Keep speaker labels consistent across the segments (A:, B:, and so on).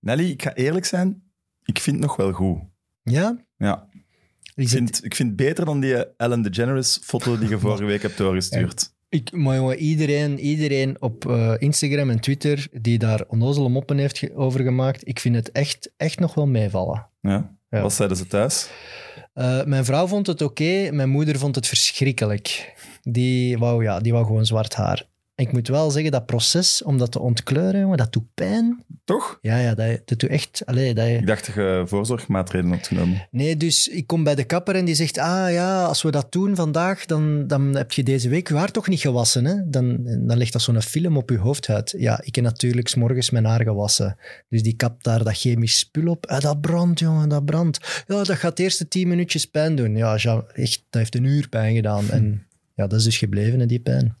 A: Nelly, ik ga eerlijk zijn. Ik vind het nog wel goed.
B: Ja?
A: Ja.
B: Ik
A: Ik vind, ik vind het beter dan die Ellen DeGeneres-foto die je vorige week hebt doorgestuurd.
B: Ik, maar jongen, iedereen, iedereen op eh, Instagram en Twitter die daar onnozele moppen heeft ge- over gemaakt, ik vind het echt, echt nog wel meevallen.
A: Ja.
B: Ja.
A: Wat zeiden ze thuis?
B: Eh, mijn vrouw vond het oké, mijn moeder vond het verschrikkelijk. Die wou, ja, die wou gewoon zwart haar. Ik moet wel zeggen, dat proces om dat te ontkleuren, jongen, dat doet pijn.
A: Toch?
B: Ja, ja dat, dat doet echt... Allee, dat,
A: Ik dacht dat je voorzorgmaatregelen had genomen.
B: Nee, dus ik kom bij de kapper en die zegt: Ah ja, als we dat doen vandaag, dan, dan heb je deze week je haar toch niet gewassen. Hè? Dan, dan ligt dat zo'n film op je hoofdhuid. Ja, ik heb natuurlijk 's morgens mijn haar gewassen. Dus die kapt daar dat chemisch spul op. Eh, dat brandt, jongen, dat brandt. Ja, dat gaat de eerste tien minuutjes pijn doen. Ja, ja, echt, dat heeft een uur pijn gedaan. En ja, dat is dus gebleven, hè, die pijn.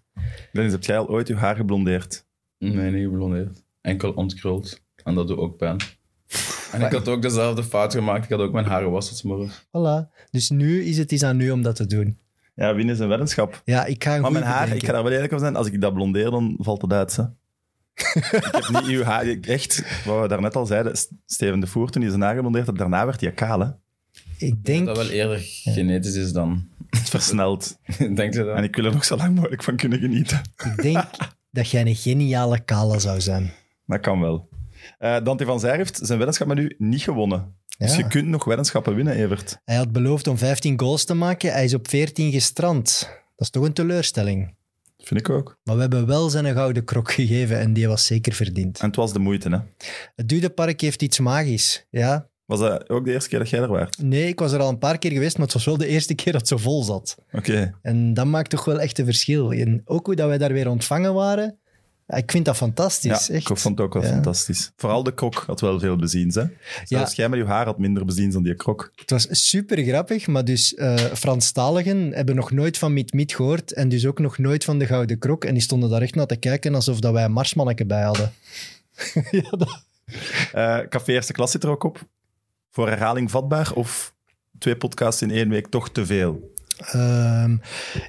A: Dennis, heb jij al ooit je haar geblondeerd?
C: Nee, niet geblondeerd. Enkel ontkruld. En dat doet ook pijn. En ik had ook dezelfde fout gemaakt. Ik had ook mijn haar gewassen vanmorgen.
B: Voilà. Dus nu is het is aan nu om dat te doen.
A: Ja, winnen is een weddenschap.
B: Ja, ik ga een
A: Maar mijn
B: goeie
A: haar, ik
B: bedenken.
A: ga daar wel eerlijk over zijn, als ik dat blondeer, dan valt het uit, hè. ik heb niet uw haar... ik- Echt, wat we daarnet al zeiden, S- Steven de Voer, toen hij zijn haar geblondeerd had, daarna werd hij kaal, hè.
B: Ik denk.
C: Dat dat wel eerder genetisch is dan.
A: Het versnelt.
C: Denk je dat?
A: En ik wil er nog zo lang mogelijk van kunnen genieten.
B: Ik denk dat jij een geniale kala zou zijn.
A: Dat kan wel. Eh, Dante van Zij heeft zijn weddenschap met u niet gewonnen. Dus
B: Ja.
A: je kunt nog weddenschappen winnen, Evert.
B: Hij had beloofd om 15 goals te maken. Hij is op 14 gestrand. Dat is toch een teleurstelling.
A: Vind ik ook.
B: Maar we hebben wel zijn een gouden krok gegeven en die was zeker verdiend.
A: En het was de moeite, hè.
B: Het Dudepark heeft iets magisch. Ja?
A: Was dat ook de eerste keer dat jij er was?
B: Nee, ik was er al een paar keer geweest, maar het was wel de eerste keer dat het zo vol zat.
A: Oké.
B: En dat maakt toch wel echt een verschil. En ook hoe dat wij daar weer ontvangen waren. Ik vind dat fantastisch.
A: ja,
B: echt.
A: ik vond het ook wel
B: Ja.
A: fantastisch. Vooral de krok had wel veel beziens, hè. Zelfs jij met je haar had minder beziens dan die krok.
B: Het was super grappig, maar dus eh Franstaligen hebben nog nooit van Miet Miet gehoord en dus ook nog nooit van de Gouden Krok. En die stonden daar echt naar te kijken alsof dat wij een marsmanneke bij hadden. ja, dat-
A: Eh, Café Eerste Klas zit er ook op. Voor herhaling vatbaar of twee podcasts in één week toch te veel?
B: Ehm,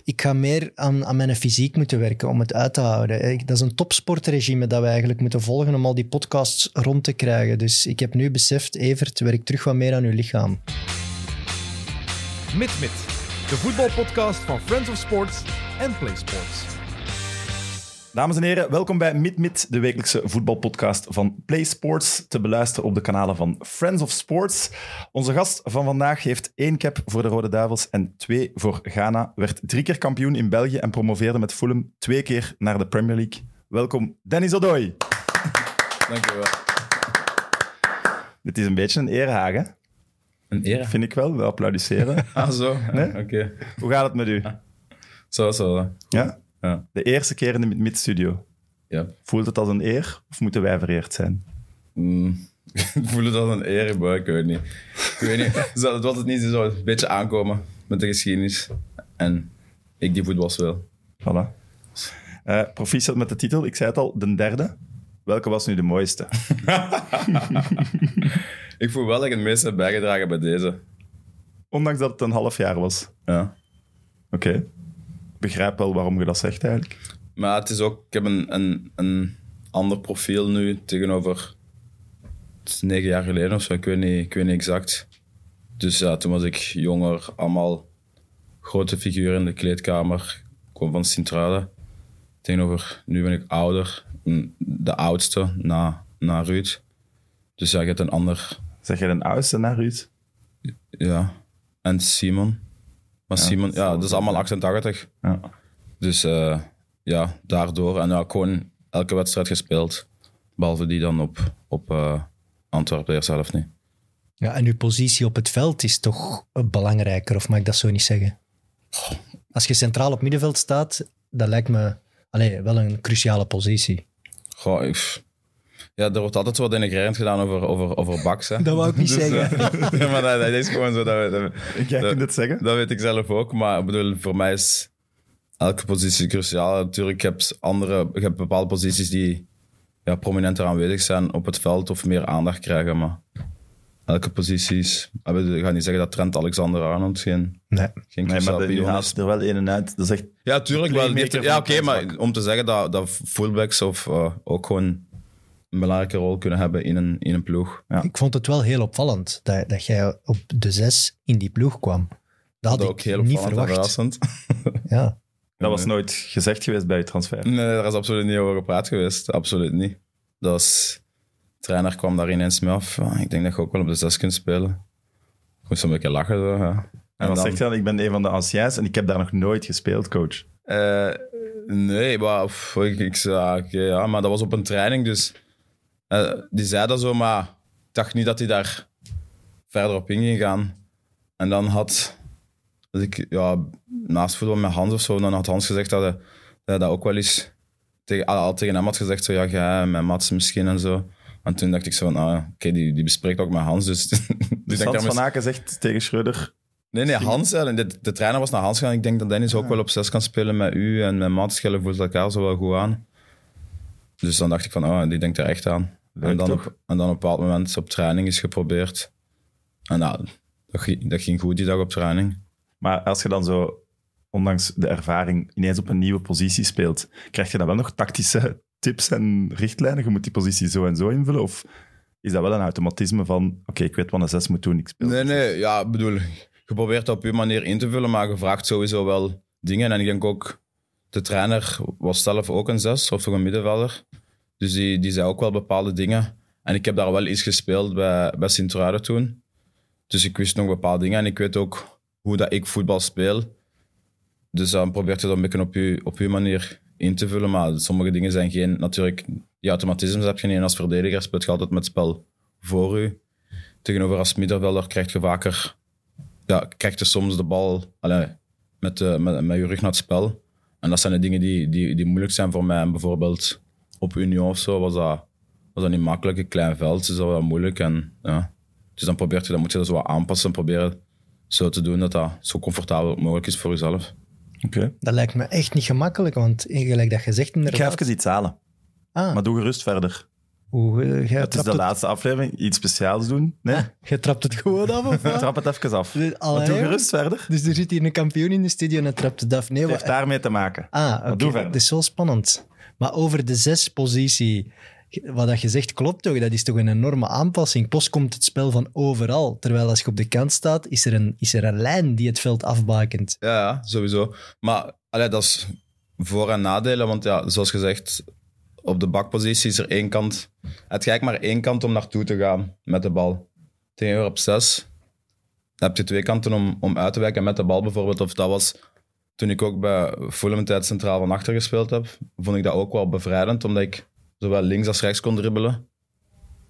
B: ik ga meer aan, aan mijn fysiek moeten werken om het uit te houden. Ik- dat is een topsportregime dat we eigenlijk moeten volgen om al die podcasts rond te krijgen. Dus ik heb nu beseft, Evert, werk terug wat meer aan uw lichaam.
D: MidMid, de voetbalpodcast van Friends of Sports en Play Sports.
A: Dames en heren, welkom bij MidMid, de wekelijkse voetbalpodcast van Play Sports. Te beluisteren op de kanalen van Friends of Sports. Onze gast van vandaag heeft één cap voor de Rode Duivels en twee voor Ghana. Werd drie keer kampioen in België en promoveerde met Fulham twee keer naar de Premier League. Welkom, Dennis Odoi.
C: Dank je wel.
A: Dit is een beetje een erehaag, hè?
C: Een eer.
A: vind ik wel. We applaudisseren.
C: Ah, zo.
A: Nee?
C: Oké.
A: Hoe gaat het met u?
C: Zo, zo.
A: Ja?
C: Ja.
A: De eerste keer in de Mid-studio.
C: ja.
A: Voelt het als een eer of moeten wij vereerd zijn?
C: Mm. Ik voel het als een eer, maar ik weet niet. Ik weet niet. Zo, Het was het niet, ze zou een beetje aankomen met de geschiedenis. En ik die voetbal wil.
A: Voilà. Eh proficiat met de titel. Ik zei het al, de derde. Welke was nu de mooiste?
C: Ik voel wel dat ik het meest heb bijgedragen bij deze.
A: Ondanks dat het een half jaar was.
C: Ja.
A: Oké. Ik begrijp wel waarom je dat zegt eigenlijk.
C: Maar het is ook, ik heb een, een, een ander profiel nu tegenover het is negen jaar geleden of zo, ik weet niet, ik weet niet exact. Dus ja, toen was ik jonger, allemaal grote figuren in de kleedkamer. Ik kwam van Sint-Truiden. Tegenover, nu ben ik ouder, mm, de oudste na, na Ruud. Dus ja, ik heb een ander,
A: Zeg jij een oudste naar Ruud?
C: ja. En Simon. Maar Simon, ja, dat is allemaal 88.
A: Ja.
C: Dus eh, ja, daardoor. En ja, gewoon elke wedstrijd gespeeld. Behalve die dan op, op eh, Antwerpen eerst zelf niet.
B: Ja, en uw positie op het veld is toch belangrijker, of mag ik dat zo niet zeggen? Als je centraal op middenveld staat, dat lijkt me allee, wel een cruciale positie.
C: Goh, ik- Ja, er wordt altijd zo wat denigrerend gedaan over, over, over Baks. Hè.
B: Dat wou ik niet zeggen.
C: eh, ja, maar dat, dat is gewoon zo. Dat, we- dat,
A: Jij
C: dat,
A: kunt het zeggen.
C: dat weet ik zelf ook. Maar ik bedoel, voor mij is elke positie cruciaal. Natuurlijk, je hebt, andere, je hebt bepaalde posities die ja, prominenter aanwezig zijn op het veld of meer aandacht krijgen. Maar elke positie is... Ik bedoel, ik ga niet zeggen dat Trent Alexander-Arnold geen,
B: Nee.
A: Nee,
C: geen
A: maar
C: cruciaal
A: de, je
C: pion is.
A: haalt er wel een en uit. Dat is echt...
C: Ja, tuurlijk.
A: De
C: Wel,
A: playmaker
C: ja,
A: van
C: oké,
A: het
C: maar om te zeggen dat, dat fullbacks of, eh, ook gewoon een belangrijke rol kunnen hebben in een, in een ploeg.
A: Ja.
B: Ik vond het wel heel opvallend dat, dat jij op de zes in die ploeg kwam. Dat had
C: Dat
B: ik
C: ook heel
B: niet
C: opvallend en
B: verwacht.
C: verrassend.
B: Ja.
A: Dat was nooit gezegd geweest bij je transfer.
C: Nee, daar is absoluut niet over gepraat geweest. Absoluut niet. Dat is- de trainer kwam daar ineens mee af. "Ah, Ik denk dat je ook wel op de zes kunt spelen. Ik moest een beetje lachen. Zo, ja. En,
A: En wat
C: dan-
A: zegt hij dan? Ik ben een van de anciens en ik heb daar nog nooit gespeeld, coach.
C: Eh, nee, maar pff, ik, ik zei, ah, oké, ja, maar dat was op een training, dus eh, die zei dat zo, maar ik dacht niet dat hij daar verder op in ging gaan. En dan had dus ik, ja, naast voetbal met Hans of zo, dan had Hans gezegd dat hij, dat hij dat ook wel eens tegen, al, al tegen hem had gezegd, zo, ja, jij met Mats misschien en zo. En toen dacht ik zo van, ah, oké, die, die bespreekt ook met Hans, dus... dus
A: Dus
C: ik
A: Hans
C: daar
A: van Aken zegt tegen Schreuder,
C: Nee, nee, Hans. hè. De, de trainer was naar Hans gaan. Ik denk dat Dennis ook wel op zes kan spelen met u en met Mats. Jullie voelen elkaar zo wel goed aan. Dus dan dacht ik van, oh, die denkt er echt aan.
A: Leuk,
C: en, dan
A: toch?
C: op, en dan op een bepaald moment op training is geprobeerd. En nou, dat, ging- dat ging goed die dag op training.
A: Maar als je dan zo, ondanks de ervaring, ineens op een nieuwe positie speelt, krijg je dan wel nog tactische tips en richtlijnen? Je moet die positie zo en zo invullen? Of is dat wel een automatisme van, oké, ik weet wat een zes moet doen, ik speel?
C: Nee, nee, ja, ik bedoel, je probeert dat op je manier in te vullen, maar je vraagt sowieso wel dingen. En ik denk ook, de trainer was zelf ook een zes of toch een middenvelder. Dus die, die zei ook wel bepaalde dingen. En ik heb daar wel iets gespeeld bij, bij Sint-Truiden toen. Dus ik wist nog bepaalde dingen en ik weet ook hoe dat ik voetbal speel. Dus dan probeert je dat een beetje op je, op je manier in te vullen. Maar sommige dingen zijn geen, natuurlijk, die automatismes heb je niet. En als verdediger speelt je altijd met het spel voor u tegenover als middenvelder krijg je vaker... Ja, krijg je soms de bal allee, met, eh, met, met je rug naar het spel. En dat zijn de dingen die, die, die moeilijk zijn voor mij. En bijvoorbeeld op Union of zo was dat, was dat niet makkelijk. Een klein veld is dat wel moeilijk. En, ja. Dus dan, probeert je, dan moet je dat zo wat aanpassen en proberen zo te doen dat dat zo comfortabel mogelijk is voor jezelf.
A: Oké.
B: Dat lijkt me echt niet gemakkelijk, want eh, gelijk dat je zegt
A: Ik ga
B: inderdaad...
A: even iets halen,
B: Ah,
A: maar doe gerust verder.
B: hoe, eh, jij
A: Het is
B: trapt
A: de laatste aflevering, iets speciaals doen. Nee?
B: Jij trapt het gewoon af, of wat?
A: Trap het even af.
B: Dus,
A: Maar
B: allee,
A: doe
B: hoor.
A: gerust verder.
B: Dus er zit hier een kampioen in de studio en hij trapt het af. Nee,
A: Het
B: wat,
A: heeft daarmee te maken.
B: Oh, ah, oké,
A: doe verder.
B: dat is zo spannend. Maar over de zes positie, wat dat je zegt klopt toch? Dat is toch een enorme aanpassing. Plots komt het spel van overal. Terwijl als je op de kant staat, is er een, is er een lijn die het veld afbakent.
C: Ja, ja, sowieso. Maar allee, dat is voor- en nadelen. Want ja, zoals gezegd, op de bakpositie is er één kant. Het gaat maar één kant om naartoe te gaan met de bal. Tegenover op zes heb je twee kanten om, om uit te wijken met de bal bijvoorbeeld. Of dat was toen ik ook bij Fulham tijd centraal van achter gespeeld heb. Vond ik dat ook wel bevrijdend, omdat ik zowel links als rechts kon dribbelen.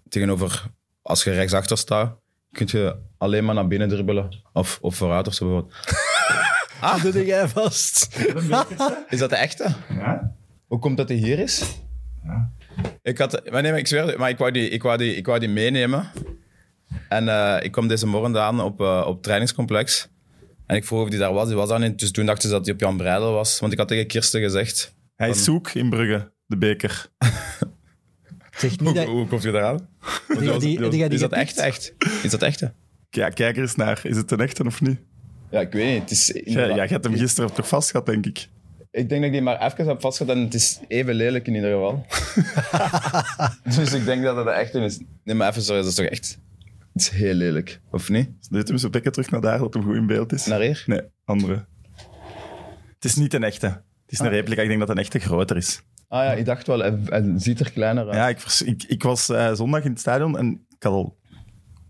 C: Tegenover, als je rechtsachter staat, kun je alleen maar naar binnen dribbelen. Of, of vooruit of zo bijvoorbeeld.
B: Ah, doe jij vast.
C: Is dat de echte?
A: Ja?
C: Hoe komt dat hij hier is? Ik had, maar nee, maar ik zweer, het, maar ik wou die, ik wou die, ik wou die meenemen. En eh, ik kwam deze morgen aan op, eh, op het trainingscomplex. En ik vroeg of die daar was. Die was daar niet. Dus toen dachten ze dat hij op Jan Breidel was. Want ik had tegen Kirsten gezegd.
A: Hij is zoek in Brugge, de beker.
B: Zeg niet
C: Hoe,
B: dat...
C: hoe komt je daar aan?
B: die- die- die- die-
C: is dat
B: die-
C: echt, echt? Is dat echte?
A: Ja, kijk er eens naar. Is het een echte of niet?
C: Ja, ik weet niet. Het is
A: Ja, ja, je hebt hem gisteren toch vast gehad, denk ik.
C: Ik denk dat ik die maar even heb vastgehad en het is even lelijk in ieder geval. dus ik denk dat het echt is. Nee, maar even sorry, dat is toch echt... Het is heel lelijk, of niet?
A: Doe hem zijn pikken terug naar daar, dat hem goed in beeld is.
C: Naar hier?
A: Nee, andere. Ah. Het is niet een echte. Het is een replica. Ik denk dat een echte groter is.
C: Ah ja, ik dacht wel, hij, hij ziet er kleiner uit.
A: Ja, ik, vers- ik, ik was eh, zondag in het stadion en ik had al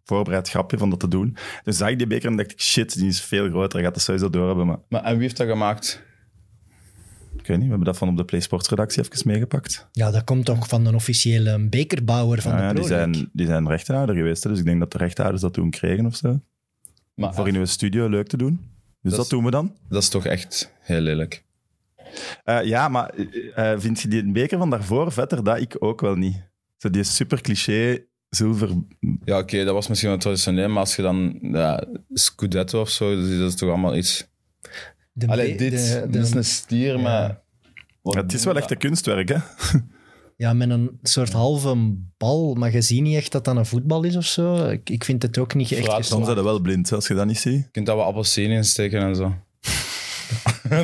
A: voorbereid grapje van dat te doen. Toen zag ik die beker en dacht ik, shit, die is veel groter. Hij gaat dat sowieso door hebben, maar
C: Maar, en wie heeft dat gemaakt?
A: ik weet niet. We hebben dat van op de PlaySports redactie even meegepakt.
B: Ja, dat komt toch van een officiële bekerbouwer van
A: Ah Ja, ja,
B: de
A: die,
B: Pro League.
A: zijn, die zijn rechtenhouder geweest, hè, dus ik denk dat de rechtenhouders dat toen kregen of zo.
C: Maar
A: Voor in uw studio leuk te doen. Dus
C: is-
A: dat doen we dan.
C: Ah. dat is toch echt heel lelijk.
A: Eh, ja, maar eh, eh, vind je die beker van daarvoor vetter? Dat ik ook wel niet. Zo die super cliché zilver.
C: Ja, oké, dat was misschien wel traditioneel, maar als je dan ja, Scudetto of zo, dus dat is toch allemaal iets...
B: De
C: Allee,
B: be-
C: dit,
B: de- de-
C: dit is een stier, maar...
E: Oh,
C: Wat-
A: het is wel echt een kunstwerk, hè?
B: Ja, met een soort halve bal, maar je ziet niet echt dat dat een voetbal is of zo. Ik, ik vind het ook niet echt
C: Straat-
B: geslaagd.
A: Soms zijn we wel blind, hè, als je dat niet ziet.
C: Je kunt daar wat appelsien in steken en zo.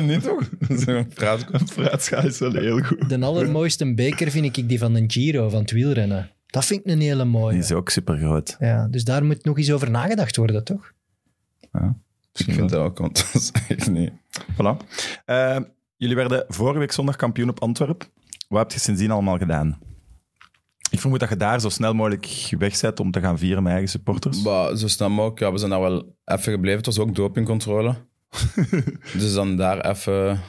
C: niet toch? Zo'n praat.
A: Vooruitgaan is wel heel goed.
B: De allermooiste beker vind ik die van de Giro, van het wielrennen. Dat vind ik een hele
E: Die
B: mooie.
E: is ook super groot.
B: Ja, dus daar moet nog eens over nagedacht worden, toch?
C: Dus Ik vind dat ook, want dat is echt niet.
A: Voilà. Eh, jullie werden vorige week zondag kampioen op Antwerpen. Wat heb je sindsdien allemaal gedaan? Ik vermoed dat je daar zo snel mogelijk weg bent om te gaan vieren met eigen supporters.
C: Maar zo snel mogelijk, ja, we zijn daar wel even gebleven. Het was ook dopingcontrole. dus dan daar even.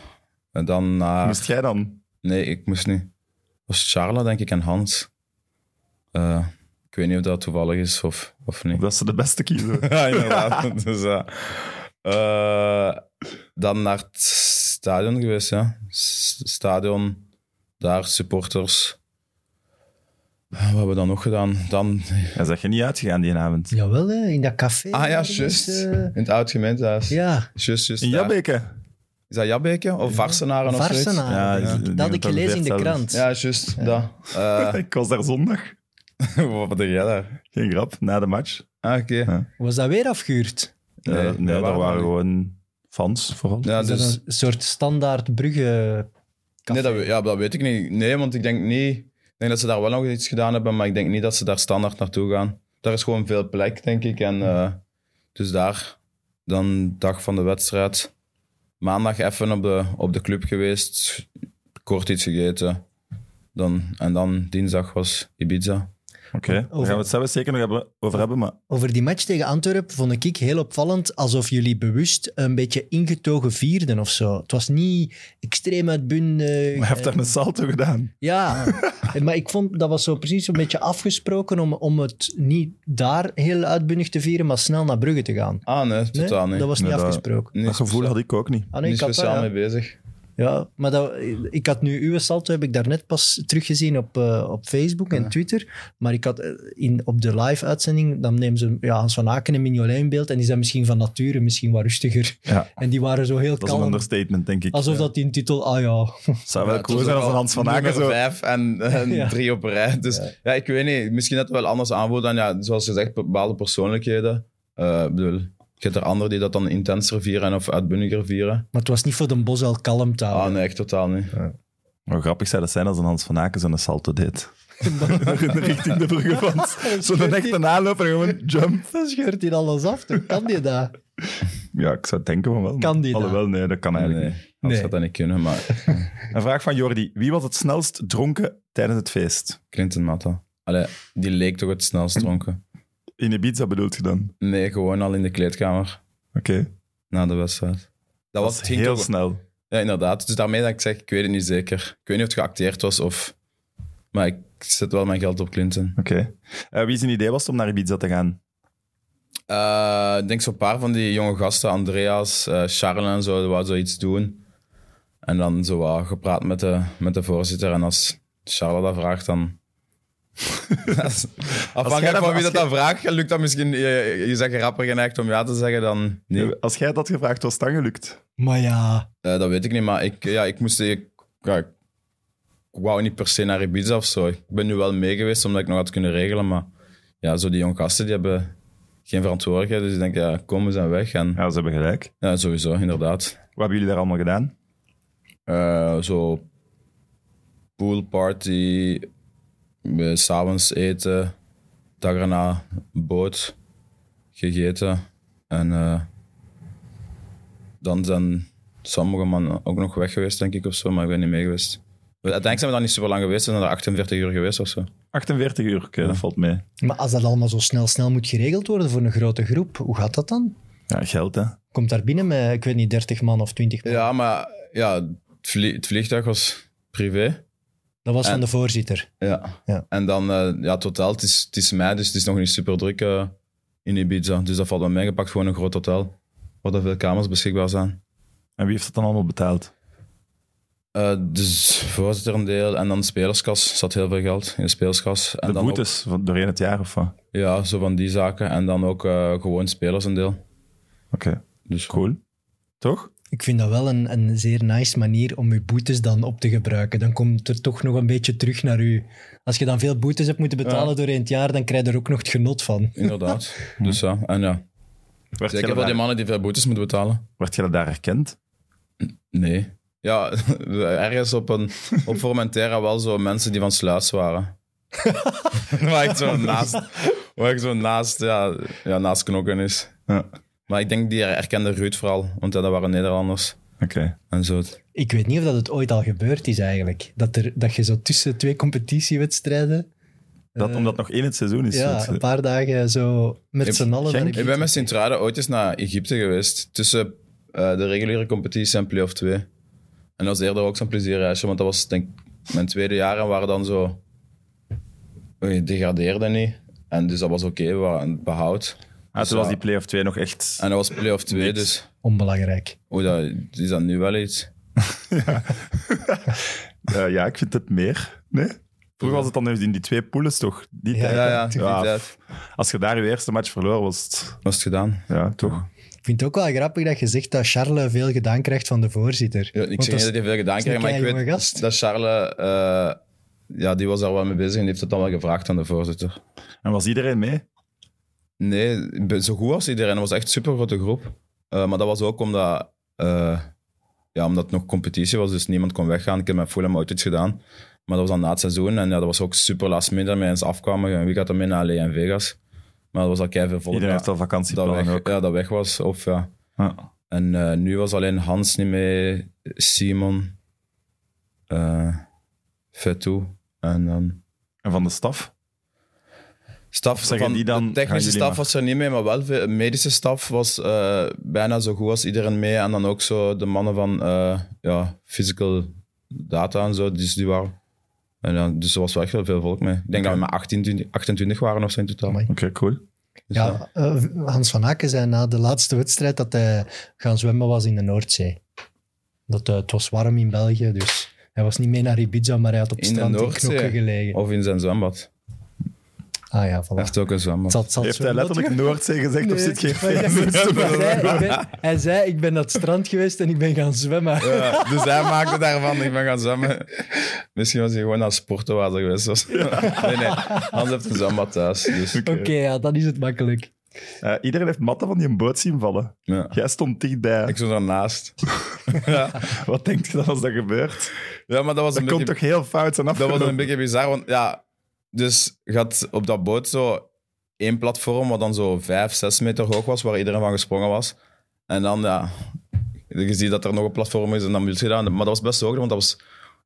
C: En dan naar.
A: Moest jij dan?
C: Nee, ik moest niet. Het was Charla, denk ik, en Hans. Eh, ik weet niet of dat toevallig is of, of niet.
A: Dat ze de beste kiezen.
C: Ja, inderdaad. dus, ja. Eh, dan naar het stadion geweest, ja. S- Stadion, daar supporters. Eh, Wat hebben we dan nog gedaan? Dan...
A: Ja, zeg je niet uitgegaan die avond.
B: Jawel, hè, in dat café.
C: Ah ja,
B: ergens,
C: juist.
B: eh,
C: In het oud gemeentehuis.
B: ja,
C: Juist, juist.
A: In
C: daar.
A: Jabbeke.
C: Is dat Jabbeke? Of Varsenaren of zoiets?
B: Varsenaar.
A: Ja,
B: denk ik.
A: ja.
B: dat had ik gelezen in de krant.
C: Ja, juist. Dat. Eh,
A: Ik was daar zondag.
C: wat deed jij daar?
A: Geen grap, na de match.
C: Ah, oké.
A: Ja.
B: Was dat weer afgehuurd?
A: Eh,
C: Nee,
A: Nee, daar
C: daar waren we
A: waren
C: niet.
A: gewoon fans vooral.
C: Ja,
B: Is dat
C: dus...
B: een soort standaard bruggen...
C: Nee, dat, we- ja, dat weet ik niet. Nee, want ik denk niet... Ik denk dat ze daar wel nog iets gedaan hebben, maar ik denk niet dat ze daar standaard naartoe gaan. Daar is gewoon veel plek, denk ik. En, eh, dus daar, dan dag van de wedstrijd. Maandag even op de, op de club geweest. Kort iets gegeten. Dan, en dan dinsdag was Ibiza.
A: Oké, daar gaan
B: Over-
A: we het zelfs zeker nog hebben, over hebben, maar
B: Over die match tegen Antwerpen vond ik heel opvallend, alsof jullie bewust een beetje ingetogen vierden of zo. Het was niet extreem uitbundig.
A: hij heeft daar een salto gedaan.
B: Ja, maar ik vond dat was zo precies een beetje afgesproken om, om het niet daar heel uitbundig te vieren, maar snel naar Brugge te gaan.
C: Ah, nee,
B: Nee?
C: totaal niet.
B: Dat was niet
A: Nee, dat-
B: afgesproken.
C: niet
A: Dat gevoel had ik ook niet.
B: Ah, nee,
C: niet
B: ik had
C: speciaal
B: dat,
C: mee
B: ja.
C: bezig.
B: Ja, maar dat, ik had nu uw salto, heb ik daarnet pas teruggezien op, eh, op Facebook en Twitter. Maar ik had eh, in, op de live-uitzending, dan nemen ze ja, Hans van Aken en Mignolet in beeld. En die zijn misschien van nature misschien wat rustiger.
A: Ja.
B: En die waren zo heel
A: Dat is een
B: kalm.
A: understatement, denk ik.
B: Alsof dat in titel, ah ja.
A: Het zou wel
C: Ja, het
A: cool
C: was
A: zijn
C: ook
A: als een
C: al
A: Hans van Aken
C: nummer
A: zo...
C: vijf en, en
B: Ja.
C: drie op rij. Dus ja. ik weet niet. Misschien dat het wel anders aanvoelt dan, ja, zoals gezegd, bepaalde persoonlijkheden. Eh, ik bedoel, je hebt er anderen die dat dan intenser vieren en of uitbundiger vieren.
B: Maar het was niet voor de bos al kalm te
C: Ah,
B: houden.
C: nee, echt totaal niet.
A: Hoe grappig zou dat zijn als een Hans van Aken zo'n salto deed. Richting de Brugge van. Zo'n echte aanloop en gewoon jump.
B: Dan scheurt hij alles af, toch? Kan die dat?
A: Ja, ik zou denken van wel. maar-
B: Kan die dat?
A: Alhoewel, nee, dat kan
C: Nee,
A: eigenlijk
C: nee.
A: niet.
B: Nee.
C: Anders gaat dat niet kunnen, maar
A: Een vraag van Jordi. Wie was het snelst dronken tijdens het feest?
C: Clinton Matta. Allee, die leek toch het snelst dronken.
A: In Ibiza bedoelt je dan?
C: Nee, gewoon al in de kleedkamer
A: Oké.
C: na de wedstrijd. Dat was
A: Dat
C: het
A: is
C: ging
A: heel
C: toch-
A: snel.
C: Ja, inderdaad. Dus daarmee dat ik zeg, ik weet het niet zeker. Ik weet niet of het geacteerd was of... Maar ik zet wel mijn geld op Clinton.
A: Oké. Eh, wie zijn idee was het om naar Ibiza te gaan?
C: Eh, ik denk zo'n paar van die jonge gasten, Andreas, eh Charles en zo, die wou zoiets doen. En dan zo wat gepraat met de, met de voorzitter. En als Charles dat vraagt, dan...
A: jij
C: Afhankelijk
A: dat-
C: van wie
A: als
C: dat dan vraagt, lukt dat misschien... Je, je zegt rapper geneigd om ja te zeggen, dan... Nee,
A: Eh, Als jij dat gevraagd was, het dan gelukt.
B: Maar ja,
C: Eh, dat weet ik niet, maar ik, ja, ik moest... Ik, ja, ik wou niet per se naar Ibiza of zo. Ik ben nu wel mee geweest, omdat ik nog had kunnen regelen. Maar ja, zo die jonge gasten, die hebben geen verantwoordelijkheid. Dus ik denk, ja, kom, we zijn weg. En...
A: Ja, ze hebben gelijk.
C: Ja, sowieso, inderdaad.
A: Wat hebben jullie daar allemaal gedaan?
C: Eh, zo poolparty, eh, s'avonds eten, dag erna boot, gegeten. En eh, dan zijn sommige mannen ook nog weg geweest, denk ik, of zo, maar ik ben niet mee geweest. Uiteindelijk zijn we daar niet super lang geweest, we zijn daar 48 uur geweest of zo.
A: 48 uur, oké, dat valt mee.
B: maar als dat allemaal zo snel, snel moet geregeld worden voor een grote groep, hoe gaat dat dan?
A: Ja, geld hè.
B: Komt daar binnen met, ik weet niet, 30 man of 20 man?
C: Ja, maar ja, het, vlie- het vliegtuig was privé.
B: Dat was
C: En-
B: van de voorzitter.
C: Ja.
B: Ja.
C: En dan, eh, ja, totaal, het is, het is mei, dus het is nog niet super druk eh, in Ibiza. Dus dat valt wel mee. Je pakt gewoon een groot hotel, waar er veel kamers beschikbaar zijn.
A: En wie heeft dat dan allemaal betaald?
C: Eh, dus voorzitter een deel en dan spelerskas. Er zat heel veel geld in de spelerskas. En
A: De
C: dan ook,
A: boetes van doorheen het jaar of wat? Oké,
C: ja, zo van die zaken. En dan ook eh, gewoon spelers een deel. Dus
A: cool. Toch?
B: Ik vind dat wel een, een zeer nice manier om je boetes dan op te gebruiken. Dan komt er toch nog een beetje terug naar u. Als je dan veel boetes hebt moeten betalen doorheen het jaar, dan krijg je er ook nog het genot van.
C: Inderdaad. dus ja, en ja.
A: Werd je,
C: Zeker voor die
A: daar,
C: mannen die veel boetes moeten betalen.
A: werd je daar herkend?
C: Nee. Ja, ergens op, een, op Formentera wel zo mensen die van Sluis waren. waar ik zo naast, waar ik zo naast, ja, ja, naast knokken is.
A: Ja.
C: Maar ik denk die herkende Ruud vooral, want ja, dat waren Nederlanders
A: Oké.
C: en zo.
B: Ik weet niet of dat het ooit al gebeurd is eigenlijk. Dat, er, dat je zo tussen twee competitiewedstrijden,
C: Eh,
A: Dat, omdat het nog één het seizoen is.
B: ja,
A: Het-
B: een paar dagen zo met
C: Ik-
B: z'n allen...
A: Genk?
B: naar
C: Ik
B: Egypte.
C: ben met Sint-Truiden ooit eens naar Egypte geweest. Tussen eh, de reguliere competitie en play-off 2. En dat was eerder ook zo'n plezierreisje, want dat was denk ik mijn tweede jaar en we waren dan zo... We degradeerden niet. En dus dat was oké, we waren aan het behoud. Dus
A: Ah, toen was die play-off 2 nog echt...
C: En dat was play-off 2, dus...
B: Onbelangrijk.
C: Oei, dat, is dat nu wel iets?
A: Eh, ja, ik vind het meer. Nee? Vroeger was het dan in die twee poules toch? Die tijd,
C: Ja,
A: hè?
C: ja, die tijd.
A: Als je daar je eerste match verloor, was het...
C: Was het gedaan?
A: Ja, toch?
B: Ik vind het ook wel grappig dat je zegt dat Charles veel gedaan krijgt van de voorzitter.
C: Ja,
B: Want
C: ik zeg niet
B: dat
C: dat hij veel gedaan
B: is een
C: kreeg, maar ik weet
B: keijonge gast.
C: dat Charles... eh, ja, die was daar wel mee bezig en die heeft het dan wel gevraagd aan de voorzitter.
A: En was iedereen mee?
C: Nee, be- zo goed als iedereen. Dat was echt een super grote groep. Eh, maar dat was ook omdat, eh, ja, omdat het nog competitie was, dus niemand kon weggaan. Ik heb met Fulham ooit iets gedaan. Maar dat was dan na het seizoen. En ja, dat was ook super last minute dat we eens afkwamen. En wie gaat er mee naar LA en Vegas? Maar dat was al keihard volk
A: Iedereen heeft
C: dat,
A: al
C: dat,
A: vakantieplannen
C: weg,
A: ook.
C: ja, dat weg was. Of, ja.
A: Ja.
C: En eh, nu was alleen Hans niet mee, Simon, eh Fetou en dan...
A: En van de staf?
C: Staf,
A: zeggen
C: van
A: die dan,
C: de
A: gaan
C: technische
A: jullie
C: staf
A: maar.
C: was er niet mee, maar wel de medische staf was eh, bijna zo goed als iedereen mee. En dan ook zo de mannen van eh, ja, physical data en zo, dus die waren. En dan, dus er was wel echt wel veel volk mee. Ik denk dat we maar 18, 20 28 waren of zo in totaal.
B: Amai.
A: Oké, cool.
C: Dus ja.
B: Ja, eh, Hans van Aken zei na de laatste wedstrijd dat hij gaan zwemmen was in de Noordzee. Dat, eh, het was warm in België, dus hij was niet mee naar Ibiza, maar hij had op
C: In de
B: strand in
C: Noordzee?
B: knokken gelegen.
C: Of in zijn zwembad.
B: Ah ja, voilà.
C: Hij heeft ook een zwembad.
B: Het zal- het zal het
A: Heeft hij
B: zwembad
A: letterlijk Noordzee gezegd of zit geen
B: Nee,
A: feest?
B: maar hij, zei, ik ben, hij zei, ik ben naar het strand geweest en ik ben gaan zwemmen.
C: Ja, dus hij maakte daarvan, ik ben gaan zwemmen. Misschien was hij gewoon naar sportenwater geweest. of zo. Nee, nee. Hans heeft een zwembad thuis. Dus,
B: Oké, ja, dan is het makkelijk.
A: Eh, iedereen heeft matten van die boot zien vallen.
C: ja.
A: Jij stond dichtbij.
C: Ik zat daarnaast.
A: Wat denk je dan als dat gebeurt?
C: Ja, maar dat was
A: Dat
C: een
A: komt
C: beetje-
A: toch heel fout zijn
C: Dat was
A: afgelopen?
C: een beetje bizar, want ja, dus je had op dat boot zo één platform, wat dan zo vijf, zes meter hoog was, waar iedereen van gesprongen was. En dan, ja, je ziet dat er nog een platform is en dan wil je dat. Maar dat was best hoog, want dat was,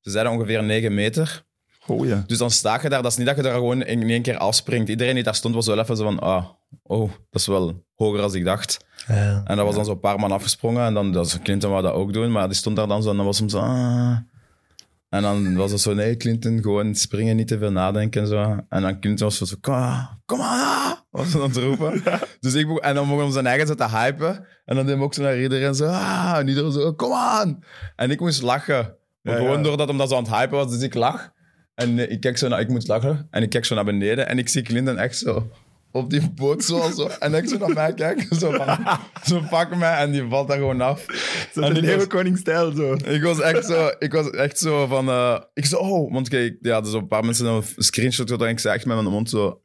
C: ze zeiden ongeveer negen meter.
A: Oh ja.
C: Dus dan sta je daar, dat is niet dat je daar gewoon in in één keer afspringt. Iedereen die daar stond was wel even zo van, ah, oh, dat is wel hoger als ik dacht.
B: Ja.
C: En dat was dan zo'n paar man afgesprongen. En dan, dat is Clinton wou dat ook doen, maar die stond daar dan zo en dan was hem zo... ah. En dan was het zo, nee, Clinton, gewoon springen, niet te veel nadenken en zo. En dan Clinton was zo, kom maar, kom maar, was ze aan het roepen. Dus ik, begon- en dan mocht hem zijn eigen zo te hypen. En dan deed hem ook zo naar iedereen zo, ah, en iedereen zo, kom aan. En ik moest lachen. Maar
A: Ja,
C: gewoon
A: ja.
C: doordat hem dat zo aan het hypen was, dus ik lach. En eh, ik kijk zo naar, ik moet lachen. En ik kijk zo naar beneden en ik zie Clinton echt zo op die boot zo. zo. En ik zo naar mij kijken, zo, van, zo pak mij en die valt daar gewoon af.
A: Dat is
C: En ik
A: een
C: was-
A: leeuwenkoning-stijl zo.
C: ik was echt zo, ik was echt zo van, eh, ik zo, oh, want kijk, ja, er zijn een paar mensen die een screenshot gedaan en ik zei echt met mijn mond zo.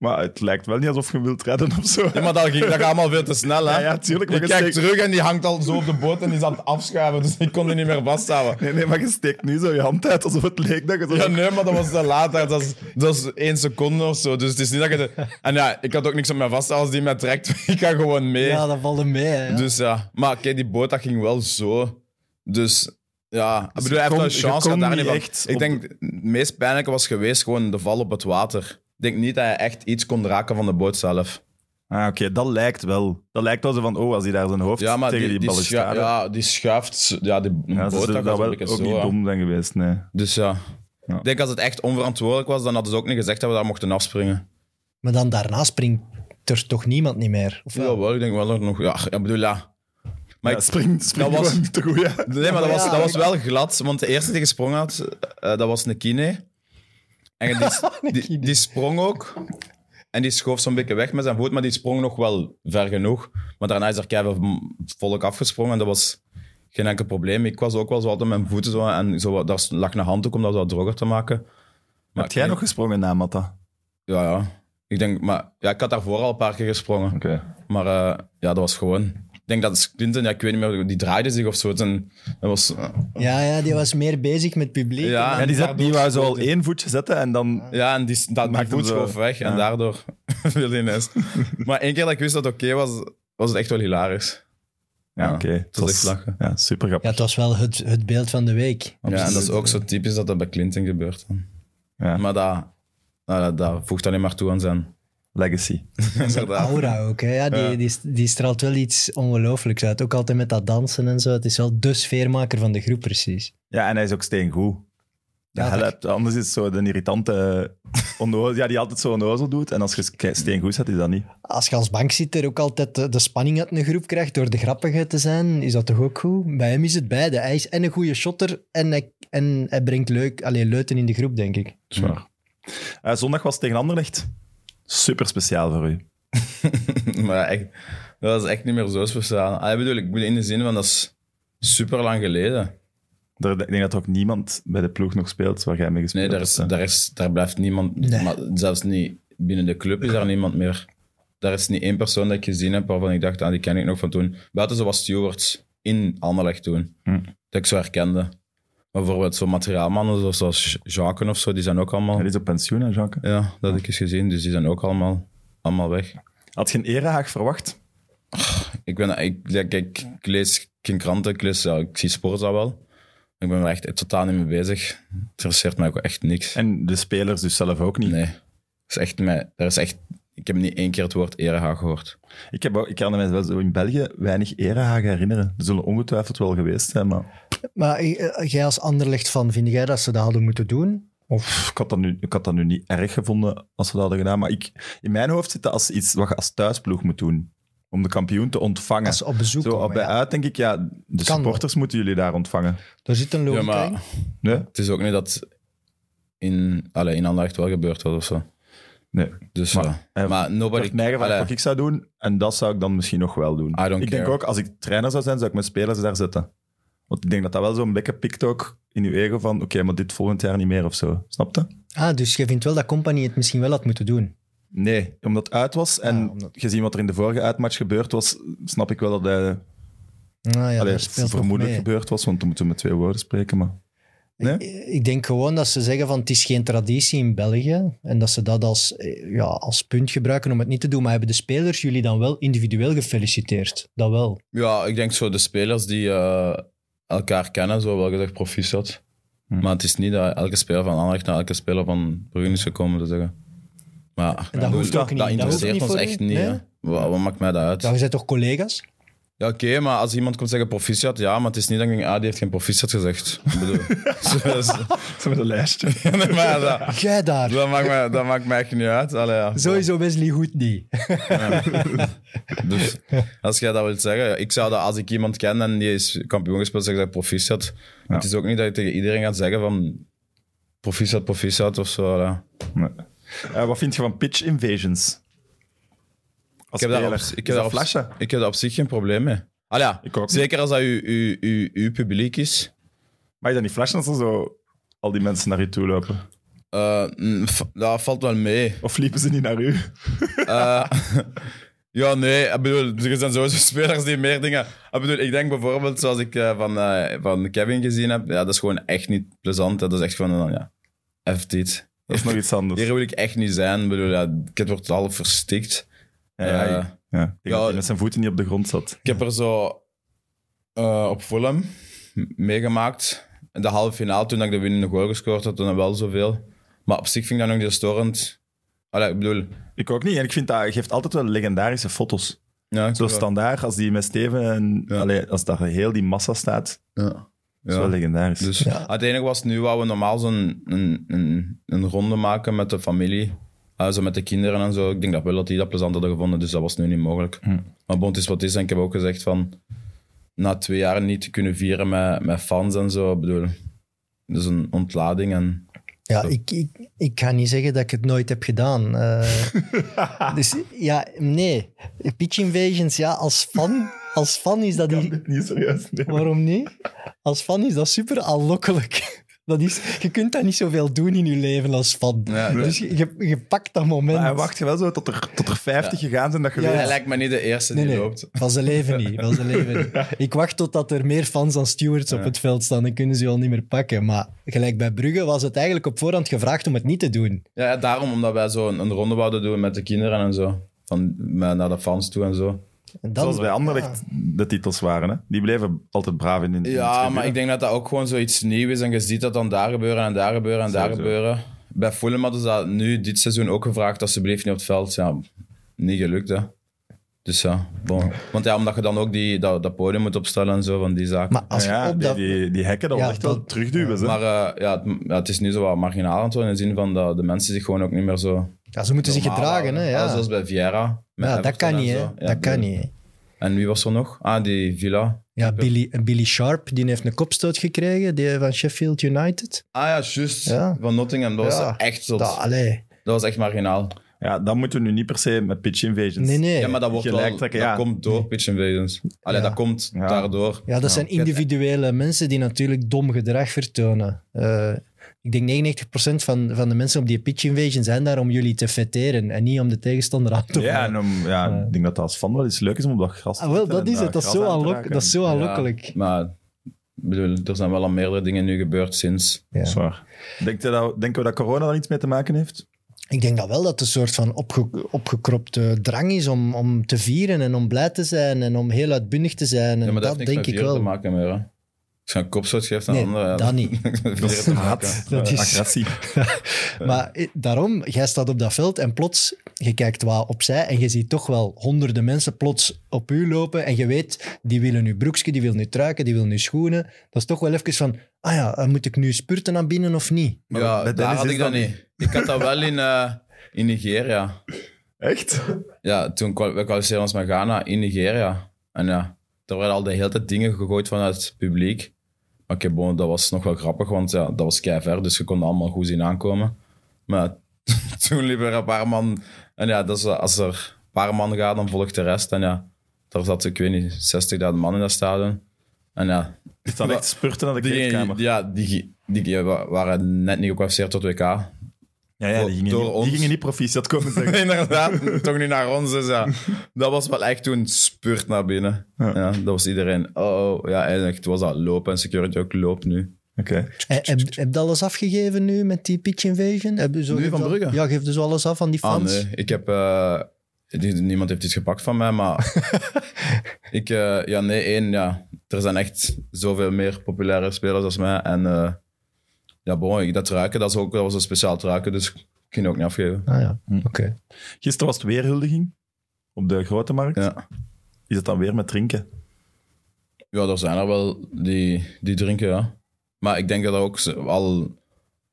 A: Maar het lijkt wel niet alsof je wilt redden of zo.
C: Ja, maar dat ging, dat ging allemaal veel te snel, hè?
A: Ja, ja, tuurlijk, maar
C: Ik
A: je
C: kijk
A: steekt-
C: terug en die hangt al zo op de boot en die is aan het afschuiven, dus ik kon die niet meer vasthouden.
A: Nee, nee, maar je steekt nu zo je hand uit alsof het leek dat je zo...
C: Ja, nee, maar dat was te laat. hè. Dat is, dat is één seconde of zo. Dus het is niet dat je... de- En ja, ik had ook niks op mij vast. Als die mij trekt, ik ga gewoon mee.
B: ja, dat valt hem mee. hè, ja.
C: Dus ja. Maar kijk, die boot, dat ging wel zo. Dus ja, ik bedoel,
A: je
C: hij heeft
A: kon-
C: wel een
A: je
C: chance
A: kon
C: gehad daar
A: niet
C: niet van.
A: echt
C: Ik
A: op-
C: denk, het meest pijnlijke was geweest gewoon de val op het water. Ik denk niet dat hij echt iets kon raken van de boot zelf.
A: Ah, oké, dat lijkt wel. Dat lijkt wel zo van, oh, als hij daar zijn hoofd
C: Ja, maar
A: tegen
C: die,
A: die,
C: die, schuift...
A: balustrade...
C: Ja, die schuift... Ja, die
A: Ja, ze
C: boot,
A: zullen
C: dat
A: daar
C: was
A: wel
C: een
A: ook
C: beetje
A: niet
C: zo. hè.
A: dom zijn geweest, nee.
C: Dus ja.
A: Ja.
C: Ik denk als het echt onverantwoordelijk was, dan hadden ze ook niet gezegd dat we daar mochten afspringen.
B: Maar dan daarna springt er toch niemand niet meer? Of
C: Ja,
B: wel?
C: wel, ik denk wel dat er nog. Ja, ik bedoel, ja. Maar
A: Maar
C: ik-
A: spring, spring
C: dat was-
A: gewoon te goed, ja.
C: nee, maar dat was,
B: Ja,
C: dat was
B: ik-
C: wel glad. Want de eerste die gesprongen had, eh, dat was een kine. En die, die, die sprong ook. En die schoof zo'n beetje weg met zijn voet, maar die sprong nog wel ver genoeg. Maar daarna is er keihard volk afgesprongen en dat was geen enkel probleem. Ik was ook wel zo altijd met mijn voeten zo, en zo, wat- daar lag een handdoek om dat wat droger te maken. Maar
A: Heb jij nog gesprongen na Matta?
C: Ja, ja. Ik denk, maar ja, ik had daarvoor al een paar keer gesprongen.
A: Oké.
C: Maar eh, ja, dat was gewoon. Ik denk dat het Clinton, ja, ik weet niet meer, die draaide zich of zo. En dat was, eh,
B: Ja, ja, die was meer bezig met publiek.
C: Ja,
B: En
A: Ja,
B: dan-
A: die zet, die wou zo al één voetje zetten en dan...
C: ja, en die, dat
A: Maakt
C: maakt
A: hem
C: voet
A: zo.
C: schoof weg en
A: Ja.
C: daardoor viel hij ineens. maar één keer dat ik wist dat het oké was, was het echt wel hilarisch.
A: Ja, oké.
C: Het was echt lachen.
A: Ja, super
B: ja,
A: grappig.
B: het was wel het, het beeld van de week.
C: Ja, en dat is eh, ook zo typisch dat dat bij Clinton gebeurt. dan.
A: Ja.
C: Maar dat, nou, dat, dat voegt alleen maar toe aan zijn.
A: Legacy.
C: Inderdaad.
B: Aura ook, hè. Ja, die, Die, die straalt wel iets ongelooflijks uit. Ook altijd met dat dansen en zo. Het is wel de sfeermaker van de groep, precies.
A: Ja, en hij is ook steengoed.
B: Ja,
A: Ja, helpt. Anders is het zo de irritante onnozel, ja, die altijd zo onnozel doet. En als je ke- steengoed zet, is dat niet.
B: Als je als bankzitter ook altijd de, de spanning uit een groep krijgt door de grappige te zijn, is dat toch ook goed? Bij hem is het beide. Hij is en een goede shotter en hij, en hij brengt leuk, alleen leuten in de groep, denk ik.
A: Zwaar. Eh, zondag was het tegen Anderlecht. Super speciaal voor u.
C: maar echt, dat is echt niet meer zo speciaal. Ah, ik bedoel, ik bedoel in de zin van dat is super lang geleden.
A: Er- Ik denk dat er ook niemand bij de ploeg nog speelt waar jij mee gespeeld
C: Nee, daar, is,
A: hebt. hè.
C: daar, is, daar blijft niemand,
B: Nee.
C: maar zelfs niet binnen de club is daar niemand meer. Daar is niet één persoon dat ik gezien heb waarvan ik dacht, ah, die ken ik nog van toen. Buiten zo was Stewards in Anderlecht toen,
A: Hm.
C: dat ik zo herkende. Maar bijvoorbeeld zo'n materiaalmannen zoals- zoals Jacques of zo, die zijn ook allemaal...
A: Hij is op pensioen, hè, Jacques?
C: Ja, dat heb ik eens gezien, dus die zijn ook allemaal, allemaal weg.
A: Had je een erehaag verwacht?
C: Ik, ben, ik, ja, kijk, ik lees geen kranten, ik, lees, ja, ik zie sport al wel. Ik ben er echt totaal niet mee bezig. Het interesseert mij ook echt niks.
A: En de spelers dus zelf ook niet.
C: Nee. Dat is echt mij, daar is echt, ik heb niet één keer het woord erehaag gehoord.
A: Ik, heb, ook- ik kan me wel zo in België weinig erehagen herinneren. Er zullen ongetwijfeld wel geweest zijn, maar
B: Maar eh, jij als anderlecht van, vind jij dat ze dat hadden moeten doen? Of
A: ik had, dat nu, ik had dat nu niet erg gevonden als ze dat hadden gedaan. Maar ik, in mijn hoofd zit dat als iets wat je als thuisploeg moet doen. Om de kampioen te ontvangen.
B: als ze op bezoek
A: Zo op
B: komen?
A: bij
B: ja.
A: uit denk ik, ja, de
B: Kan
A: supporters moeten jullie daar ontvangen.
B: Daar zit een
C: Ja,
B: logica in.
C: maar
A: Nee?
C: het is ook niet dat in, allee, in Anderlecht wel gebeurd was of zo.
A: Nee.
C: Dus
A: Maar-
C: maar,
A: eh,
C: maar
A: Ik
C: nobody...
A: heb mij gevraagd
C: allee,
A: wat ik zou doen en dat zou ik dan misschien nog wel doen.
C: I don't
A: ik denk
C: care.
A: ook, als ik trainer zou zijn, zou ik mijn spelers daar zetten. Want ik denk dat dat wel zo'n beetje pikt ook in uw ego van, oké, maar dit volgend jaar niet meer of zo. Snap je?
B: Ah, dus je vindt wel dat Company het misschien wel had moeten doen.
A: Nee, omdat het uit was en
B: Ja, omdat-
A: gezien wat er in de vorige uitmatch gebeurd was, snap ik wel dat hij
B: Nou ja,
A: allee,
B: dat speelt toch
A: vermoedelijk
B: mee.
A: gebeurd was, want dan moeten we met twee woorden spreken. Maar... Nee?
B: Ik denk gewoon dat ze zeggen van het is geen traditie in België. En dat ze dat als, eh, ja, als punt gebruiken om het niet te doen. Maar hebben de spelers jullie dan wel individueel gefeliciteerd? Dat wel.
C: Ja, ik denk zo de spelers die eh, elkaar kennen, zo wel gezegd proficiat.
A: Hm.
C: Maar het is niet dat elke speler van Anderlecht naar elke speler van Brugge is gekomen, te zeggen. Maar
B: En dat hoeft ook niet. Dat
C: dat interesseert
B: hoeft niet
C: ons
B: voor
C: echt
B: u?
C: niet.
B: Nee?
C: hè. Wat, wat maakt mij dat uit?
B: Ja, je bent toch collega's?
C: Ja, oké, maar als iemand komt zeggen proficiat, ja, maar het is niet dat ik denk, ah, die heeft geen proficiat gezegd. Ik bedoel, zo- zo-
A: Zo met een lijstje.
C: nee, maar dat,
B: Jij daar.
C: dat, maakt mij, dat maakt mij echt niet uit. Allee, ja.
B: Sowieso Wesley goed niet.
C: Dus als jij dat wilt zeggen, ik zou dat als ik iemand ken en die is kampioen gespeeld, zeg ik dat proficiat.
A: Ja.
C: Het is ook niet dat je tegen iedereen gaat zeggen van proficiat, proficiat of zo. allee.
A: Eh, wat vind je van pitch invasions? Als
C: Ik heb, daar op,
A: speler.
C: ik,
A: Is
C: heb daar
A: dat
C: op,
A: flashen?
C: ik heb daar op zich geen probleem mee. Allee, ja,
A: Ik ook niet.
C: zeker als dat uw- uw- uw- uw publiek is.
A: Maar je dan niet flashen als er zo al die mensen naar je toe lopen?
C: Eh, mm, v- dat valt wel mee.
A: Of liepen ze niet naar u?
C: Eh, ja, nee. Ik bedoel, er zijn sowieso spelers die meer dingen... Ik bedoel, ik denk bijvoorbeeld, zoals ik eh, van, eh, van Kevin gezien heb, ja, dat is gewoon echt niet plezant. Dat is echt van, eh, ja, F dit.
A: Dat is nog iets anders.
C: Hier wil ik echt niet zijn. Ik bedoel, ja, het wordt half verstikt.
A: Ja, ja,
C: Eh,
A: ja. Ja, ik denk dat hij met zijn voeten niet op de grond zat.
C: Ik heb er zo eh, op Fulham m- meegemaakt. In de halve finale, toen ik de winnende goal gescoord had, toen dan wel zoveel. Maar op zich vind ik dat nog niet storend. Allee, ik bedoel...
A: Ik ook niet. En ik vind dat geeft altijd wel legendarische foto's.
C: Ja, ik
A: Zo
C: bedoel-
A: standaard, als die met Steven en
C: Ja.
A: allee, als daar heel die massa staat, is
C: Ja.
A: wel
C: Ja.
A: legendarisch.
C: Dus
B: Ja.
C: uiteindelijk was het nu waar we normaal zo'n een, een, een ronde maken met de familie. eh, zo met de kinderen en zo. Ik denk dat wel dat die dat plezant hadden gevonden, dus dat was nu niet mogelijk.
A: Hm.
C: Maar bond is wat is. En ik heb ook gezegd van, na twee jaar niet te kunnen vieren met, met fans en zo. Ik bedoel, dat is een ontlading. En,
B: Ja, ik, ik, ik ga niet zeggen dat ik het nooit heb gedaan. Eh, dus ja, nee. Pitch Invasions, ja, als fan, als fan is dat... i-
A: niet serieus.
B: Waarom niet? Als fan is dat super aanlokkelijk. Dat is, je kunt dat niet zoveel doen in je leven als fan.
C: Ja,
B: dus je, je, je pakt dat moment.
A: Maar wacht je wel zo tot er, tot er 50 gegaan zijn dat je
B: Ja,
A: weet-
C: Hij lijkt me niet de eerste
B: Nee,
C: die
B: nee,
C: loopt.
B: van zijn leven niet. Van zijn leven niet. Ik wacht totdat er meer fans dan stewards op het veld staan. Dan kunnen ze je al niet meer pakken. Maar gelijk bij Brugge was het eigenlijk op voorhand gevraagd om het niet te doen.
C: Ja, ja, daarom omdat wij zo een, een ronde wouden doen met de kinderen en zo. Van met- naar de fans toe en zo.
B: En dan,
A: Zoals bij Anderlecht de titels waren. Hè? Die bleven altijd braaf in in de
C: Ja,
A: tribune.
C: maar ik denk dat dat ook gewoon zoiets nieuw is. En je ziet dat dan daar gebeuren en daar gebeuren en daar
A: Sowieso.
C: gebeuren. Bij Fulham hadden ze dat nu dit seizoen ook gevraagd, alsjeblieft niet op het veld. Ja, niet gelukt, hè. Dus ja, bon. Want ja, omdat je dan ook die, dat, dat podium moet opstellen en zo, van die zaken.
B: Maar als
A: ja,
B: je op
A: die,
B: dat...
A: die, die hekken, dat
B: Ja,
A: was echt wel
B: dat-
A: terugduwen. ze.
C: Maar eh, ja, het, ja, het is nu zo wat marginaal en zo, in de zin van dat de mensen zich gewoon ook niet meer zo...
B: Ja, ze moeten zich
C: normaal
B: gedragen,
C: houden.
B: hè. Ja.
C: Zoals bij Vieira. met
B: Ja, dat
C: Everton
B: kan
C: en
B: niet, hè.
C: zo. Ja,
B: dat kan
C: nee.
B: niet. hè.
C: En wie was er nog? Ah, die Villa.
B: Ja, Billy, Billy Sharp, die heeft een kopstoot gekregen die van Sheffield United.
C: Ah ja, juist.
B: Ja.
C: Van Nottingham. Dat
B: Ja.
C: was echt zot.
B: Da, allee.
C: Dat was echt marginaal.
A: Ja, dan moeten we nu niet per se met pitch invasions.
B: Nee, nee.
C: Ja, maar dat wordt
A: Gelijk
C: wel...
A: trekken,
C: dat
A: ja.
C: komt door pitch invasions. Allee,
B: Ja.
C: dat komt
A: Ja.
C: daardoor.
B: Ja, dat zijn individuele mensen die natuurlijk dom gedrag vertonen. Eh, ik denk 99% van, van de mensen op die pitch invasion zijn daar om jullie te fetteren en niet om de tegenstander aan te
A: Ja,
B: vallen.
A: en om- ja, ik denk dat dat als fan wel iets leuk is om op dat gras te
B: Ah, wel,
A: zitten
B: dat
A: en
B: is het. Dat is
A: gras
B: zo,
A: aan te
B: aanlok,
A: raken.
B: dat is zo
C: Ja,
B: aanlokkelijk.
C: maar ik bedoel, er zijn wel al meerdere dingen nu gebeurd sinds.
B: Ja.
A: Dat is waar. Denk je dat, denken we dat corona daar iets mee te maken heeft?
B: Ik denk dat wel dat het een soort van opge- opgekropte drang is om, om te vieren en om blij te zijn en om heel uitbundig te zijn. En
C: Ja, maar
B: dat
C: dat, heeft
B: denk
C: niks met
B: ik
C: Vieira
B: wel.
C: te maken meer. hè. Als je een kopstoot geeft aan
B: Nee,
C: een ander... ja,
B: dat niet.
C: heeft met
A: Dat
C: Vieira
A: is
C: te maken.
A: haat.
B: Dat is-
A: Agressie.
B: Maar eh, daarom, jij staat op dat veld en plots, je kijkt wat opzij en je ziet toch wel honderden mensen plots op u lopen en je weet, die willen nu broekje, die willen nu truiken, die willen nu schoenen. Dat is toch wel even van, ah ja, eh, moet ik nu spurten aan binnen of niet?
A: Maar
C: ja,
A: bij
C: daar
A: Dennis
C: had
A: is
C: ik dat
A: dat
C: niet. Ik had dat wel in, eh, in Nigeria.
A: Echt?
C: Ja, toen kwal- we kwalificeerden ons met Ghana in Nigeria. En ja, er werden al de hele tijd dingen gegooid vanuit het publiek. Maar ik heb gewoon- dat was nog wel grappig, want ja, dat was kei ver, dus je kon dat allemaal goed zien aankomen. Maar toen liepen er een paar man. En ja, dat is, eh, als er een paar man gaan, dan volgt de rest. En ja, daar zat, ik weet niet, 60.000 man in dat stadion. En ja,
A: Is dat echt spurten naar de
C: die,
A: kleedkamer?
C: ja, die, die, die wa- waren net niet gekwalificeerd tot WK.
A: Ja, ja, die gingen,
C: Door
A: niet,
C: ons.
A: die gingen niet proficiat komen zeggen.
C: Inderdaad, toch niet naar ons. Dus ja, dat was wel echt toen spurt naar binnen. Ja. dat was iedereen. Oh, oh. ja, en echt was dat lopen en security ook loopt nu.
A: Oké.
B: Eh, Heb, heb je alles afgegeven nu met die pitch invasion? Heb je zo
C: Nu
B: geef
C: van
B: dat-
C: Brugge?
B: Ja, geef dus alles af aan die
C: Ah,
B: fans.
C: nee, ik heb. eh, die- niemand heeft iets gepakt van mij, maar. ik, eh, ja, nee, één, ja. Er zijn echt zoveel meer populaire spelers als mij. En eh, ja, bon, ik- dat ruiken, dat, is ook, dat was een speciaal ruiken, dus ik ging ook niet afgeven.
B: Ah ja, oké.
A: Gisteren was het weer huldiging op de Grote Markt.
C: Ja.
A: Is dat dan weer met drinken?
C: Ja, er zijn er wel die, die drinken, ja. Maar ik denk dat er ook z- al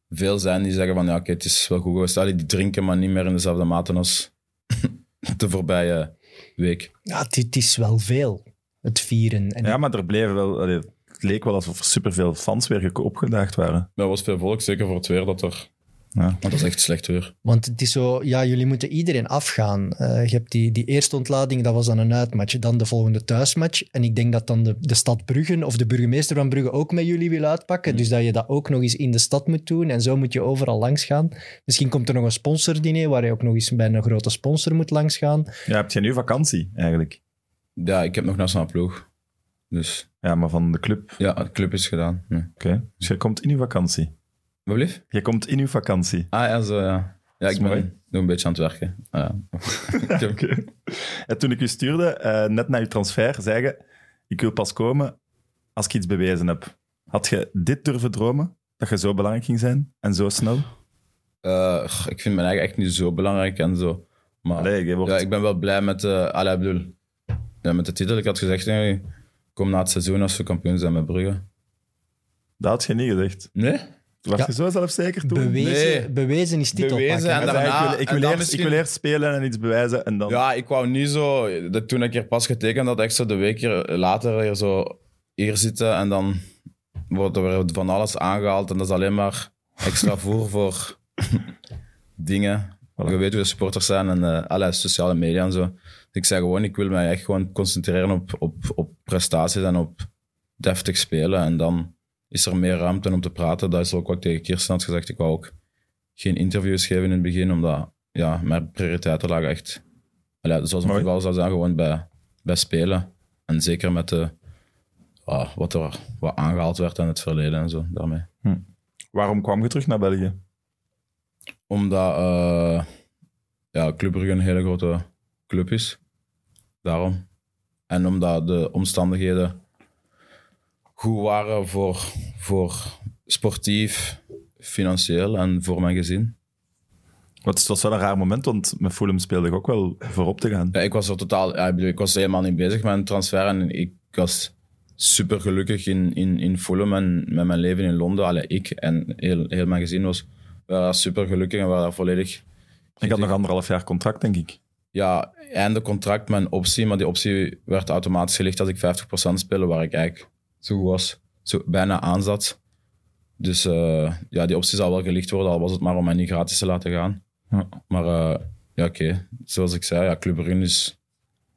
C: veel zijn die zeggen van ja, oké, het is wel goed geweest. Allee, Die drinken, maar niet meer in dezelfde mate als de voorbije week.
B: Ja, het, het is wel veel, het vieren. En
A: Ja, maar er bleven wel... allee, het leek wel alsof er superveel fans weer geko- opgedaagd waren.
C: Dat was veel volk, zeker voor het weer dat er...
A: Ja.
C: Want dat is echt slecht weer.
B: Want het is zo, ja, jullie moeten iedereen afgaan. Eh, je hebt die, die eerste ontlading, dat was dan een uitmatch. Dan de volgende thuismatch. En ik denk dat dan de, de stad Brugge of de burgemeester van Brugge ook met jullie wil uitpakken. Dus dat je dat ook nog eens in de stad moet doen. En zo moet je overal langs gaan. Misschien komt er nog een sponsordiner waar je ook nog eens bij een grote sponsor moet langs gaan.
A: Ja, heb je nu vakantie eigenlijk?
C: Ja, ik heb nog nationale ploeg. Dus
A: Ja, maar van de club. Oké.
C: ja, de club is gedaan. Ja.
A: Dus je komt in uw vakantie.
C: Wat blieft?
A: Je komt in uw vakantie.
C: Ah ja, zo ja. Ja,
A: is
C: ik ben
A: mooi.
C: nog een beetje aan het werken. Ah, ja. Ik heb-
A: Oké. En toen ik u stuurde, eh, net na uw transfer, zei je... Ik wil pas komen als ik iets bewezen heb. Had je dit durven dromen? Dat je zo belangrijk ging zijn? En zo snel?
C: Eh, ik vind mijn eigen echt niet zo belangrijk en zo. Maar...
A: Allee, je wordt...
C: Ja, ik ben wel blij met, eh allee, ik bedoel, ja, met de titel. Ik had gezegd, nee, kom na het seizoen als we kampioen zijn met Brugge.
A: Dat had je niet gezegd.
C: Nee?
A: Was
B: Ja.
A: je zo zelfzeker toen?
B: Bewezen,
C: Nee.
B: bewezen is titelpakken.
C: Bewezen en
A: Hij
B: hè?
A: zei,
C: daarna-
A: ik, wil, ik,
C: en
A: wil
C: dan
A: eerst,
C: misschien-
A: ik wil eerst spelen en iets bewijzen en dan...
C: Ja, ik wou niet zo... Dat, toen ik hier pas getekend had, echt zo de week hier- later hier zo hier zitten en dan wordt er weer van alles aangehaald en dat is alleen maar extra voer voor dingen. Je weet hoe de supporters zijn en eh allee, sociale media en zo. Ik zei gewoon, ik wil mij echt gewoon concentreren op, op, op prestaties en op deftig spelen en dan is er meer ruimte om te praten. Dat is ook wat ik tegen Kirsten had gezegd. Ik wou ook geen interviews geven in het begin, omdat ja, mijn prioriteiten lagen echt, Allee, ja, zoals een
A: Mooi.
C: voetbal zou zijn, gewoon bij, bij spelen. En zeker met de, ah, wat er wat aangehaald werd aan het verleden en zo daarmee.
A: Waarom kwam je terug naar België?
C: Omdat eh ja, Club Brugge een hele grote club is. Daarom. En omdat de omstandigheden goed waren voor, voor sportief, financieel en voor mijn gezin.
A: Want het was wel een raar moment, want met Fulham speelde ik ook wel voorop te gaan.
C: Ja, ik was er totaal, ja, ik bedoel, ik was helemaal niet bezig met een transfer en ik was super gelukkig in, in, in Fulham en met mijn leven in Londen. Allee, ik en heel, heel mijn gezin was super gelukkig en we waren daar volledig
A: Ik had nog anderhalf jaar contract, denk ik.
C: ja, einde contract met een optie, maar die optie werd automatisch gelicht als ik 50% speelde, waar ik eigenlijk zo goed was, zo bijna aan zat. Dus eh, ja, die optie zou wel gelicht worden, al was het maar om mij niet gratis te laten gaan.
A: Ja.
C: Maar eh, ja, oké, zoals ik zei, ja, Club Brugge is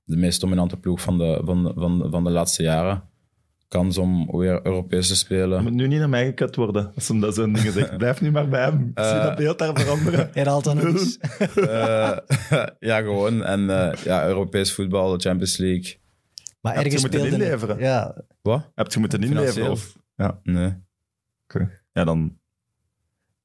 C: de meest dominante ploeg van de, van de, van de, van de laatste jaren. Kans om weer Europees te spelen.
A: Je moet nu niet naar mij gekut worden, als ze dat zo'n dingen zegt. Blijf nu maar bij hem. Ik zie dat beeld daar veranderen.
B: Herhaalt dan ook eens.
C: Eh, ja, gewoon. En eh, ja, Europees voetbal, de Champions League.
B: Maar
A: Heb je
B: ergens
A: moeten
B: speelde...
A: inleveren?
B: Ja,
C: Wat?
A: Heb je moeten inleveren?
C: Financieel?
A: Of... Ja,
C: Nee.
A: oké. ja, dan...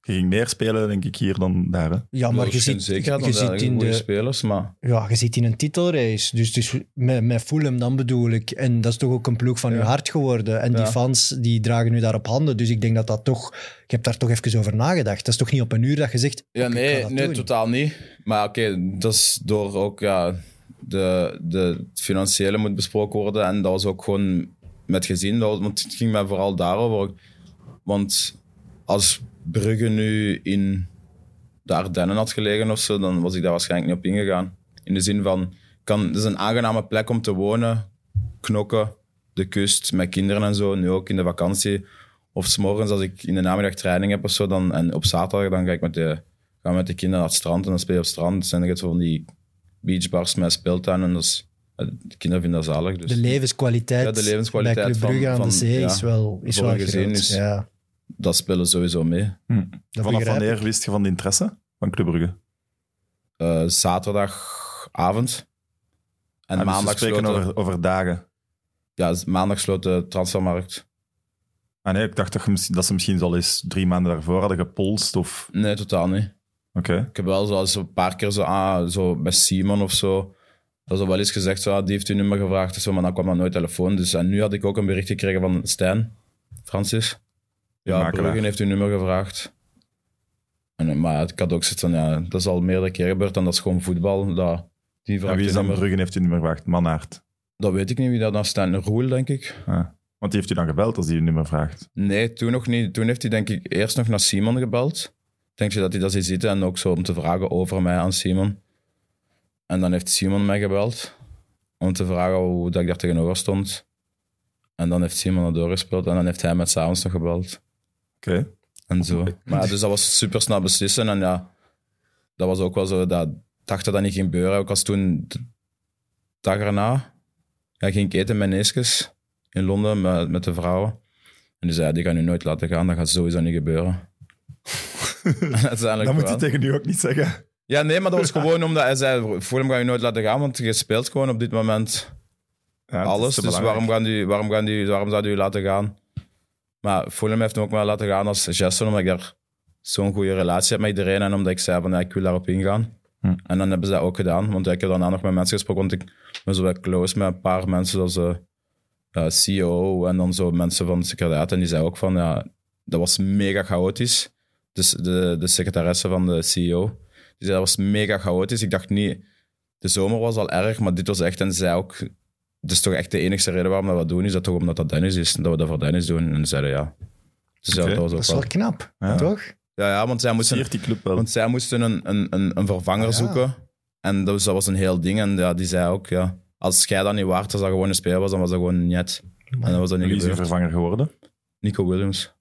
A: Je ging meer spelen, denk ik, hier dan daar. Hè?
B: ja maar je ziet,
C: zeker
B: je, ziet in
C: goede
B: de,
C: spelers, maar...
B: ja, je ziet in een titelrace. Dus, dus met, met Fulham dan bedoel ik. En dat is toch ook een ploeg van uw hart geworden. En die
C: Ja.
B: fans die dragen u daar op handen. Dus ik denk dat dat toch... Je hebt daar toch even over nagedacht. Dat is toch niet op een uur dat je zegt...
C: Ja,
B: oké, ik ga
C: nee,
B: dat
C: nee
B: doen.
C: totaal niet. Maar oké, dat is door ook ja, de, de het financiële moet besproken worden. En dat was ook gewoon met gezien. Dat was- want het ging mij vooral daarover. Want als Brugge nu in de Ardennen had gelegen of zo, dan was ik daar waarschijnlijk niet op ingegaan. In de zin van, kan, het is een aangename plek om te wonen, knokken, de kust, met kinderen en zo. Nu ook in de vakantie. Of s'morgens als ik in de namiddag training heb of zo, dan, en op zaterdag dan ga ik met de gaan we met de kinderen naar het strand en dan speel je op het strand. Er zijn er van die beachbars met speeltuin en dat is- de kinderen vinden dat zalig. Dus
B: De levenskwaliteit,
C: Ja, de levenskwaliteit
B: bij Club
C: van-
B: Brugge aan
C: van-
B: de zee
C: ja,
B: is wel, is
C: voor
B: wel
C: een gezin
B: groot.
C: is-
B: ja,
C: dat spelen sowieso mee.
B: dat
A: Vanaf
B: begrijp ik.
A: wanneer wist je van de interesse van Club Brugge?
C: Eh, zaterdagavond.
A: Ah, dus
C: En
A: we
C: maandag,
A: spreken
C: sloot de,
A: over, over dagen.
C: ja, dus maandag sloot de transfermarkt.
A: Ah nee, ik dacht dat, je misschien- dat ze misschien al eens drie maanden daarvoor hadden gepolst. Of...
C: Nee, totaal niet.
A: Oké.
C: Ik heb wel zoals een paar keer zo, ah, zo bij Simon of zo. Dat is al wel eens gezegd, zo, ah, die heeft uw nummer gevraagd of zo, maar dan kwam dat nooit telefoon. Dus, en nu had ik ook een bericht gekregen van Stijn, Francis. Ja,
A: makelaar.
C: Bruggen heeft uw nummer gevraagd. En, maar ik had ook zoiets van, ja, dat is al meerdere keren gebeurd en dat is gewoon voetbal. Dat, die
A: En
C: vraagt
A: wie
C: uw
A: is dan
C: nummer.
A: Brugge heeft u niet meer gevraagd? Mannaert.
C: Dat weet ik niet wie dat dan Stijn Roel, denk ik.
A: Ah. Want die heeft u dan gebeld als die u niet meer vraagt.
C: Nee, toen nog niet. Toen heeft hij denk ik eerst nog naar Simon gebeld. Denk je dat hij dat ziet zitten en ook zo om te vragen over mij aan Simon. En dan heeft Simon mij gebeld om te vragen hoe dat ik daar tegenover stond. En dan heeft Simon dat doorgespeeld en dan heeft hij mij s'avonds nog gebeld.
A: Oké.
C: En zo. Maar dus dat was super snel beslissen en ja, dat was ook wel zo. Dat dacht dat dat niet ging gebeuren. Ik was toen de dag erna, ja, ging ik eten met Neeskes in Londen met, met de vrouwen. En die zei, die gaan nu nooit laten gaan, dat gaat sowieso niet gebeuren. Uiteindelijk
A: Dat moet je
C: wel.
A: tegen u ook niet zeggen.
C: Ja, nee, maar dat was gewoon omdat hij zei, Fulham ga je nooit laten gaan, want je speelt gewoon op dit moment
A: Ja, het is
C: alles.
A: te
C: Dus
A: belangrijk.
C: waarom, gaan die, waarom, gaan die, waarom zou die laten gaan? Maar Fulham heeft hem ook maar laten gaan als Jason, omdat ik daar zo'n goede relatie heb met iedereen. En omdat ik zei van ja, ik wil daarop ingaan.
A: Hm.
C: En dan hebben ze dat ook gedaan. Want ik heb daarna nog met mensen gesproken. Want ik ben zo wel close met een paar mensen zoals eh, de CEO E en dan zo mensen van het secretariaat. En die zei ook van ja, dat was mega chaotisch. Dus de, de secretaresse van de CEO. Die zei dat was mega chaotisch. Ik dacht niet, de zomer was al erg, maar dit was echt. En zij ook, dat is toch echt de enige reden waarom dat we dat doen, is dat toch omdat dat Dennis is, en dat we dat voor Dennis doen. En zeiden ja. Dus ja,
A: Oké,
C: dat was
B: Dat
C: ook
B: is
C: wel.
B: wel knap,
A: Ja.
B: toch?
C: Ja, ja, want zij moesten,
A: Siert die club wel.
C: want zij moesten een, een, een, een vervanger
B: Ah, ja.
C: zoeken. En dat was, dat was een heel ding. En ja, die zei ook, ja, als jij dat niet waard, als dat gewoon een speler was, dan was dat gewoon net. En dat was dan niet
A: Wie is uw
C: gebeurd.
A: vervanger geworden?
C: Nico Williams.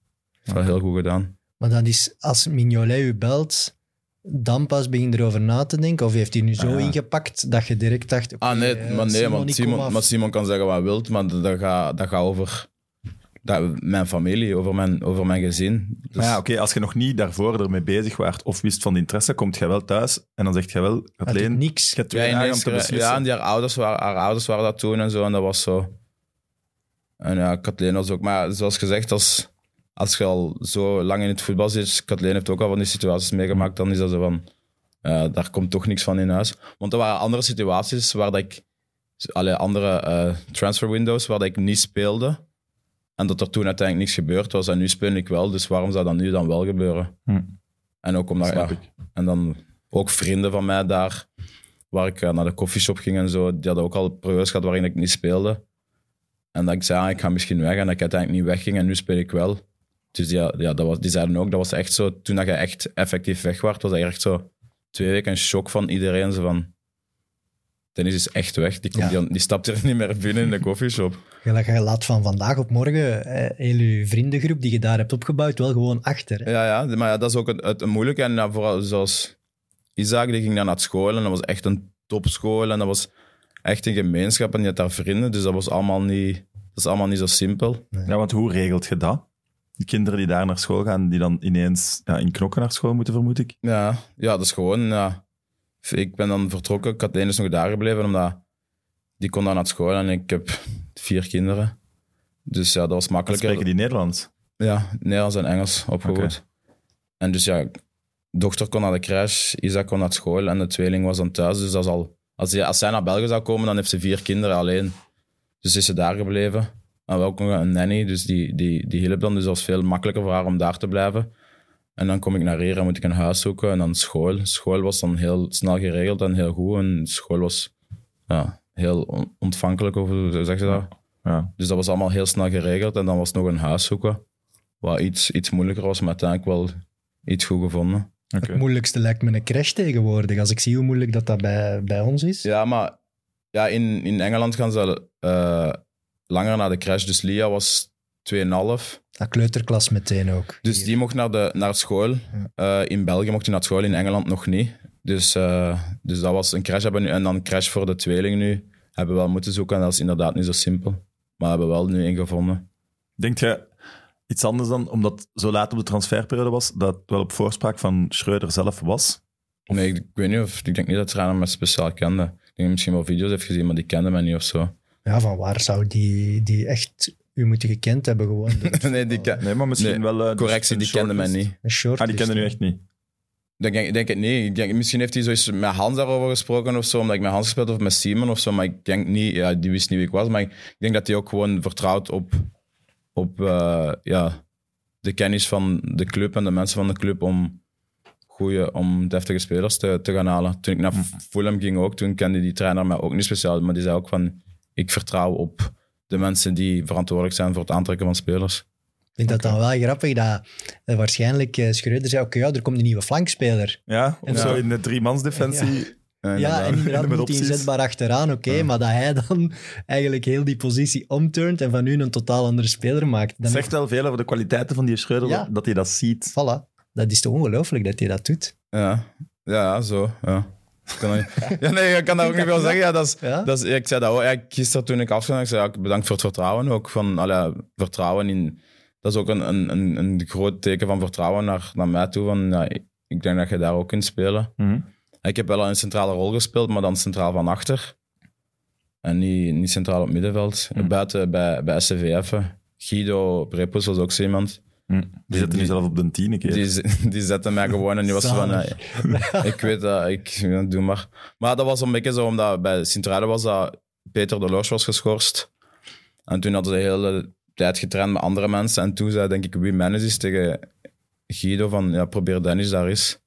C: Heeft dat heel goed gedaan.
B: Maar dan is, als Mignolet u belt, dan pas begin je erover na te denken. Of heeft hij nu zo
A: Ah, ja.
B: ingepakt dat je direct dacht... oké,
C: Ah nee,
B: eh,
C: maar, nee,
B: Simon,
C: want
B: ik kom
C: Simon,
B: af.
C: maar Simon kan zeggen wat hij wil, maar dat dat gaat dat gaat over dat, mijn familie, over mijn, over mijn gezin. Dus-
A: Maar ja, oké, als je nog niet daarvoor ermee bezig waart of wist van de interesse, komt je wel thuis en dan zegt je wel,
B: Hij doet
A: Kathleen, je
B: niks.
A: hebt twee
C: ja,
A: dagen om
C: ineens
A: te
C: gere-
A: beslissen.
C: Ja, en die haar ouders, waren, haar ouders waren dat toen en zo. En dat was zo. En ja, Kathleen was ook. Maar zoals gezegd, als, als je al zo lang in het voetbal zit, dus Kathleen heeft ook al van die situaties meegemaakt, dan is dat zo van. eh, daar komt toch niks van in huis. Want er waren andere situaties waar dat ik. Allee, andere eh, transfer windows waar dat ik niet speelde. En dat er toen uiteindelijk niks gebeurd was. En nu speel ik wel, dus waarom zou dat nu dan wel gebeuren?
A: Hm.
C: En ook omdat.
A: Snap
C: ja, En dan ook vrienden van mij daar waar ik eh, naar de koffieshop ging en zo, die hadden ook al periodes gehad waarin ik niet speelde. En dat ik zei, ah, ik ga misschien weg. En dat ik uiteindelijk niet wegging en nu speel ik wel. Dus ja, ja dat was, die zeiden ook, dat was echt zo, toen dat je echt effectief weg was, was dat echt zo twee weken een shock van iedereen. Zo van, tennis is echt weg. Die, komt,
B: Ja.
C: die, die stapt er niet meer binnen in de koffieshop.
B: Je je laat van vandaag op morgen eh, heel je vriendengroep die je daar hebt opgebouwd wel gewoon achter. hè.
C: Ja, ja, maar ja, dat is ook het, het moeilijke. En ja, vooral zoals Isaac, die ging dan naar school en dat was echt een topschool. En dat was echt een gemeenschap en je had daar vrienden. Dus dat was allemaal niet, dat is allemaal niet zo simpel.
A: Ja, want hoe regelt je dat? Die kinderen die daar naar school gaan, die dan ineens ja, in knokken naar school moeten, vermoed ik.
C: Ja, ja dat is gewoon... Ja. Ik ben dan vertrokken, Kathleen is nog daar gebleven, omdat die kon dan naar school en ik heb vier kinderen. Dus ja, dat was
A: Dan
C: makkelijker.
A: spreken die Nederlands.
C: Ja, Nederlands en Engels opgevoed. En dus ja, dochter kon naar de crash, Isaac kon naar school en de tweeling was dan thuis. Dus dat is al, als, die- als zij naar België zou komen, dan heeft ze vier kinderen alleen. Dus is ze daar gebleven. En wel nog een nanny, dus die, die, die hielp dan. Dus dat was veel makkelijker voor haar om daar te blijven. En dan kom ik naar hier en moet ik een huis zoeken en dan school. School was dan heel snel geregeld en heel goed. En school was ja, heel on- ontvankelijk, of hoe zeg je dat?
A: Ja.
C: Dus dat was allemaal heel snel geregeld. En dan was nog een huis zoeken, wat iets, iets moeilijker was, maar uiteindelijk wel iets goed gevonden.
A: Oké.
B: Het moeilijkste lijkt me een crash tegenwoordig. Als ik zie hoe moeilijk dat, dat bij, bij ons is.
C: Ja, maar ja, in, in Engeland gaan ze eh, langer naar de crash. Dus Lia was 2,5.
B: Dat kleuterklas meteen ook.
C: Dus
B: Hier.
C: die mocht naar, de, naar school. Eh, in België mocht hij naar school, in Engeland nog niet. Dus, eh, dus dat was een crash. Hebben we nu, en dan een crash voor de tweeling nu. Hebben we wel moeten zoeken en dat is inderdaad niet zo simpel. Maar hebben we wel nu één gevonden.
A: Denk je iets anders dan, omdat het zo laat op de transferperiode was, dat het wel op voorspraak van Schreuder zelf was?
C: Nee, ik, ik weet niet of... Ik denk niet dat Rana me speciaal kende. Ik denk dat misschien wel video's heeft gezien, maar die kende mij niet of zo.
B: Ja, van waar zou die, die echt u moeten gekend hebben gewoon? door het
C: nee, die
B: voetbal?
C: ken-
A: Nee, maar misschien
C: Nee,
A: wel... eh, de-
C: correctie,
A: de
C: die kende mij
A: shortlist.
C: niet.
B: Een short
A: Ah, die kende nu echt niet.
C: Ik denk, ik denk het niet. Ik denk, misschien heeft hij zoiets met Hans daarover gesproken of zo, omdat ik met Hans gespeeld heb of met Simon of zo. Maar ik denk niet, ja, die wist niet wie ik was. Maar ik, ik denk dat hij ook gewoon vertrouwt op, op eh, ja, de kennis van de club en de mensen van de club om goede, om deftige spelers te, te gaan halen. Toen ik naar Fulham ging ook, toen kende die trainer mij ook niet speciaal. Maar die zei ook van, ik vertrouw op de mensen die verantwoordelijk zijn voor het aantrekken van spelers.
B: Ik vind dat dan wel grappig dat eh, waarschijnlijk eh, Schreuder zei, oké, ja, er komt een nieuwe flankspeler.
A: Ja, of
B: En
A: zo
C: dan-
A: in de driemansdefensie.
C: En
B: Ja, en inderdaad
A: En met
B: moet hij
A: opties.
B: inzetbaar achteraan, oké, maar dat hij dan eigenlijk heel die positie omturnt en van nu een totaal andere speler maakt. Dan
A: Het zegt wel veel over de kwaliteiten van die Schreuder,
B: Ja.
A: dat hij dat ziet.
B: voilà, dat is toch ongelooflijk dat hij dat doet.
C: Ja, ja zo. Ja. Ik Kan dat niet- ja, nee, ik kan daar ook niet veel zeggen. Ja, dat is,
B: Ja?
C: dat is, ik zei dat ook ja, gisteren toen ik afging. Ik zei ja, bedankt voor het vertrouwen ook. Van, allee, vertrouwen in, dat is ook een, een, een, een groot teken van vertrouwen naar, naar mij toe. Van, ja, ik- ik denk dat je daar ook kunt spelen.
A: Mhm.
C: Ik heb wel al een centrale rol gespeeld, maar dan centraal van achter. En niet, niet centraal op middenveld.
A: Mm.
C: Buiten bij, bij SCVF. eh. Guido Prepos was ook zo iemand.
A: Hm. Die zette nu
C: die-
A: zelf op de tien een keer.
C: Die, z- die zette mij gewoon en die was van...
B: Zalig.
C: eh, ik weet dat, ik ja, doe maar. Maar dat was een beetje zo, omdat bij sint was dat Peter de Loos was geschorst. En toen hadden ze de hele tijd getraind met andere mensen. En toen zei, denk ik, wie manage is tegen Guido van, ja, probeer Dennis daar eens.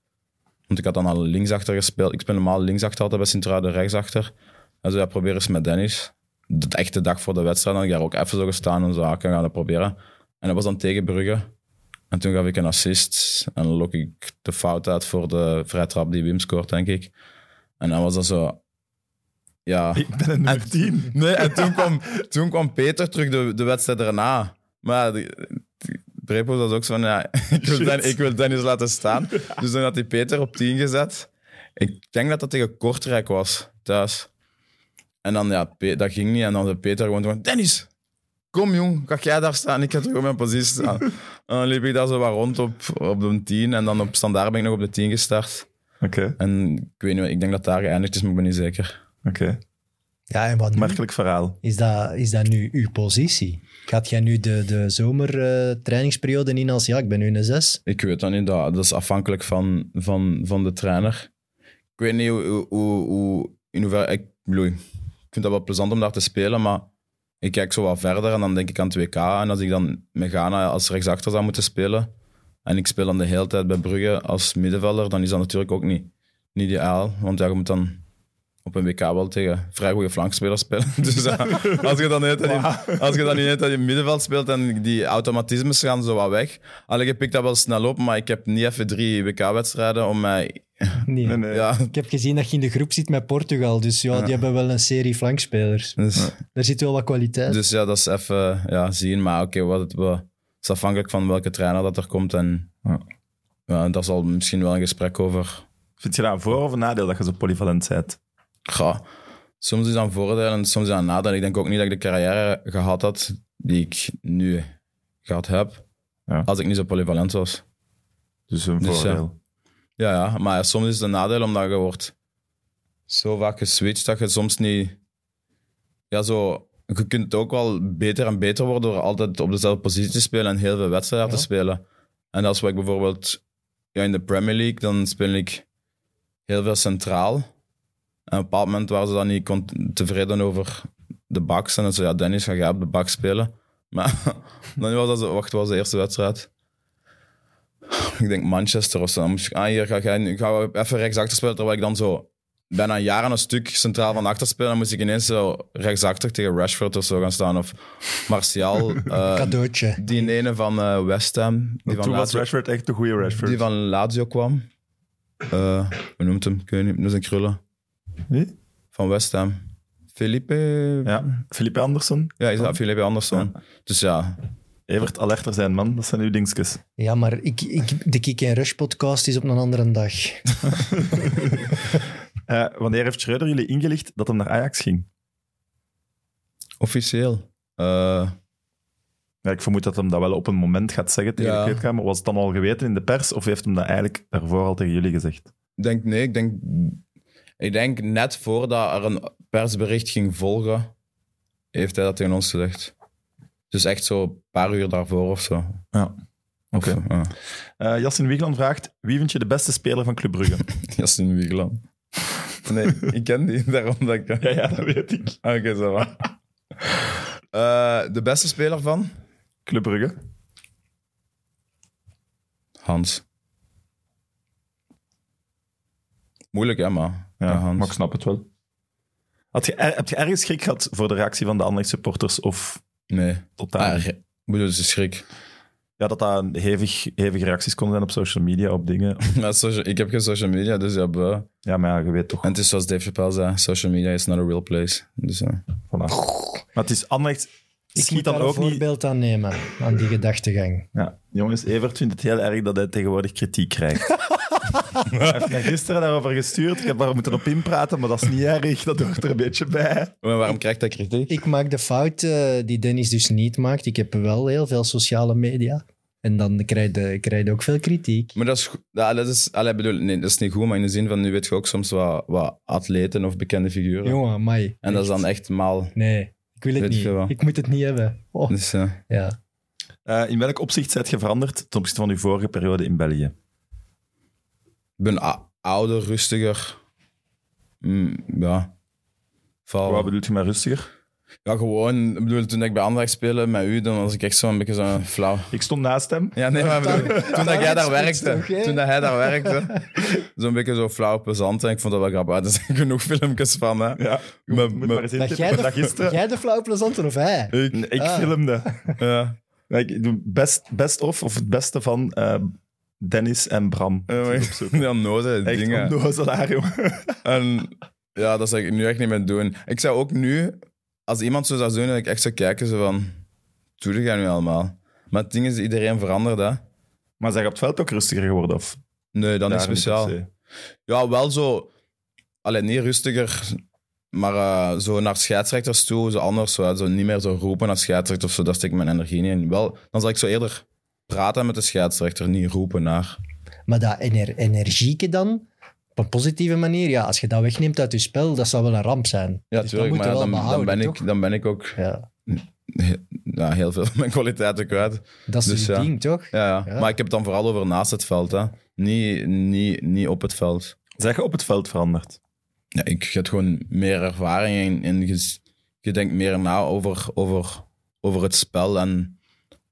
C: Want ik had dan al linksachter gespeeld. Ik speel normaal linksachter altijd bij Sint-Truiden, rechtsachter. En zo, ja, probeer eens met Dennis. Dat echte dag voor de wedstrijd. Dan had ik daar ook even zo gestaan en zo, ah, ik ga dat proberen. En dat was dan tegen Brugge. En toen gaf ik een assist en dan lok ik de fout uit voor de vrije trap die Wim scoort, denk ik. En dan was dat zo... Ja.
A: Ik ben een nummer tien.
C: Nee, en toen kwam, toen kwam Peter terug de, de wedstrijd daarna. Maar die- die- Brepo was ook zo van, ja, ik wil,
A: Shit.
C: Den- ik wil Dennis laten staan. Dus dan had hij Peter op 10 gezet. Ik denk dat dat tegen Kortrijk was, thuis. En dan, ja, Pe- dat ging niet. En dan de Peter gewoon, gewoon Dennis, kom jong, ga jij daar staan? Ik ga terug op mijn positie staan. En dan liep ik daar zo wat rond op, op de 10 en dan op standaard ben ik nog op de 10 gestart.
A: Oké,
C: En ik weet niet, ik denk dat daar geëindigd is, maar ik ben niet zeker.
A: oké.
B: Ja, en wat nu?
A: Merkelijk verhaal.
B: Is dat, is dat nu uw positie? Gaat jij nu de, de zomertrainingsperiode in als ja, ik ben nu een zes?
C: Ik weet dat niet, dat, dat is afhankelijk van, van, van de trainer. Ik weet niet hoe, hoe, hoe, hoe- in hoeverre, ik bedoel, ik vind dat wel plezant om daar te spelen, maar ik kijk zo wat verder en dan denk ik aan 2K. En als ik dan met Ghana als rechtsachter zou moeten spelen en ik speel dan de hele tijd bij Brugge als middenvelder, dan is dat natuurlijk ook niet, niet ideaal. Want ja, je moet dan op een WK wel tegen vrij goede flankspelers spelen. Dus eh, als je dan de hele tijd in- als je dan de hele tijd in het middenveld speelt, dan die automatismes gaan zo wat weg. Alleen je pikt dat wel snel op, maar ik heb niet even drie WK-wedstrijden om mij...
B: Nee.
A: Nee, nee.
C: Ja,
B: Ik heb gezien dat je in de groep zit met Portugal, dus ja, die hebben wel een serie flankspelers.
C: dus...
B: Daar zit wel wat kwaliteit.
C: Dus ja, dat is even ja, zien. Maar oké, wat het wat- het is afhankelijk van welke trainer dat er komt. En
A: Ja.
C: ja. daar zal misschien wel een gesprek over.
A: Vind je dat een voor- of een nadeel dat je zo polyvalent bent?
C: Ga. Soms is dat een voordeel en soms is dat een nadeel. Ik denk ook niet dat ik de carrière gehad had die ik nu gehad heb.
A: Ja.
C: Als ik niet zo polyvalent was.
A: Dus een
C: Dus, ja.
A: voordeel.
C: Ja, ja, maar soms is het een nadeel omdat je wordt zo vaak geswitcht dat je soms niet... Ja, zo... Je kunt ook wel beter en beter worden door altijd op dezelfde positie te spelen en heel veel wedstrijden te spelen. En als ik bijvoorbeeld... Ja, in de Premier League, dan speel ik heel veel centraal. En op een bepaald moment waren ze dan niet cont- tevreden over de baks. En dan zei ja, Dennis, ga jij op de bak spelen? Maar dan was dat zo... Wacht, wat was de eerste wedstrijd? ik denk Manchester of zo. Dan moest ik, ah, hier ga jij nu- ga ik even rechtsachter spelen. Terwijl ik dan zo bijna een jaar aan een stuk centraal van achter spelen. Dan moest ik ineens zo rechtsachter tegen Rashford of zo gaan staan. Of Martial. eh,
B: Cadeautje.
C: die ene van eh, West Ham. Die van,
A: Toen was
C: Lazio,
A: Rashford echt de goede Rashford.
C: die van Lazio kwam. Eh hoe noemt hem? Ik weet niet. Dat is een krullen.
A: Wie?
C: Van West Ham. Felipe... Ja,
A: Ja, Philippe Anderson.
C: is dat Felipe Anderson. Dus ja,
A: Evert Alerter zijn, man. Dat zijn uw dingetjes.
B: Ja, maar ik, ik, de Kick en Rush podcast is op een andere dag.
A: Eh, wanneer heeft Schreuder jullie ingelicht dat hem naar Ajax ging?
C: officieel. Eh,
A: Ja, ik vermoed dat hem dat wel op een moment gaat zeggen tegen
C: Ja.
A: de kleedkamer. Was het dan al geweten in de pers of heeft hem dat eigenlijk daarvoor al tegen jullie gezegd?
C: Ik denk nee, ik denk, ik denk net voordat er een persbericht ging volgen, heeft hij dat tegen ons gezegd. Dus echt zo een paar uur daarvoor of zo.
A: Ja.
C: Of,
A: Oké.
C: ja.
A: Eh Jassin Wiegland vraagt, wie vind je de beste speler van Club Brugge?
C: Justin Wiegeland. Nee, ik ken die, daarom dat ik... Ah,
A: ja, ja, dat weet ik.
C: Oké, zo va. Eh, De beste speler van?
A: Club Brugge?
C: Hans. Moeilijk, hè, maar...
A: Ja,
C: Ja, Hans.
A: maar ik snap het wel. Had je, er- heb je ergens schrik gehad voor de reactie van de andere supporters of
C: Nee.
A: totaal?
C: Ah, ik bedoel, het is schrik.
A: Ja, dat daar een hevig, hevige reacties konden zijn op social media, op dingen.
C: Maar social- ik heb geen social media, dus ja, buh.
A: Ja, maar ja, je weet toch.
C: En het is zoals Dave Chappelle zei, social media is not a real place. Dus, eh,
A: Voilà. Maar het is Anderlecht
B: Ik
A: schiet
B: moet
A: dan
B: daar een
A: ook niet...
B: voorbeeld aan nemen, aan die gedachtegang.
A: Ja, jongens, Evert vindt het heel erg dat hij tegenwoordig kritiek krijgt. Hij heeft mij gisteren daarover gestuurd. Ik heb daar moeten op inpraten, maar dat is niet erg. Dat hoort er een beetje bij.
C: Maar waarom krijgt hij kritiek?
B: Ik maak de fout eh, die Dennis dus niet maakt. Ik heb wel heel veel sociale media. En dan krijg je, krijg je ook veel kritiek.
C: Maar dat is, go- ja, dat is, allee, bedoel, nee, dat is niet goed, maar in de zin van nu weet je ook soms wat, wat atleten of bekende figuren.
B: Jongen, mai.
C: en dat is dan echt maal.
B: Nee, ik wil het
C: Weet
B: niet.
C: je wel.
B: Ik moet het niet hebben. Oh,
C: Dus, eh,
B: ja.
A: Eh, in welk opzicht zijt je veranderd ten opzichte van uw vorige periode in België?
C: ik ben a- ouder, rustiger. Mm, ja. Val-
A: Wat bedoelt je met rustiger?
C: ja, gewoon, ik bedoel, toen ik bij Anderlecht speelde met u, dan was ik echt zo'n beetje zo'n flauw.
A: Ik stond naast hem.
C: Ja, nee, maar bedoel, toen dat jij daar
B: Targetspits
C: werkte,
B: toch, hè?
C: toen dat hij daar werkte, zo'n beetje zo flauw plezant. En ik vond dat wel grappig. Er zijn genoeg filmpjes van, hè.
A: Ja,
C: Met-
A: moet
C: met-
A: maar eens
B: Dat
A: intippen.
B: jij de,
A: Dat gisteren...
B: jij de flauwe plezanter of hij?
A: Ik, ik
B: Ah.
A: filmde.
C: ja.
A: Ja, Ik doe best, best of, of het beste van eh, Dennis en Bram.
C: Ja, maar ik die onnozele
A: Echt
C: dingen.
A: onnozelaar, jongen.
C: En ja, dat zou ik nu echt niet meer doen. Ik zou ook nu, als iemand zo zou doen, dat ik echt zou kijken zo van... Doe je dat nu allemaal? Maar het ding is, iedereen verandert, hè.
A: Maar zijn je op het veld ook rustiger geworden? Of?
C: Nee, dan
A: Daar
C: is
A: niet per
C: speciaal.
A: se.
C: Ja, wel zo... Alleen niet rustiger. Maar eh, zo naar scheidsrechters toe, zo anders, zo, zo niet meer zo roepen naar scheidsrechters, of zo, daar steek ik mijn energie niet in. Wel, dan zal ik zo eerder praten met de scheidsrechter, niet roepen naar.
B: Maar dat ener energieke dan, op een positieve manier, ja, als je dat wegneemt uit je spel, dat zou wel een ramp zijn.
C: Ja,
B: Dus dat
C: tuurlijk,
B: moet
C: maar
B: je
C: ja,
B: wel
C: dan, dan,
B: behouden,
C: ben
B: toch?
C: ik, dan ben ik ook
B: Ja,
C: ja, heel veel van mijn kwaliteiten kwijt.
B: dat is
C: Dus
B: het
C: ja.
B: ding, toch?
C: Ja, ja.
B: Ja.
C: Maar ik heb het dan vooral over naast het veld, hè. Niet, niet, niet op het veld.
A: Zeg je op het veld veranderd?
C: Ja, ik heb gewoon meer ervaring en, en je, je denkt meer na over, over, over het spel en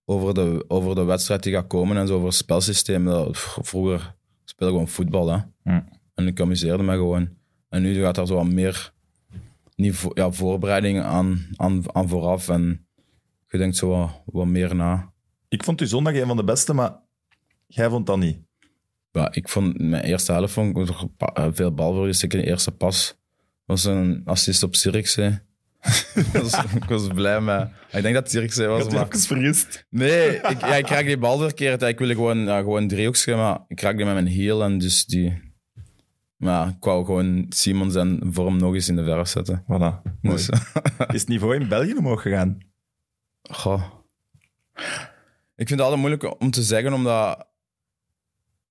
C: over de, over de wedstrijd die gaat komen en zo, over het spelsysteem. Dat- v- Vroeger speelde ik gewoon voetbal hè.
A: Hm.
C: en ik amuseerde me gewoon. En nu gaat daar zo wat meer niveau, ja, voorbereiding aan, aan, aan vooraf en je denkt zo wat, wat meer na.
A: Ik vond u zondag een van de beste, maar jij vond dat niet.
C: Ja, ik vond mijn eerste helft vond ik toch pa- eh, veel balverlies. Ik in de eerste pas was een assist op Sirikse. ik was blij met. Ah, Ik denk dat Sirikse
A: Ik
C: was.
A: had u
C: Maar...
A: even vergist.
C: Nee, ik, ja, ik raak die bal verkeerd. Ik wilde gewoon, ja, gewoon driehoekje, maar ik raak die met mijn heel en dus die. Maar ik wou gewoon Simons en vorm nog eens in de verf zetten.
A: Voilà. Mooi.
C: Dus,
A: Is het niveau in België omhoog gegaan?
C: Goh. Ik vind het altijd moeilijk om te zeggen, omdat...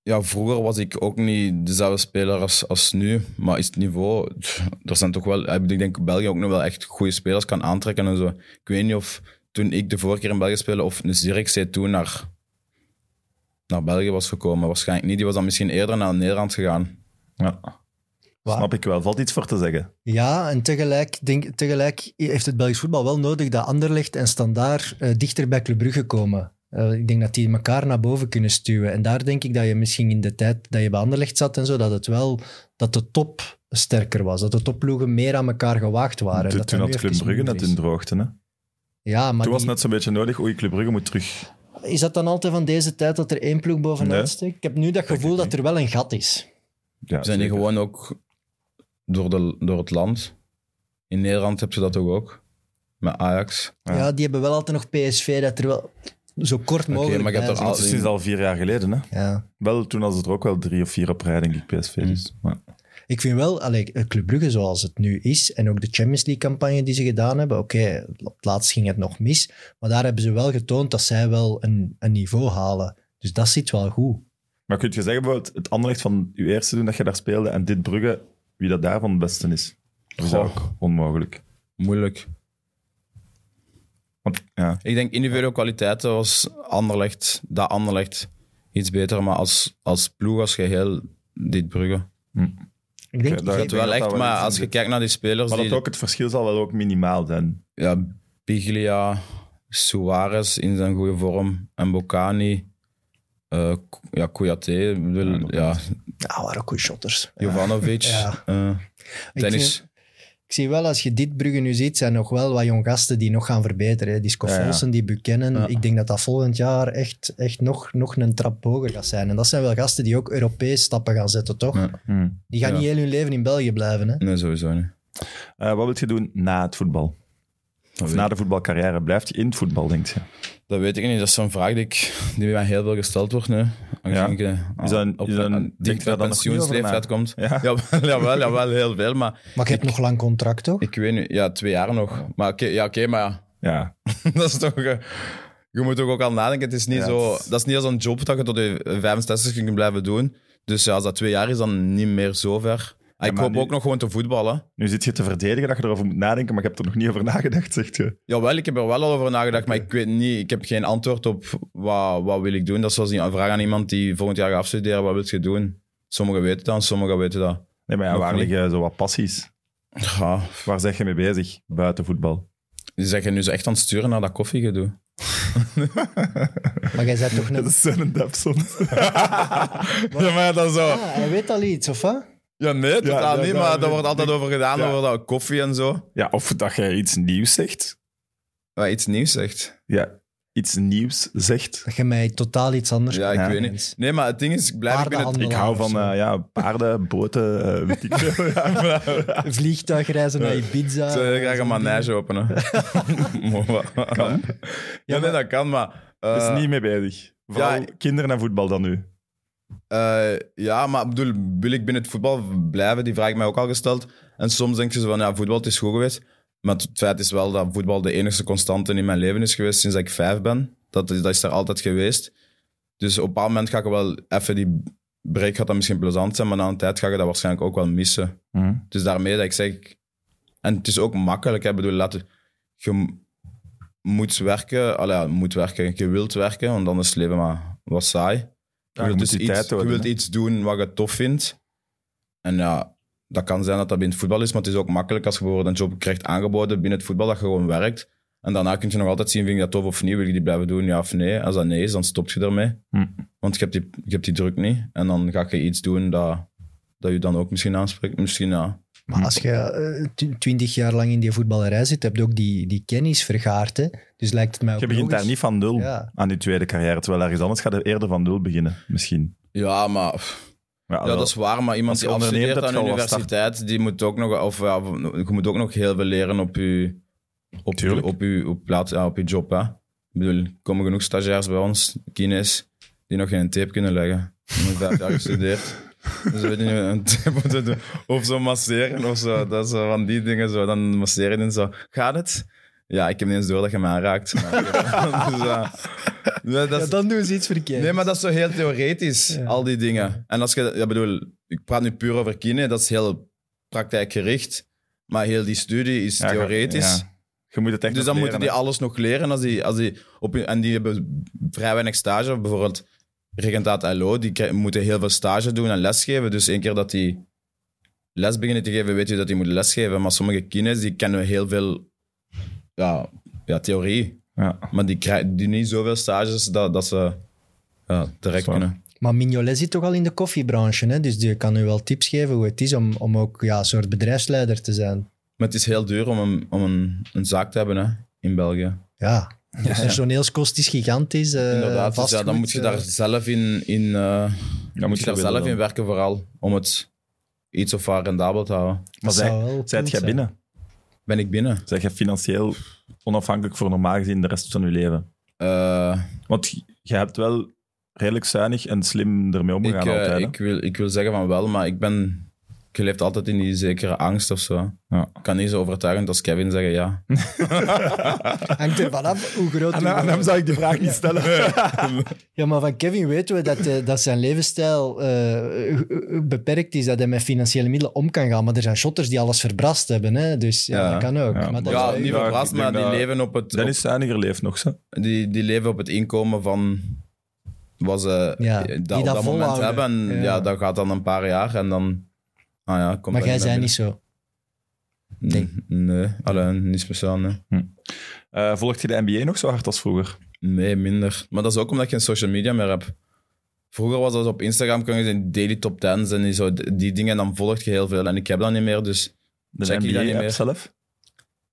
C: Ja, vroeger was ik ook niet dezelfde speler als, als nu. Maar is het niveau... pff, Er zijn toch wel... Ik denk dat België ook nog wel echt goede spelers kan aantrekken en zo. Ik weet niet of toen ik de vorige keer in België speelde, of Zirkzee toen naar, naar België was gekomen. Waarschijnlijk niet. Die was dan misschien eerder naar Nederland gegaan.
A: Ja.
B: Waar-
A: Snap ik wel. Valt iets voor te zeggen.
B: Ja, en tegelijk, denk, tegelijk heeft het Belgisch voetbal wel nodig dat Anderlecht en Standaard eh, dichter bij Club Brugge komen. Eh, ik denk dat die elkaar naar boven kunnen stuwen. En daar denk ik dat je misschien in de tijd dat je bij Anderlecht zat en zo, dat het wel, dat de top sterker was. Dat de topploegen meer aan elkaar gewaagd waren.
C: eh,
A: Toen-
B: dat
A: toen
B: dat
A: had
B: nu
A: Club
B: even
A: Brugge
B: minder
A: net
B: is.
A: in droogte. Hè? Toen
B: Ja, maar
A: was
B: die-
A: het net zo'n beetje nodig. Oei, Club Brugge moet terug.
B: is dat dan altijd van deze tijd dat er één ploeg bovenuit
A: Nee.
B: steekt? Ik heb nu dat
A: ik
B: gevoel dat
A: niet.
B: er wel een gat is.
A: Ja,
C: Zijn die
A: zeker.
C: gewoon ook door, de, door het land? In Nederland heb je dat toch ook? Met Ajax.
A: Ja.
B: Ja, die hebben wel altijd nog PSV dat er wel zo kort mogelijk
C: maar je hebt
B: bij
C: er
B: zit.
A: Het is sinds al vier jaar geleden. Hè?
B: Ja.
A: Wel, toen was het er ook wel drie of vier op rij, denk ik, PSV.
C: Mm.
A: Dus. Maar,
B: Ik vind wel, allee, eh, Club Brugge zoals het nu is, en ook de Champions League-campagne die ze gedaan hebben, oké, op het laatst ging het nog mis, maar daar hebben ze wel getoond dat zij wel een, een niveau halen. Dus dat zit wel goed.
A: maar kun je zeggen bijvoorbeeld het anderlecht van je eerste doen dat je daar speelde en dit Brugge, wie dat daarvan het beste is? Dat is
C: Goh.
A: ook onmogelijk.
C: Moeilijk.
A: Want ja,
C: Ik denk individuele kwaliteiten was Anderlecht, dat Anderlecht iets beter, maar als, als ploeg, als geheel, dit Brugge.
B: Ik denk,
A: Oké, daar-
B: ik-
A: denk
C: Het
A: dat
C: wel echt,
A: dat wel
C: maar
A: iets
C: als
A: in
C: je
A: zit.
C: kijkt naar die spelers,
A: maar dat
C: die,
A: ook het verschil zal wel ook minimaal zijn.
C: ja, Piglia, Suarez in zijn goede vorm, en Bocani, eh, K- ja, Kouyaté, ik bedoel,
A: Ja, dat
C: ja,
B: ah, waren ook goede shotters.
C: Jovanovic,
B: Ja.
C: eh,
B: Ik
C: Dennis.
B: zie, ik zie wel, als je dit Brugge nu ziet, zijn nog wel wat jong gasten die nog gaan verbeteren. hè. Die Scofolsen, die Buchanan.
C: Ja.
B: Ik denk dat dat volgend jaar echt, echt nog, nog een trap hoger gaat zijn. En dat zijn wel gasten die ook Europees stappen gaan zetten, toch?
C: Ja.
B: Die gaan
C: Ja.
B: niet heel hun leven in België blijven, hè?
C: Nee, sowieso niet.
A: Eh, wat wil je doen na het voetbal?
C: Dat
A: Of
C: weet
A: na de voetbalcarrière? Blijf je in het voetbal, denk je?
C: Dat weet ik niet. Dat is zo'n vraag die, ik, die mij heel veel gesteld wordt nu.
A: Ja.
C: Ja. Ik, eh,
A: Is dat een-
C: op-
A: is dat een-
C: aan-
A: denk je
C: dicht bij
A: daar dan nog niet over
C: pensioensleeftijd
A: na?
C: komt.
A: Ja.
C: Jawel, jawel, jawel, heel veel. Maar
B: Maar je hebt nog lang contract, toch?
C: ik weet nu, ja, twee jaar nog. Maar oké, ja, oké, maar ja,
A: Ja.
C: dat is toch. eh, je moet toch ook al nadenken. Het is niet
A: Ja,
C: zo.
A: het is-
C: Dat is niet als een job dat je tot je 65 kunt blijven doen. Dus ja, als dat twee jaar is, dan niet meer zo ver. En ik
A: maar
C: hoop
A: nu-
C: ook nog gewoon te voetballen.
A: Nu zit je te verdedigen dat je erover moet nadenken, maar je hebt er nog niet over nagedacht, zegt je.
C: Jawel, ik heb er wel al over nagedacht, maar ik weet niet, ik heb geen antwoord op wat, wat wil ik doen. Dat is zoals een vraag aan iemand die volgend jaar gaat afstuderen, wat wil je doen? Sommigen weten dat, en sommigen weten dat.
A: Nee, maar ja,
C: Nog
A: waar
C: niet.
A: liggen zo wat passies?
C: Ja,
A: Waar zeg je mee bezig buiten voetbal?
C: die zeggen nu zo echt aan het sturen naar dat koffiegedoe.
B: Maar jij bent toch
A: Dat
B: een...
A: is zo'n Dapson.
C: Ja, maar dat zo.
B: Ah, hij weet al iets, of wat?
C: Ja, nee, totaal
A: dat-
C: niet,
A: dat-
C: maar daar wordt altijd over gedaan,
A: Ja.
C: over dat koffie en zo.
A: Ja, of dat je iets nieuws zegt.
C: Maar iets nieuws zegt.
A: Ja, iets nieuws zegt.
B: Dat je mij totaal iets anders...
C: Ja, ik
A: Ja.
C: weet niet. Nee, maar het ding is, ik blijf... Ik ben het,
B: Paardenhandel.
A: Ik hou van eh, ja, paarden, boten, eh, weet ik veel. Ja, maar-
B: Vliegtuigreizen naar Ibiza.
C: ik zou heel graag een manege openen. kan. Ja, nee, dat kan, maar... eh,
A: is niet mee bezig. Vooral
C: Ja,
A: kinderen en voetbal dan nu.
C: Eh, ja, maar ik bedoel, wil ik binnen het voetbal blijven? Die vraag ik mij ook al gesteld. En soms denk je zo van, ja, voetbal het is goed geweest. Maar het feit is wel dat voetbal de enige constante in mijn leven is geweest sinds dat ik vijf ben. Dat, is- dat is er altijd geweest. Dus op een bepaald moment ga ik wel even die break, gaat dat misschien plezant zijn, maar na een tijd ga je dat waarschijnlijk ook wel missen.
A: Mhm.
C: Dus daarmee dat ik zeg, en het is ook makkelijk, hè. ik bedoel, laten, je m- moet werken, allee, ja, moet werken, je wilt werken, want anders is het leven maar wat saai. Je
A: Ja, je
C: wilt,
A: moet
C: dus
A: die tijd
C: iets, je
A: houden,
C: wilt
A: hè.
C: iets doen wat je tof vindt. En ja, dat kan zijn dat dat binnen het voetbal is, maar het is ook makkelijk als je bijvoorbeeld een job krijgt aangeboden binnen het voetbal, dat je gewoon werkt. En daarna kun je nog altijd zien, vind ik dat tof of niet, wil je die blijven doen, ja of nee. Als dat nee is, dan stop je ermee.
A: Hm.
C: Want je hebt, die, je hebt die druk niet. En dan ga je iets doen dat, dat je dan ook misschien aanspreekt. Misschien ja.
B: Maar als je eh, twintig jaar lang in die voetballerij zit, heb je ook die, die kennis vergaard. Hè? Dus lijkt het mij ook
A: Je begint
B: logisch.
A: daar niet van nul
B: Ja.
A: aan je tweede carrière, terwijl ergens anders gaat er eerder van nul beginnen, misschien.
C: Ja, maar pff, ja,
A: wel.
C: dat is waar. Maar iemand
A: Als je
C: die
A: onderneemt,
C: afstudeert
A: heb
C: aan
A: je
C: de
A: al wat start.
C: universiteit, die moet ook nog, of, ja, je moet ook nog heel veel leren op je, op je,
A: Tuurlijk.
C: op je, op plaats, ja, op je job. Hè. Ik bedoel, er komen genoeg stagiairs bij ons, Kines, die nog geen tape kunnen leggen. Die hebben vijf jaar gestudeerd. Dus ze weten niet een tape moeten doen. Of zo masseren of zo. Dat is zo van die dingen zo. Dan masseren en zo. Gaat het? Ja, ik heb niet eens door dat je me aanraakt. Maar, dus, ja. Ja, dat
B: Ja,
C: is-
B: dan doen ze iets verkeerd.
C: Nee, maar dat is zo heel theoretisch, al die dingen. En als je, ja, bedoel, ik praat nu puur over kine, dat is heel praktijkgericht. Maar heel die studie is
A: Ja, ga-
C: theoretisch.
A: ja. Je moet het echt
C: Dus
A: nog
C: dan moeten die
A: leren, hè.
C: alles nog leren. Als die, als die op, hun- en die hebben vrij weinig stage. Bijvoorbeeld regentaat LO, die krij- moeten heel veel stage doen en lesgeven. Dus één keer dat die les beginnen te geven, weet je dat die moeten lesgeven. Maar sommige kines, die kennen heel veel ja, ja, theorie.
A: Ja.
C: Maar die krijgen die niet zoveel stages dat, dat ze ja, terecht
A: Zwaar.
C: kunnen.
B: Maar Mignolet zit toch al in de koffiebranche, hè? dus die kan u wel tips geven hoe het is om, om ook ja, een soort bedrijfsleider te zijn.
C: Maar het is heel duur om een, om een, een zaak te hebben hè, in België.
B: Ja, de personeelskost is gigantisch. eh,
C: Inderdaad, dus ja,
B: vastgoed,
C: dan moet je
B: eh,
C: daar zelf in, in, eh,
A: Dan
C: moet je daar
A: willen
C: zelf
A: dan.
C: in werken vooral, om het iets of wat rendabel te houden.
A: Maar
B: dat zou wel
A: zij, zijt
B: goed
A: jij
B: zijn.
A: binnen?
C: Ben ik binnen?
A: Zijn jij financieel onafhankelijk voor normaal gezien de rest van je leven?
C: Eh,
A: Want j- jij hebt wel redelijk zuinig en slim ermee
C: ik,
A: omgegaan
C: eh,
A: altijd. hè?
C: ik, wil, ik wil zeggen van wel, maar ik ben... Je leeft altijd in die zekere angst of zo.
A: Ja.
C: Ik kan niet zo overtuigend als Kevin zeggen ja.
B: Hangt er vanaf hoe groot uw-
A: zou ik de vraag niet stellen.
B: Ja, maar van Kevin weten we dat, eh, dat zijn levensstijl eh, eh, beperkt is, dat hij met financiële middelen om kan gaan. Maar er zijn shotters die alles verbrast hebben, hè? dus ja,
C: Ja.
B: dat kan ook.
A: Ja,
B: maar dat
A: ja,
C: ja,
B: is-
C: niet
A: Ja,
C: verrast,
A: ik denk
C: maar die
A: dat-
C: leven op het, op
A: Dennis Zuiniger leeft nog, ze.
C: die, die leven op het inkomen van wat ze
B: Ja,
C: eh,
B: die
C: dat,
B: dat
C: op dat moment
B: volhouden.
C: hebben. En
B: Ja.
C: ja. dat gaat dan een paar jaar en dan... Ah ja, komt
B: maar
C: dat
B: jij
C: meer
B: bent niet zo.
C: binnen. N- Nee, alleen niet speciaal, nee.
A: Eh, volgt je de NBA nog zo hard als vroeger?
C: Nee, minder. Maar dat is ook omdat ik geen social media meer heb. Vroeger was dat op Instagram, kon je zien daily top 10's en die, zo, die dingen, en dan volg je heel veel. En ik heb dat niet meer, dus
A: De
C: Check je dat niet
A: NBA-app
C: meer?
A: zelf?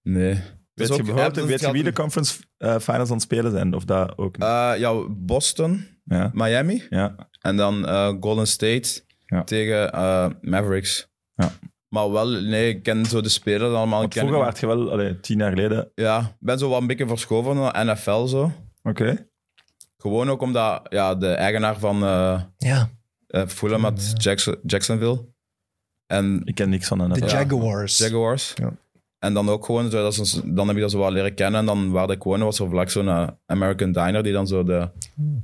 C: nee.
A: Weet
C: Dus
A: je,
C: ook-
A: bijvoorbeeld,
C: eh,
A: weet je
C: dat
A: wie de
C: gaat-
A: conference eh, finals aan het spelen zijn? Of dat ook niet?
C: Eh, ja, Boston,
A: ja.
C: Miami
A: ja.
C: en dan eh, Golden State
A: Ja.
C: tegen eh, Mavericks.
A: Ja.
C: Maar wel, nee, ik ken zo de spelers allemaal.
A: Want
C: ik ken
A: vroeger
C: ik-
A: waart je wel, allee, tien jaar geleden... Oké.
C: Ja, ik ben zo wel een beetje verschoven naar NFL zo. Gewoon ook omdat ja, de eigenaar van eh
B: Ja,
C: eh, Fulham had Jackson, Jacksonville. En
A: Ik ken niks van de
B: de
A: NFL.
B: Jaguars.
C: Jaguars.
B: Ja.
C: En dan ook gewoon, zo, dat is, dan heb je dat zo wel leren kennen. En dan waar ik woonde was er vlak zo'n eh, American Diner die dan zo de,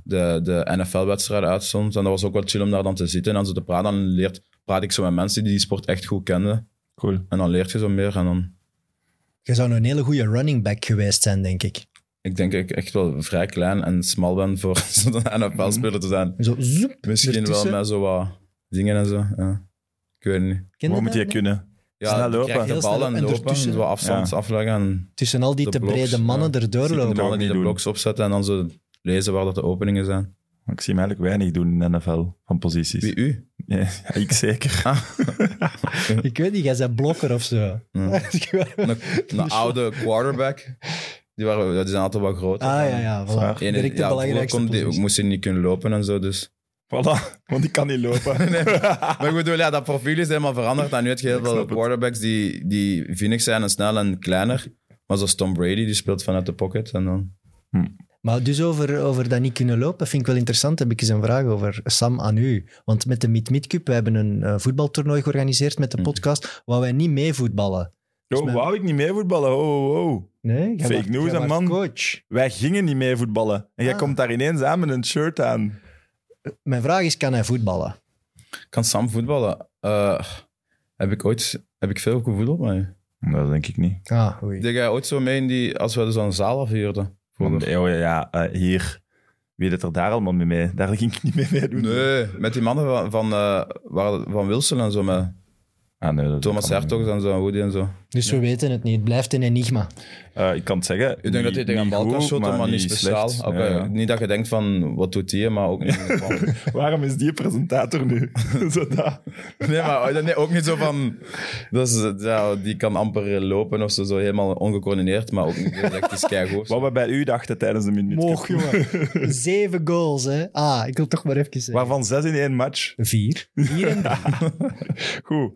C: de, de NFL-wedstrijd uitzond. En dat was ook wel chill om daar dan te zitten en dan zo te praten. Dan leert, praat ik zo met mensen die die sport echt goed kenden.
A: Cool.
C: En dan leert je zo meer. En dan,
B: Je zou een hele goede running back geweest zijn, denk ik.
C: ik denk dat ik echt wel vrij klein en smal ben voor zo'n NFL-speler te zijn.
B: Zo, zoep,
C: Misschien wel
B: ertussen.
C: met zo wat dingen en zo. Ja. Ik weet niet.
A: Wat
B: Ken dat,
A: moet je
B: nee?
A: kunnen?
C: Ja,
A: Snel
C: je
A: lopen.
C: krijgt
B: Heel
C: de bal
B: snel
C: en,
B: en
C: lopen.
B: ertussen.
C: Zo afstand
A: Ja.
C: afleggen. En
B: Tussen al die
C: De
B: te
C: bloks,
B: brede mannen
C: ja.
B: erdoor
C: de
A: ook
B: lopen.
C: mannen die
A: niet
C: de
A: doen.
C: bloks opzetten en dan zo lezen waar dat de openingen zijn.
A: Ik zie hem eigenlijk weinig doen in de NFL, van posities.
C: Wie u?
A: Ja, ik zeker.
B: Ik weet niet, jij bent blokker of zo.
C: Een, een oude quarterback. Die, waren, ja, die zijn altijd wel groot.
B: Ah ja, ja,
A: Zwaar.
B: voilà.
C: Eén-
B: Direct de
C: ja,
B: belangrijkste
C: vroeger kon die-
B: positie.
C: moest hij niet kunnen lopen en zo. Dus.
A: Voilà, want ik kan niet lopen.
C: Maar ik bedoel, ja, dat profiel is helemaal veranderd. En nu heb je heel
A: Ik
C: veel
A: snap het.
C: quarterbacks die, die vinnig zijn en snel en kleiner. Maar zoals Tom Brady, die speelt vanuit de pocket. En dan...
B: Maar dus over, over dat niet kunnen lopen, vind ik wel interessant. Heb ik eens een vraag over, Sam, aan u. Want met de Meet Meet Cup, we hebben een eh, voetbaltoernooi georganiseerd
A: Mhm.
B: met de podcast, waar wij niet mee voetballen.
A: Oh, wou ik niet mee voetballen. Oh, oh, oh.
B: Nee? Jij
A: Fake
B: waart-
A: news,
B: jij
A: hè,
B: waart
A: man.
B: coach.
A: Wij gingen niet mee voetballen. En jij
B: Ah.
A: komt daar ineens aan met een shirt aan.
B: Mijn vraag is, kan hij voetballen?
C: Kan Sam voetballen? Eh, heb ik ooit heb ik veel gevoetbald mee?
A: Dat denk ik niet.
B: Ah, oei.
C: Deed jij ooit zo mee in die, als we dus een zaal afhuurden?
A: Want,
C: vroeger?
A: eh, oh ja, ja eh, hier. Wie deed er daar allemaal mee mee? Daar ging ik niet mee mee doen.
C: Nee, met die mannen van, van, eh, waar- van Wilson en zo, met
A: Ah, nee dat
C: Thomas
A: kan niet.
C: Hertogs en zo, en Woody en zo.
B: Dus we weten het niet. Het blijft een enigma.
A: Eh, ik kan het zeggen.
C: Ik denk dat hij tegen een bal kan shotten, maar niet speciaal. Ah, Oké, Niet dat je denkt van, wat doet hij, maar ook niet. van-
A: Waarom is die presentator nu? Zo dat.
C: Nee, maar oh, nee, ook niet zo van... Dat is, ja, die kan amper lopen of zo, zo helemaal ongecoördineerd, maar ook niet direct is keigoed.
A: Wat we bij u dachten tijdens de minuut.
B: jongen. Zeven goals, hè. Ah, ik wil toch maar even zeggen.
A: Waarvan zes in één match.
B: Vier? Vier en drie.
A: Goed.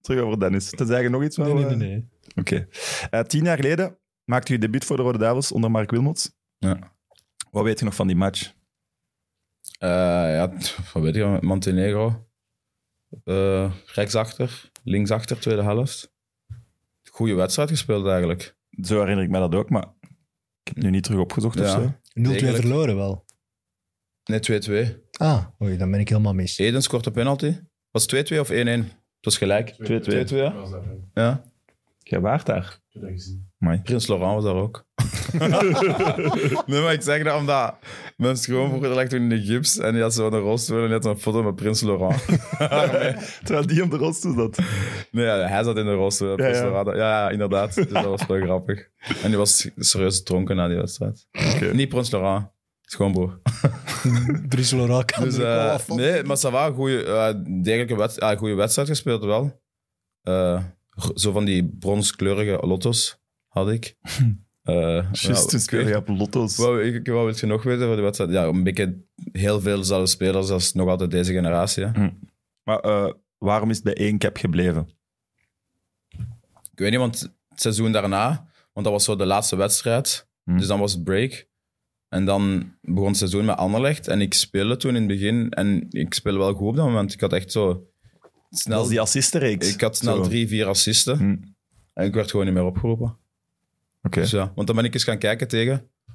A: Terug over Dennis. Te zeggen nog iets? wel,
B: Nee,
A: eh?
B: nee, nee, nee.
A: Oké. Eh, tien jaar geleden maakte u debuut voor de Rode Duivels onder Mark Wilmots.
C: Ja.
A: Wat weet je nog van die match?
C: Eh, ja, t- wat weet je, Montenegro. Eh, rechtsachter, linksachter, tweede helft. Goede wedstrijd gespeeld eigenlijk.
A: Zo herinner ik mij dat ook, maar ik heb nu niet terug opgezocht of
C: Ja.
A: zo.
B: 0-2
C: Degelijk.
B: verloren wel.
C: Nee, 2-2.
B: Ah, oei, dan ben ik helemaal mis.
C: Eden scoort een penalty. Was het 2-2 of 1-1? Het was gelijk. 2-2,
A: 2-2.
C: ja. ja.
A: Jij waart daar.
C: Prins Laurent was daar ook. nee, maar ik zeg dat omdat mijn schoonbroer lag toen in de gips en die had zo'n rolstoel en die had een foto met Prins Laurent.
A: Terwijl die op de rolstoel zat.
C: Nee, ja, hij zat in de rolstoel. Prins
A: ja.
C: Laurent. ja. ja, inderdaad. Dus dat was wel grappig. En die was serieus dronken na die wedstrijd. Niet Prins Laurent, schoonbroer.
B: Dries Laurent kan
C: Dus,
B: er ook wel
C: eh,
B: wat van.
C: nee, maar ça va, goede, degelijke wed- ah, goede wedstrijd gespeeld wel. Eh, g- zo van die bronskleurige lotto's had ik. Eh,
A: Just
C: ja,
A: toen speelde je op dus lotto's.
C: Wat, ik, wat wil je nog weten van de wedstrijd? Ja, een beetje heel veel dezelfde spelers als nog altijd deze generatie. Hè.
A: Maar eh, waarom is het bij één cap gebleven?
C: Ik weet niet, want het seizoen daarna, want dat was zo de laatste wedstrijd,
A: Hmm.
C: dus dan was het break. En dan begon het seizoen met Anderlecht en ik speelde toen in het begin en ik speelde wel goed op dat moment. Ik had echt zo
A: Dat
C: snel,
A: is die assistenreeks.
C: Nou, ik had snel
A: Zo.
C: drie, vier assisten
A: Hmm.
C: en ik werd gewoon niet meer opgeroepen.
A: Oké.
C: Dus ja, want dan ben ik eens gaan kijken tegen, was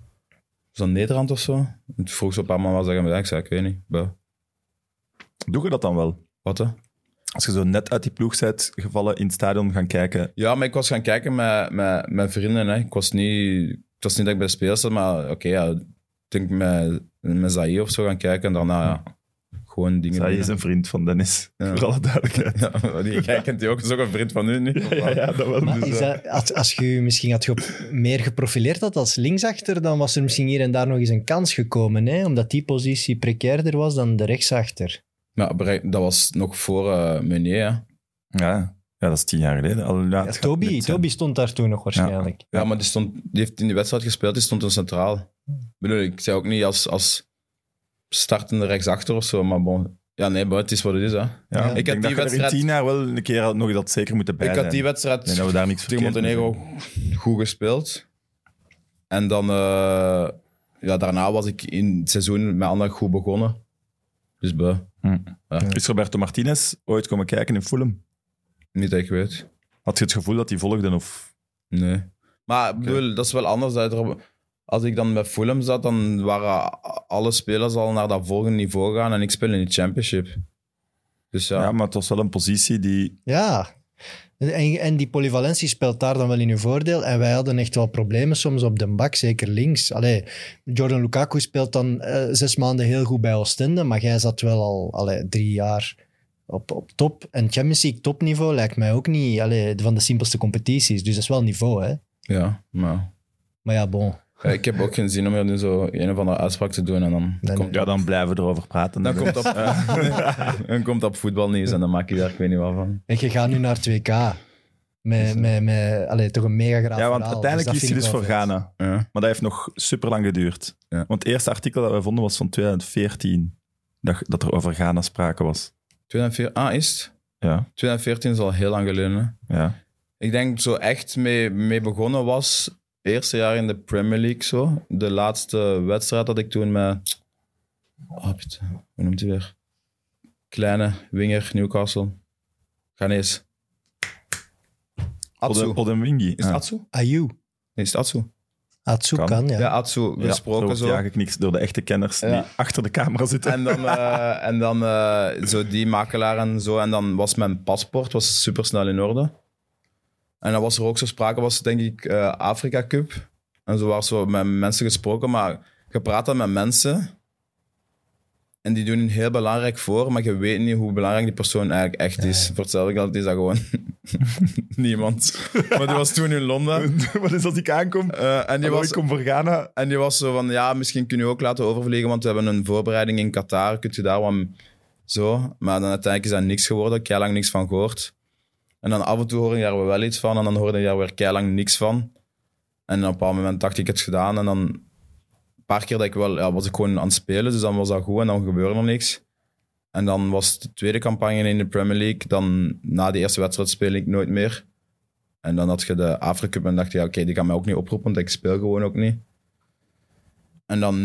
C: dat Nederland of zo? En toen vroeg ze op paar man wat ze gaan bedenken. Ik zei, ik weet niet, Bah,
A: Doe je dat dan wel?
C: wat hè?
A: Als je zo net uit die ploeg bent gevallen in het stadion gaan kijken.
C: Ja, maar ik was gaan kijken met, met, met vrienden. Hè. Ik was niet, het was niet dat ik bij de spelers zat, maar oké, ja, ik denk met, met Zaïe of zo gaan kijken. En daarna ja, gewoon dingen
A: Zij
C: doen,
A: Hm. is
C: hè.
A: een vriend van Dennis.
C: Ja.
A: Voor alle duidelijkheid.
C: Ja, die, jij kent die ook, is ook een vriend van u nu.
A: Ja, ja, dat dus wel.
B: Maar is dat, als, als je je misschien had gep- meer geprofileerd had als linksachter, dan was er misschien hier en daar nog eens een kans gekomen. Hè? Omdat die positie precairder was dan de rechtsachter.
C: Maar bereik- dat was nog voor eh Meunier. hè.
A: Ja, ja, dat is tien jaar geleden. Al, ja,
B: Ja,
A: het gaat
B: Toby,
A: net eh, zijn.
B: Toby stond daar toen nog waarschijnlijk.
C: Ja, maar die, stond, die heeft in die wedstrijd gespeeld, die stond een centraal. Ik bedoel, ik zei ook niet als, als startende rechtsachter of zo, maar bon. Ja, nee, maar het is wat het is. Hè.
A: Ja,
C: ik
A: ik denk dat
C: had die
A: je er in
C: wedstrijd-
A: tien jaar wel een keer had- nog eens dat zeker moeten bij
C: Ik had die
A: zijn.
C: wedstrijd...
A: Ik denk dat we daar niks
C: tegen
A: verkeerd mee
C: Montenegro goed gespeeld. En dan, eh, ja, daarna was ik in het seizoen met Anderlecht goed begonnen. Dus buh,
A: doen. Is Roberto Martinez ooit komen kijken in Fulham?
C: niet dat ik weet.
A: Had je het gevoel dat die volgden? Of...
C: Nee. Maar ik bedoel, dat is wel anders. dat er- Als ik dan met Fulham zat, dan waren alle spelers al naar dat volgende niveau gaan en ik speel in de championship. Dus
A: Ja.
C: ja,
A: maar het was wel een positie die...
B: Ja. En, en die polyvalentie speelt daar dan wel in uw voordeel. En wij hadden echt wel problemen soms op de bak, zeker links. Allee, Jordan Lukaku speelt dan eh, zes maanden heel goed bij Oostende, maar jij zat wel al allee, drie jaar op, op top. En Champions League topniveau lijkt mij ook niet allee, van de simpelste competities. Dus dat is wel niveau, hè.
C: ja maar...
B: Maar ja, bon.
C: Ja, Eh, ik heb ook geen zin om hier nu zo een of andere uitspraak te doen en dan
B: Dan-
C: komt
A: Ja, dan blijven we erover praten.
C: Dan komt, op, dan komt op voetbalnieuws en dan maak je daar ik weet niet wat van.
B: En je gaat nu naar 2K. Met, met, met allee, toch een mega graaf
A: ja, want
B: verhaal.
A: uiteindelijk
B: dat
A: is
B: vind
A: hij dus
B: ik wel
A: voor
B: vet.
A: Ghana.
C: Ja.
A: Maar dat heeft nog super lang geduurd.
C: Ja.
A: Want het eerste artikel dat we vonden was van 2014. Dat, dat er over Ghana sprake was.
C: 2014, ah, is het?
A: Ja,
C: 2014 is al heel lang geleden. hè.
A: ja.
C: Ik denk zo echt mee, mee begonnen was eerste jaar in de Premier League zo. De laatste wedstrijd had ik toen met. Oh, put- hoe noemt hij weer? Kleine winger Newcastle. Ghanese. Atsu.
A: Pod- Podemwingie.
C: Is het Atsu?
B: Ayu.
C: Nee, is het Atsu?
B: Atsu
A: Kan.
B: kan, ja.
C: Ja, Atsu.
A: Ja,
C: Besproken
A: wordt
C: zo.
A: Ja, geknikt door de echte kenners
C: Ja.
A: die achter de camera zitten.
C: En dan, eh, en dan eh, zo die makelaar en zo. En dan was mijn paspoort was super snel in orde. En dan was er ook zo sprake, was denk ik eh, Afrika Cup. En zo was zo met mensen gesproken, maar je praat dan met mensen. En die doen een heel belangrijk voor, maar je weet niet hoe belangrijk die persoon eigenlijk echt is. Voor hetzelfde geld is dat gewoon niemand. Maar die was toen in Londen.
A: Wat is als ik aankom?
C: eh, en die
A: Hallo,
C: was
A: ik kom voor Ghana.
C: en die was zo van, ja, misschien kun je ook laten overvliegen, want we hebben een voorbereiding in Qatar. Kun je daar wat m- zo? Maar dan uiteindelijk is dat niks geworden. Keilang niks van gehoord. En dan af en toe hoorde je daar wel iets van. En dan hoorde je daar weer keilang niks van. En op een bepaald moment dacht ik het is gedaan. En dan een paar keer dat ik wel, ja, was ik gewoon aan het spelen. Dus dan was dat goed en dan gebeurde er niks. En dan was de tweede campagne in de Premier League. Dan na die eerste wedstrijd speel ik nooit meer. En dan had je de Afrika en dacht je, ja, oké, die kan mij ook niet oproepen, want ik speel gewoon ook niet. En dan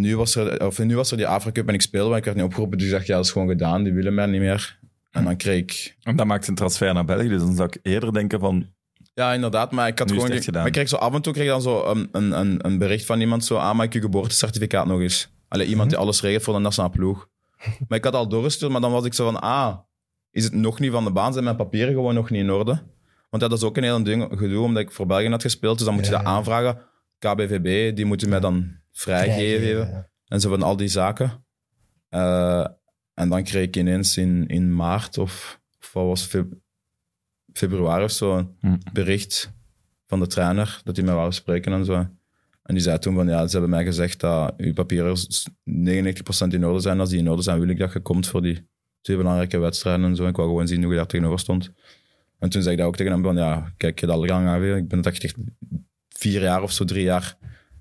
C: nu was er, of nu was er die Afrika Cup en ik speelde, maar ik werd niet opgeroepen. Dus ik dacht, ja, dat is gewoon gedaan. Die willen mij niet meer. En dan kreeg ik...
A: En dat maakt een transfer naar België, dus dan zou ik eerder denken van...
C: Ja, inderdaad, maar ik had
A: Nu is het
C: gewoon...
A: echt gedaan.
C: maar ik kreeg zo af en toe kreeg ik dan zo een, een, een, een bericht van iemand zo... Ah, maak je geboortecertificaat nog eens. Allee, iemand
A: Mhm.
C: die alles regelt voor de nationale ploeg. Maar ik had al doorgestuurd, maar dan was ik zo van... Ah, is het nog niet van de baan? Zijn mijn papieren gewoon nog niet in orde? Want dat is ook een heel ding, gedoe, omdat ik voor België had gespeeld. Dus dan moet je
B: Ja,
C: dat
B: ja.
C: aanvragen. KBVB, die moeten mij dan vrijgeven.
B: ja.
C: En zo van al die zaken. Eh, en dan kreeg ik ineens in, in maart of, of wat was het, feb- februari of zo een
A: Hm.
C: bericht van de trainer dat hij mij wou spreken en zo. En die zei toen van ja, ze hebben mij gezegd dat uw papieren s- 99% in orde zijn. Als die in orde zijn, wil ik dat je komt voor die twee belangrijke wedstrijden en zo. Ik wou gewoon zien hoe je daar tegenover stond. En toen zei ik dat ook tegen hem van ja, kijk, je hebt al lang aangegeven. Ik ben het echt echt vier jaar of zo, drie jaar.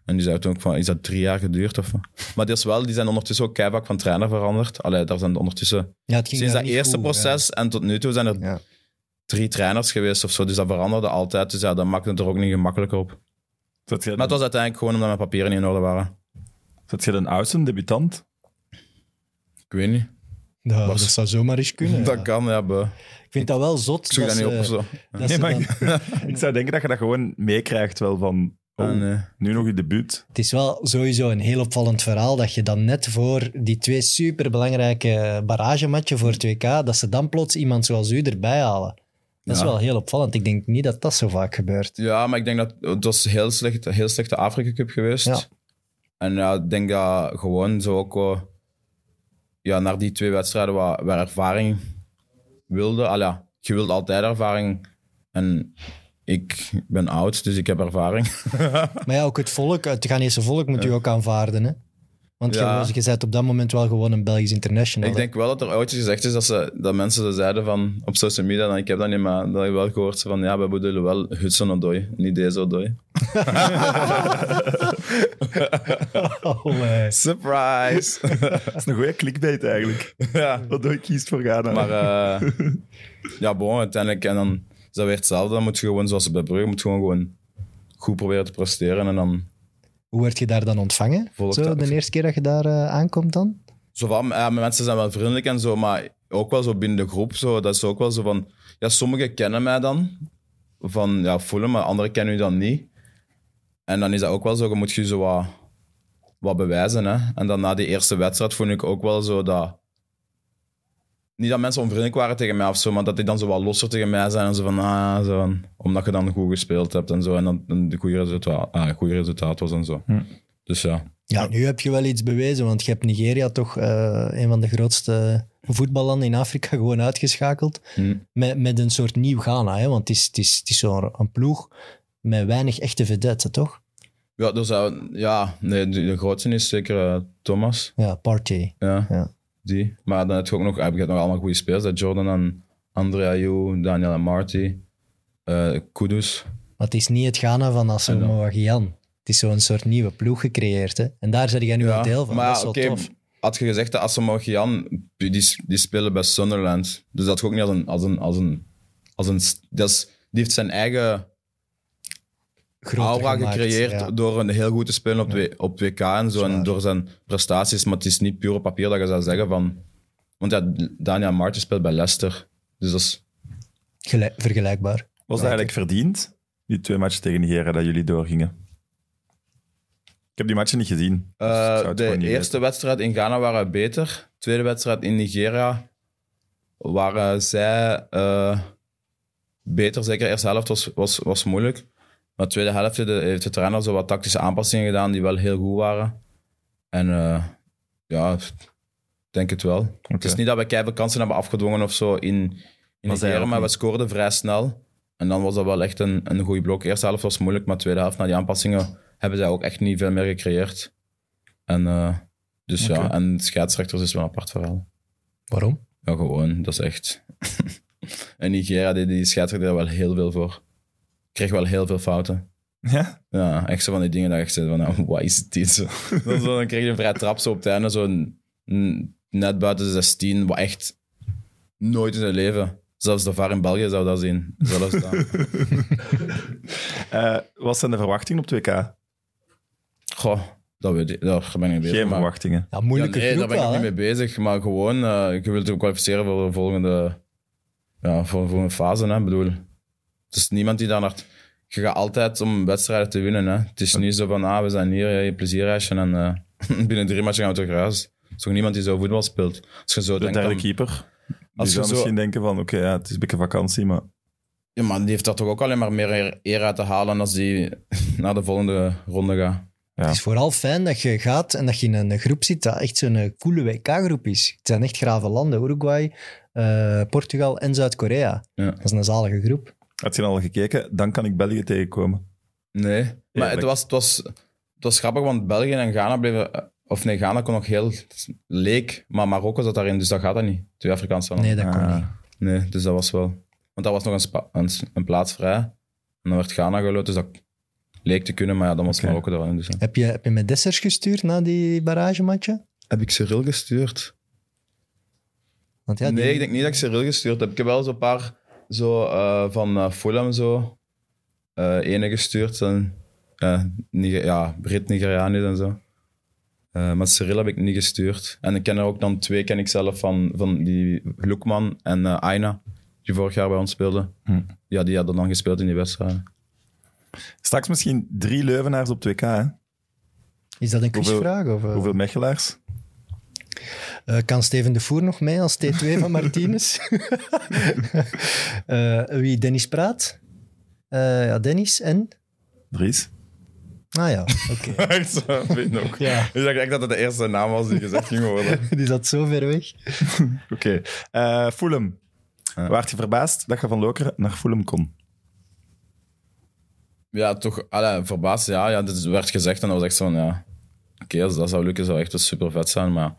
C: En die zei toen ook van, is dat drie jaar geduurd of wat? Maar die, is wel, die zijn ondertussen ook keivak van trainer veranderd. Allee, daar zijn ondertussen...
B: Ja, het ging
C: sinds
B: daar
C: dat
B: niet
C: eerste
B: goed,
C: proces en tot nu toe zijn er
B: ja. Ja.
C: drie trainers geweest of zo. Dus dat veranderde altijd. Dus ja, dat maakte het er ook niet gemakkelijker op.
A: Zet jij
C: Maar het
A: dan,
C: was uiteindelijk gewoon omdat mijn papieren niet in orde waren.
A: zet jij dan Ousen, debutant?
C: Ik weet niet.
B: Ja,
C: Was-
B: dat zou zomaar eens kunnen.
C: Dat
B: ja.
C: kan, ja. be.
B: Ik vind dat wel zot.
C: Ik zoek dat
B: dat
C: niet op
B: ze-
C: of zo.
B: dat
A: Nee,
B: ze
A: maar
B: dan-
A: Ik zou denken dat je dat gewoon meekrijgt wel van...
B: eh,
A: Oh,
C: Ah, nee.
A: nu nog je debuut.
B: Het is wel sowieso een heel opvallend verhaal dat je dan net voor die twee superbelangrijke barragematchen voor 2K, dat ze dan plots iemand zoals u erbij halen. Dat is
C: Ja.
B: wel heel opvallend. Ik denk niet dat dat zo vaak gebeurt.
C: Ja, maar ik denk dat het was heel slecht, heel slechte Afrika Cup geweest.
B: Ja.
C: En ja, ik denk dat gewoon zo ook wel- ja, naar die twee wedstrijden waar, waar ervaring wilde. Al ja, je wilt altijd ervaring. En ik ben oud, dus ik heb ervaring.
B: Maar ja, ook het volk, het Ghanese volk moet u ook aanvaarden. Hè? Want
C: Ja.
B: je, was- je bent op dat moment wel gewoon een Belgisch international.
C: ik
B: hè?
C: denk wel dat er ooit eens gezegd is dat, ze, dat mensen ze zeiden van op social media, dan, ik heb dat niet, maar dat heb ik wel gehoord ze van ja, we bedoelen wel Hudson Odoi, niet deze Odoi.
B: Allee.
C: Surprise!
A: Dat is een goede clickbait eigenlijk.
C: ja.
A: Wat doe ik kiest voor Ghana?
C: Maar eh, ja, bon, uiteindelijk. En dan is dat weer hetzelfde. Dan moet je gewoon, zoals bij Brugge, moet je gewoon, gewoon goed proberen te presteren. En dan
B: Hoe werd je daar dan ontvangen?
C: Volk
B: Zo,
C: dat-
B: de eerste keer dat je daar eh, aankomt dan?
C: zo van, ja, mijn mensen zijn wel vriendelijk en zo, maar ook wel zo binnen de groep. Zo, dat is ook wel zo van, ja, sommigen kennen mij dan van ja, voelen, maar anderen kennen u dan niet. En dan is dat ook wel zo, je moet je zo wat, wat bewijzen. Hè? En dan na die eerste wedstrijd vond ik ook wel zo dat. Niet dat mensen onvriendelijk waren tegen mij of zo, maar dat die dan zo wat losser tegen mij zijn. En zo van, ah, zo van, omdat je dan goed gespeeld hebt en zo. En dan een goede resultaat, ah, goede resultaat was en zo.
A: Hm.
C: Dus ja.
B: Ja, nu heb je wel iets bewezen, want je hebt Nigeria toch eh, een van de grootste voetballanden in Afrika gewoon uitgeschakeld.
C: Hm.
B: Met, met een soort nieuw Ghana, hè? want het is, het is, het is zo'n een ploeg met weinig echte vedetten, toch?
C: Ja, dus, eh, ja nee, de, de grootste is zeker eh, Thomas.
B: Ja, Partey.
C: Ja,
B: Ja.
C: Die. Maar dan heb je ook nog, heb je nog allemaal goede spelers. hè. Jordan en Andrea Ayew, Daniel en Marty, eh Kudus.
B: Maar het is niet het Ghana van Assomo Wagian. Het is zo'n soort nieuwe ploeg gecreëerd. Hè? En daar zit jij nu wel deel van.
C: maar
B: dat is wel
C: oké,
B: tof.
C: had je gezegd dat Asamoah die, die spelen bij Sunderland. Dus dat je ook niet als een... Als een, als een, als een, dat is- die heeft zijn eigen
B: groter
C: aura
B: gemaakt,
C: gecreëerd
B: ja.
C: door een heel goed te spelen op, W- op WK en zo. En door zijn prestaties. Maar het is niet puur op papier dat je zou zeggen van... Want ja, Daniel Martens speelt bij Leicester. Dus dat is...
B: Gelijk- vergelijkbaar.
A: Was het eigenlijk verdiend, die twee matchen tegen Nigeria, dat jullie doorgingen? Ik heb die matchen niet gezien. dus ik
C: Eh,
A: zou het
C: de
A: gewoon niet
C: eerste wedstrijd in Ghana waren we beter. Tweede wedstrijd in Nigeria waren zij eh, beter. Zeker de eerste helft was, was, was moeilijk. Maar de tweede helft heeft de- heeft de trainer zo wat tactische aanpassingen gedaan die wel heel goed waren. En eh, ja, ik denk het wel. Het is niet dat we keihard kansen hebben afgedwongen of zo in, in
A: zij
C: Nigeria,
A: ook
C: maar we
A: niet.
C: scoorden vrij snel. En dan was dat wel echt een, een goede blok. Eerste helft was moeilijk, maar tweede helft, na die aanpassingen, hebben zij ook echt niet veel meer gecreëerd. En, eh, dus
A: Oké.
C: ja, en scheidsrechters is wel een apart verhaal.
B: Waarom?
C: Ja, gewoon, dat is echt... en Nigeria deed die scheidsrechter er wel heel veel voor. Kreeg wel heel veel fouten.
A: weten. Ja?
C: Ja, echt zo van die dingen dat je echt zegt van, nou, wat is dit? Zo. Dan, zo, dan kreeg je een vrij trap zo op het einde, zo n- n- net buiten de 16, wat echt nooit in zijn leven. Zelfs de VAR in België zou dat zien. Zelfs dan.
A: Eh, wat zijn de verwachtingen op 2K?
C: Goh, dat weet ik, daar ben ik niet bezig.
A: Geen
C: maar-
A: verwachtingen.
B: Ja,
C: Ja,
B: moeilijke
C: nee, daar
B: groep
C: ben ik
B: wel,
C: niet
B: hè?
C: mee bezig. Maar gewoon, eh, je wilt je kwalificeren voor de volgende, ja, voor, voor een fase. Hè, Ik bedoel, het is niemand die daar naar... Je gaat altijd om wedstrijden te winnen. Hè. Het is niet zo van, ah, we zijn hier, eh, je plezierreisje. En eh, binnen drie matchen gaan we terug naar huis. Er is toch niemand die zo voetbal speelt. Als je zo
A: De
C: denkt...
A: derde
C: dan-
A: keeper. Die
C: Als je
A: zou
C: zo-
A: misschien denken van, oké, ja, het is een beetje vakantie, maar...
C: ja, maar die heeft daar toch ook alleen maar meer eer- eer uit te halen als die naar de volgende ronde gaat.
B: Het is vooral fijn dat je gaat en dat je in een groep zit dat echt zo'n eh, coole WK-groep is. Het zijn echt grave landen. Uruguay, eh, Portugal en Zuid-Korea.
C: Ja.
B: Dat is een zalige groep.
A: Had je dan al gekeken? Dan kan ik België tegenkomen.
C: Nee, maar het
A: dat-
C: was, het, was, het was grappig, want België en Ghana bleven... eh, Of nee, Ghana kon nog heel leek, maar Marokko zat daarin, dus dat gaat dat niet. Twee Afrikaanse landen.
B: Nee, dat kon
A: Ah.
B: niet.
C: Nee. dus dat was wel... Want daar was nog een, spa- een, s- een plaats vrij. En dan werd Ghana geloot, dus dat leek te kunnen, maar ja, dan was
A: Oké.
C: Marokko daarin. Dus, ja.
B: Heb je, heb je met Dessers gestuurd na die barragematje?
C: Heb ik Cyril gestuurd?
B: Want ja, die-
C: nee, ik denk niet dat ik Cyril gestuurd heb. Ik heb wel zo'n paar zo, eh, van eh, Fulham zo eh ene gestuurd. En, eh, Niger- ja, Brit Nigerianis en zo. Eh, maar Cyril heb ik niet gestuurd. En ik ken er ook dan twee, ken ik zelf, van, van die Lukman en eh, Aina, die vorig jaar bij ons speelden.
A: Hm.
C: Ja, die hadden dan gespeeld in die wedstrijd.
A: Straks misschien drie Leuvenaars op 2K, hè?
B: Is dat een
A: Hoeveel-
B: quizvraag? Of, eh?
A: Hoeveel Mechelaars?
B: Eh, kan Steven de Voer nog mee als T2 van Martinez? Eh, wie? Dennis Praat? Eh, ja, Dennis en?
A: Dries?
B: Ah ja, oké.
C: Echt zo, vind ik ook.
B: Ja.
C: Ik dacht echt dat het de eerste naam was die gezegd ging worden.
B: Die zat zo ver weg.
A: Oké. Eh, Fulham.
C: Ja.
A: Waart je verbaasd dat je van Lokeren naar Fulham kon?
C: Ja, toch, allee, verbaasd. Ja, ja, dit werd gezegd en dat was echt zo van, ja... Oké, als dat zou lukken, zou echt super vet zijn, maar...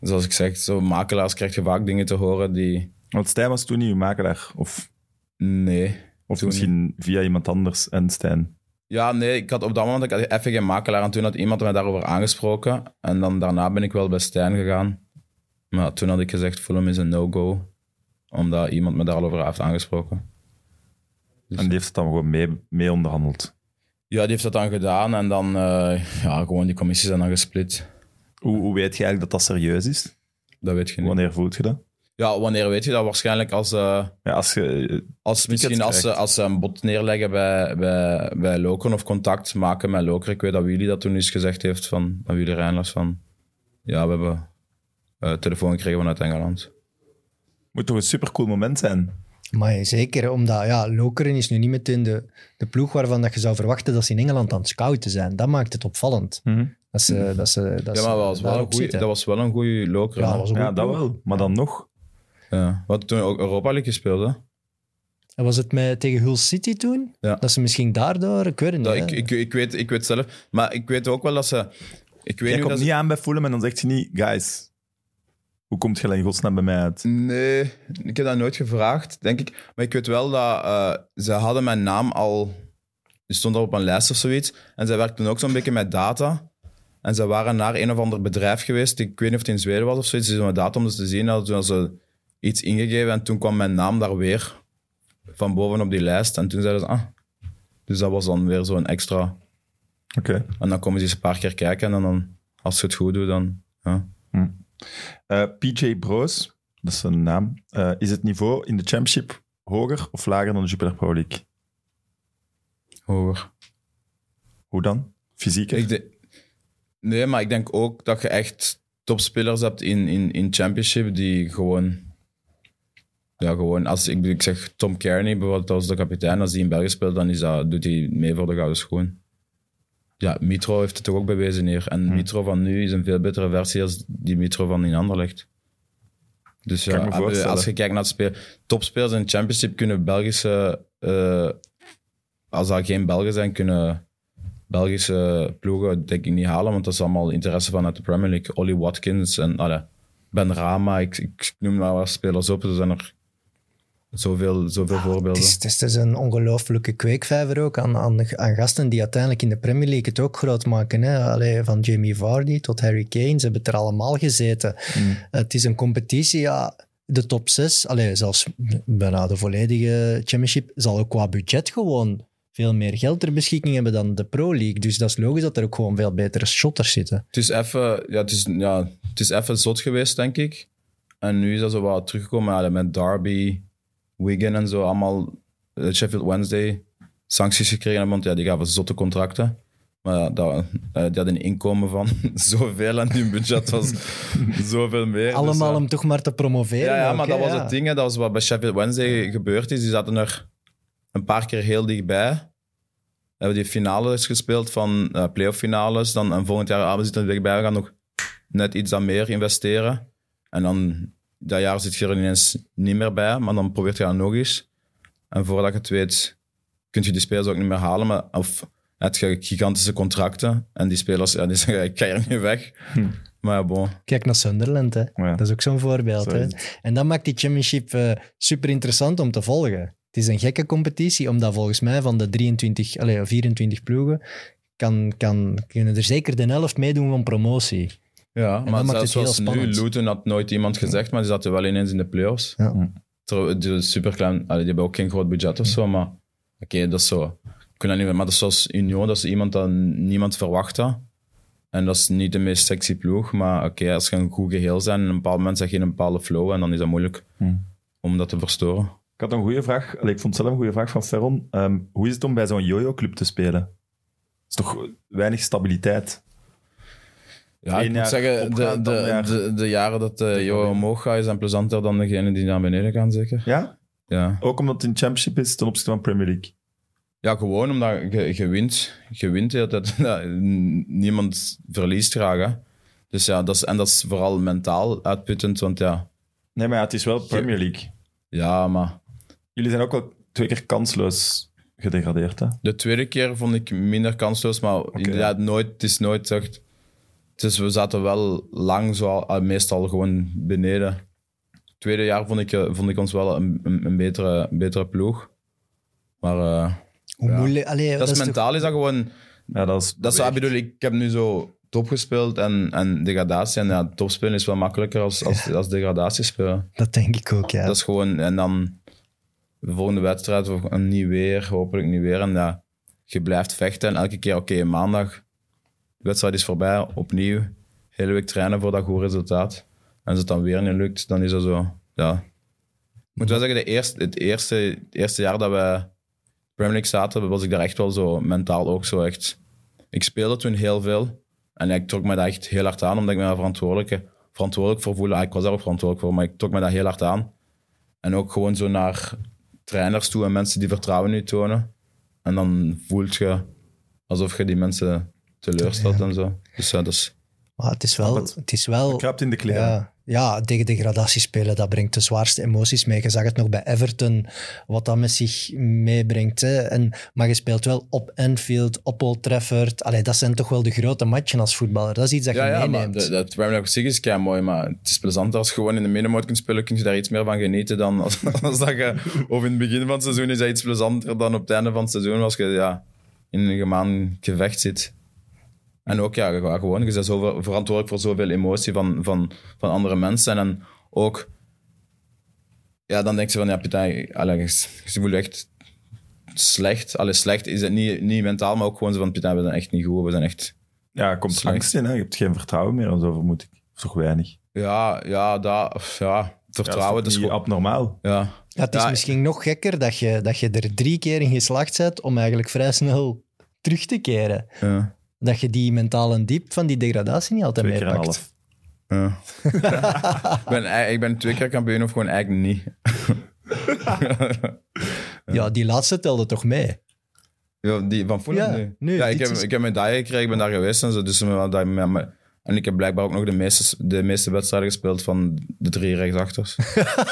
C: Zoals ik zeg, zo makelaars krijg je vaak dingen te horen die...
A: Want Stijn was toen niet uw makelaar. Of,
C: Nee.
A: of
C: Toen
A: misschien via iemand anders en Stijn.
C: Ja, nee, ik had op dat moment ik had even geen makelaar en toen had iemand mij daarover aangesproken. En dan daarna ben ik wel bij Stijn gegaan. Maar toen had ik gezegd, Fulham is een no-go. Omdat iemand me daarover heeft aangesproken.
A: En die heeft het dan gewoon mee, mee onderhandeld.
C: Ja, die heeft dat dan gedaan en dan... eh, ja, gewoon die commissies zijn dan gesplit.
A: Hoe, hoe weet je eigenlijk dat dat serieus is?
C: Dat weet je niet.
A: Wanneer voelt je dat?
C: Ja, wanneer weet je dat? Waarschijnlijk als... eh,
A: Ja, als je, eh,
C: Als, misschien als ze,
A: krijgt.
C: als ze een bot neerleggen bij, bij, bij Lokeren of contact maken met Lokeren. Ik weet dat Willy dat toen eens gezegd heeft van, van Willy Reinders van... Ja, we hebben eh, telefoon gekregen vanuit Engeland.
A: moet toch een supercool moment zijn?
B: Maar zeker, omdat ja, Lokeren is nu niet meteen de, de ploeg waarvan dat je zou verwachten dat ze in Engeland aan het scouten zijn. Dat maakt het opvallend. Dat ze, dat ze, dat
C: ja,
B: ze
C: maar dat was, wel
B: daarop
C: een goeie,
B: zitten.
C: dat was wel een goede Lokeren.
B: Ja,
C: hè?
B: dat was een
A: Ja,
B: goede
A: dat
B: ploeg.
A: wel. Maar dan nog?
C: Ja. Wat toen ook Europa League gespeeld, hè?
B: En was het met, tegen Hull City toen?
C: Ja.
B: Dat ze misschien daardoor, ik weet het
C: Dat,
B: niet.
C: ik,
B: hè.
C: ik, ik, weet, ik weet zelf... Maar ik weet ook wel dat ze... Ik weet
A: Jij
C: niet
A: komt
C: dat ze-
A: niet aan bij Fulham en dan zegt je niet... Guys, hoe komt je in godsnaam bij mij uit?
C: Nee, ik heb dat nooit gevraagd, denk ik. Maar ik weet wel dat eh, ze hadden mijn naam al... Die stond al op een lijst of zoiets. En zij werkten ook zo'n beetje met data. En ze waren naar een of ander bedrijf geweest. Ik weet niet of het in Zweden was of zoiets. Ze met data om dus te zien. dat toen hadden ze iets ingegeven en toen kwam mijn naam daar weer van boven op die lijst. En toen zeiden ze, ah, Dus dat was dan weer zo'n extra.
A: Oké.
C: En dan komen ze eens een paar keer kijken en dan, als ze het goed doen, dan... Ja.
A: Eh, PJ Broos, dat is zijn naam. Eh, is het niveau in de championship hoger of lager dan de Jupiler Pro League?
C: Hoger.
A: Hoe dan? Fysiek?
C: Ik de- nee, maar ik denk ook dat je echt topspelers hebt in, in, in Championship die gewoon. Ja, gewoon. Als ik, ik zeg Tom Kearney bijvoorbeeld als de kapitein, als die in België speelt, dan is dat, doet hij mee voor de gouden schoen. Ja, Mitro heeft het toch ook bewezen hier. En
A: Hmm.
C: Mitro van nu is een veel betere versie als die Mitro van in Anderlecht. Dus
A: ik
C: ja,
A: me
C: als je-
A: voorstellen.
C: als je kijkt naar het speel, topspelers in Championship kunnen Belgische, eh, als dat geen Belgen zijn, kunnen Belgische ploegen denk ik niet halen, want dat is allemaal interesse vanuit de Premier League. Ollie Watkins en allee, Ben Rama, ik, ik noem maar wat spelers op, er zijn er zoveel, zoveel
B: Ah, Het
C: voorbeelden.
B: is, het is, het is een ongelooflijke kweekvijver ook aan, aan, aan gasten die uiteindelijk in de Premier League het ook groot maken. Hè? Allee, van Jamie Vardy tot Harry Kane, ze hebben het er allemaal gezeten.
C: Mm.
B: Het is een competitie, ja, de top 6, allee, zelfs bijna de volledige championship, zal ook qua budget gewoon veel meer geld ter beschikking hebben dan de Pro League. Dus dat is logisch dat er ook gewoon veel betere shotters zitten.
C: Het is even, ja, het is, ja, het is even zot geweest, denk ik. En nu is dat zo wat teruggekomen allee, met Derby, Wigan en zo, allemaal eh, Sheffield Wednesday sancties gekregen hebben, want ja, die gaven zotte contracten. Maar ja, dat, eh, die hadden een inkomen van zoveel en hun budget was zoveel meer. Dus,
B: Allemaal
C: ja.
B: om toch maar te promoveren.
C: Ja, ja
B: ook,
C: maar
B: hè,
C: dat was
B: ja.
C: het ding. hè. Dat was wat bij Sheffield Wednesday gebeurd is. Die zaten er een paar keer heel dichtbij. Hebben die finales gespeeld van eh playoff finales. Dan, en volgend jaar, ah, we zitten er dichtbij. We gaan nog net iets aan meer investeren. En dan dat jaar zit je er ineens niet meer bij. Maar dan probeert je dat nog eens. En voordat je het weet, kun je die spelers ook niet meer halen. Maar, of heb je gigantische contracten. En die spelers ja, die zeggen, ik kan hier niet weg. Maar ja, bon.
B: Kijk naar Sunderland, hè.
A: Ja.
B: dat is ook zo'n voorbeeld.
A: Zo
B: hè.
A: is
B: En dat maakt die championship eh, super interessant om te volgen. Het is een gekke competitie, omdat volgens mij van de 23, allee, 24 ploegen kan, kan, kunnen er zeker de 11 meedoen van promotie.
C: Ja,
B: dat
C: maar
B: maakt het
C: zelfs
B: heel
C: zoals nu,
B: spannend.
C: Luton had nooit iemand gezegd, maar die zaten wel ineens in de play-offs.
B: Ja.
A: Hm.
C: Terwijl Die, superklein, allee, die hebben ook geen groot budget of zo, maar oké, dat is zo. Ik weet dat niet meer, maar dat is zoals Union, dat is iemand dat niemand verwachtte. En dat is niet de meest sexy ploeg, maar oké, als je een goed geheel zijn, en een bepaald moment zeg je in een bepaalde flow en dan is dat moeilijk
A: Hm.
C: om dat te verstoren.
A: Ik had een goede vraag. Allee, ik vond zelf een goede vraag van Ferron. Ehm, hoe is het om bij zo'n yo-yo-club te spelen? Het is toch weinig stabiliteit?
C: Ja,
A: Eén
C: ik moet
A: jaar
C: zeggen, de,
A: opgaand, dan
C: de,
A: jaar-
C: de, de jaren dat de Jo omhoog gaat, is dan plezanter dan degene die naar beneden gaan, zeker?
A: Ja?
C: Ja.
A: Ook omdat het in Championship is ten opzichte van Premier League.
C: Ja, gewoon omdat je, je wint. Je wint de hele tijd. Ja, n- Niemand verliest graag. Hè. Dus ja, dat is, en dat is vooral mentaal uitputtend. Want ja,
A: Nee, maar ja, het is wel Premier League.
C: ja, maar
A: Jullie zijn ook wel twee keer kansloos gedegradeerd, hè?
C: de tweede keer vond ik minder kansloos. Maar inderdaad, nooit, het is nooit echt... Dus we zaten wel lang zo, al- al meestal gewoon beneden. tweede jaar vond ik, eh, vond ik ons wel een, een, een betere, een betere ploeg. Maar eh,
B: Hoe moeilijk... Allee,
C: dat is
B: toch-
C: mentaal is dat gewoon...
A: Ja, dat is...
C: Dat is wat ik bedoel. Ik heb nu zo top gespeeld en, en degradatie. En ja, topspelen is wel makkelijker als, als, als degradatie spelen.
B: dat denk ik ook, ja.
C: Dat is gewoon... En dan de volgende wedstrijd, of en niet weer, hopelijk niet weer. En ja, je blijft vechten. En elke keer, oké, maandag, de wedstrijd is voorbij, opnieuw. Hele week trainen voor dat goed resultaat. En als het dan weer niet lukt, dan is dat zo, ja. Ik moet wel zeggen, de eerste, het, eerste, het eerste jaar dat we Premier League zaten, was ik daar echt wel zo mentaal ook zo echt ik speelde toen heel veel. En ik trok me dat echt heel hard aan, omdat ik me daar verantwoordelijk, verantwoordelijk voor voelde. Ah, Ik was daar ook verantwoordelijk voor, maar ik trok me dat heel hard aan. En ook gewoon zo naar trainers toe en mensen die vertrouwen in je tonen. En dan voelt je alsof je die mensen teleurstelt en zo. Dus ja, dat is...
B: Maar het is wel... Het is wel
A: Krapt in de kleren.
B: ja, ja, tegen degradatie spelen, dat brengt de zwaarste emoties mee. Je zag het nog bij Everton, wat dat met zich meebrengt. Hè. En, maar je speelt wel op Anfield, op Old Trafford. Allee, dat zijn toch wel de grote matchen als voetballer. Dat is iets dat je
C: Ja, ja, maar
B: meeneemt.
C: de- dat Premier League op zich is kei mooi, maar het is plezanter als je gewoon in de middenmoot kunt spelen, kun je daar iets meer van genieten dan als, als dat je... Of in het begin van het seizoen is dat iets plezanter dan op het einde van het seizoen, als je ja, in een gemaan gevecht zit. En ook, ja, je- gewoon, je bent zo verantwoordelijk voor zoveel emotie van, van, van andere mensen. En ook, ja, dan denk je van, ja, putain, allee, je voelt echt slecht. Allee, slecht is het niet, niet mentaal, maar ook gewoon zo van, Pieter, we zijn echt niet goed, we zijn echt...
A: Ja, er komt
C: Slecht.
A: angst in. Hè? Je hebt geen vertrouwen meer en zo, vermoed ik. Of toch weinig.
C: Ja, ja, dat, ja, vertrouwen, dat is
A: niet
C: gewoon...
A: abnormaal.
C: Ja,
B: Ja, het is
C: Ja.
B: misschien nog gekker dat je, dat je er drie keer in geslaagd bent om eigenlijk vrij snel terug te keren.
C: ja,
B: Dat je die mentale diep van die degradatie niet altijd
A: Twee keer een
B: meepakt.
A: half.
C: ja. ik, ben, ei- ik ben twee keer kampioen of gewoon eigenlijk niet.
B: Ja, die laatste telde toch mee.
C: Ja, die van Fulham?
B: Ja,
C: nu?
B: nu,
C: ja ik,
B: dit
C: heb,
B: is-
C: ik heb medaille gekregen, ik ben daar geweest en zo. Dus, maar, dat- maar- maar- en ik heb blijkbaar ook nog de meeste, de meeste wedstrijden gespeeld van de drie rechtsachters.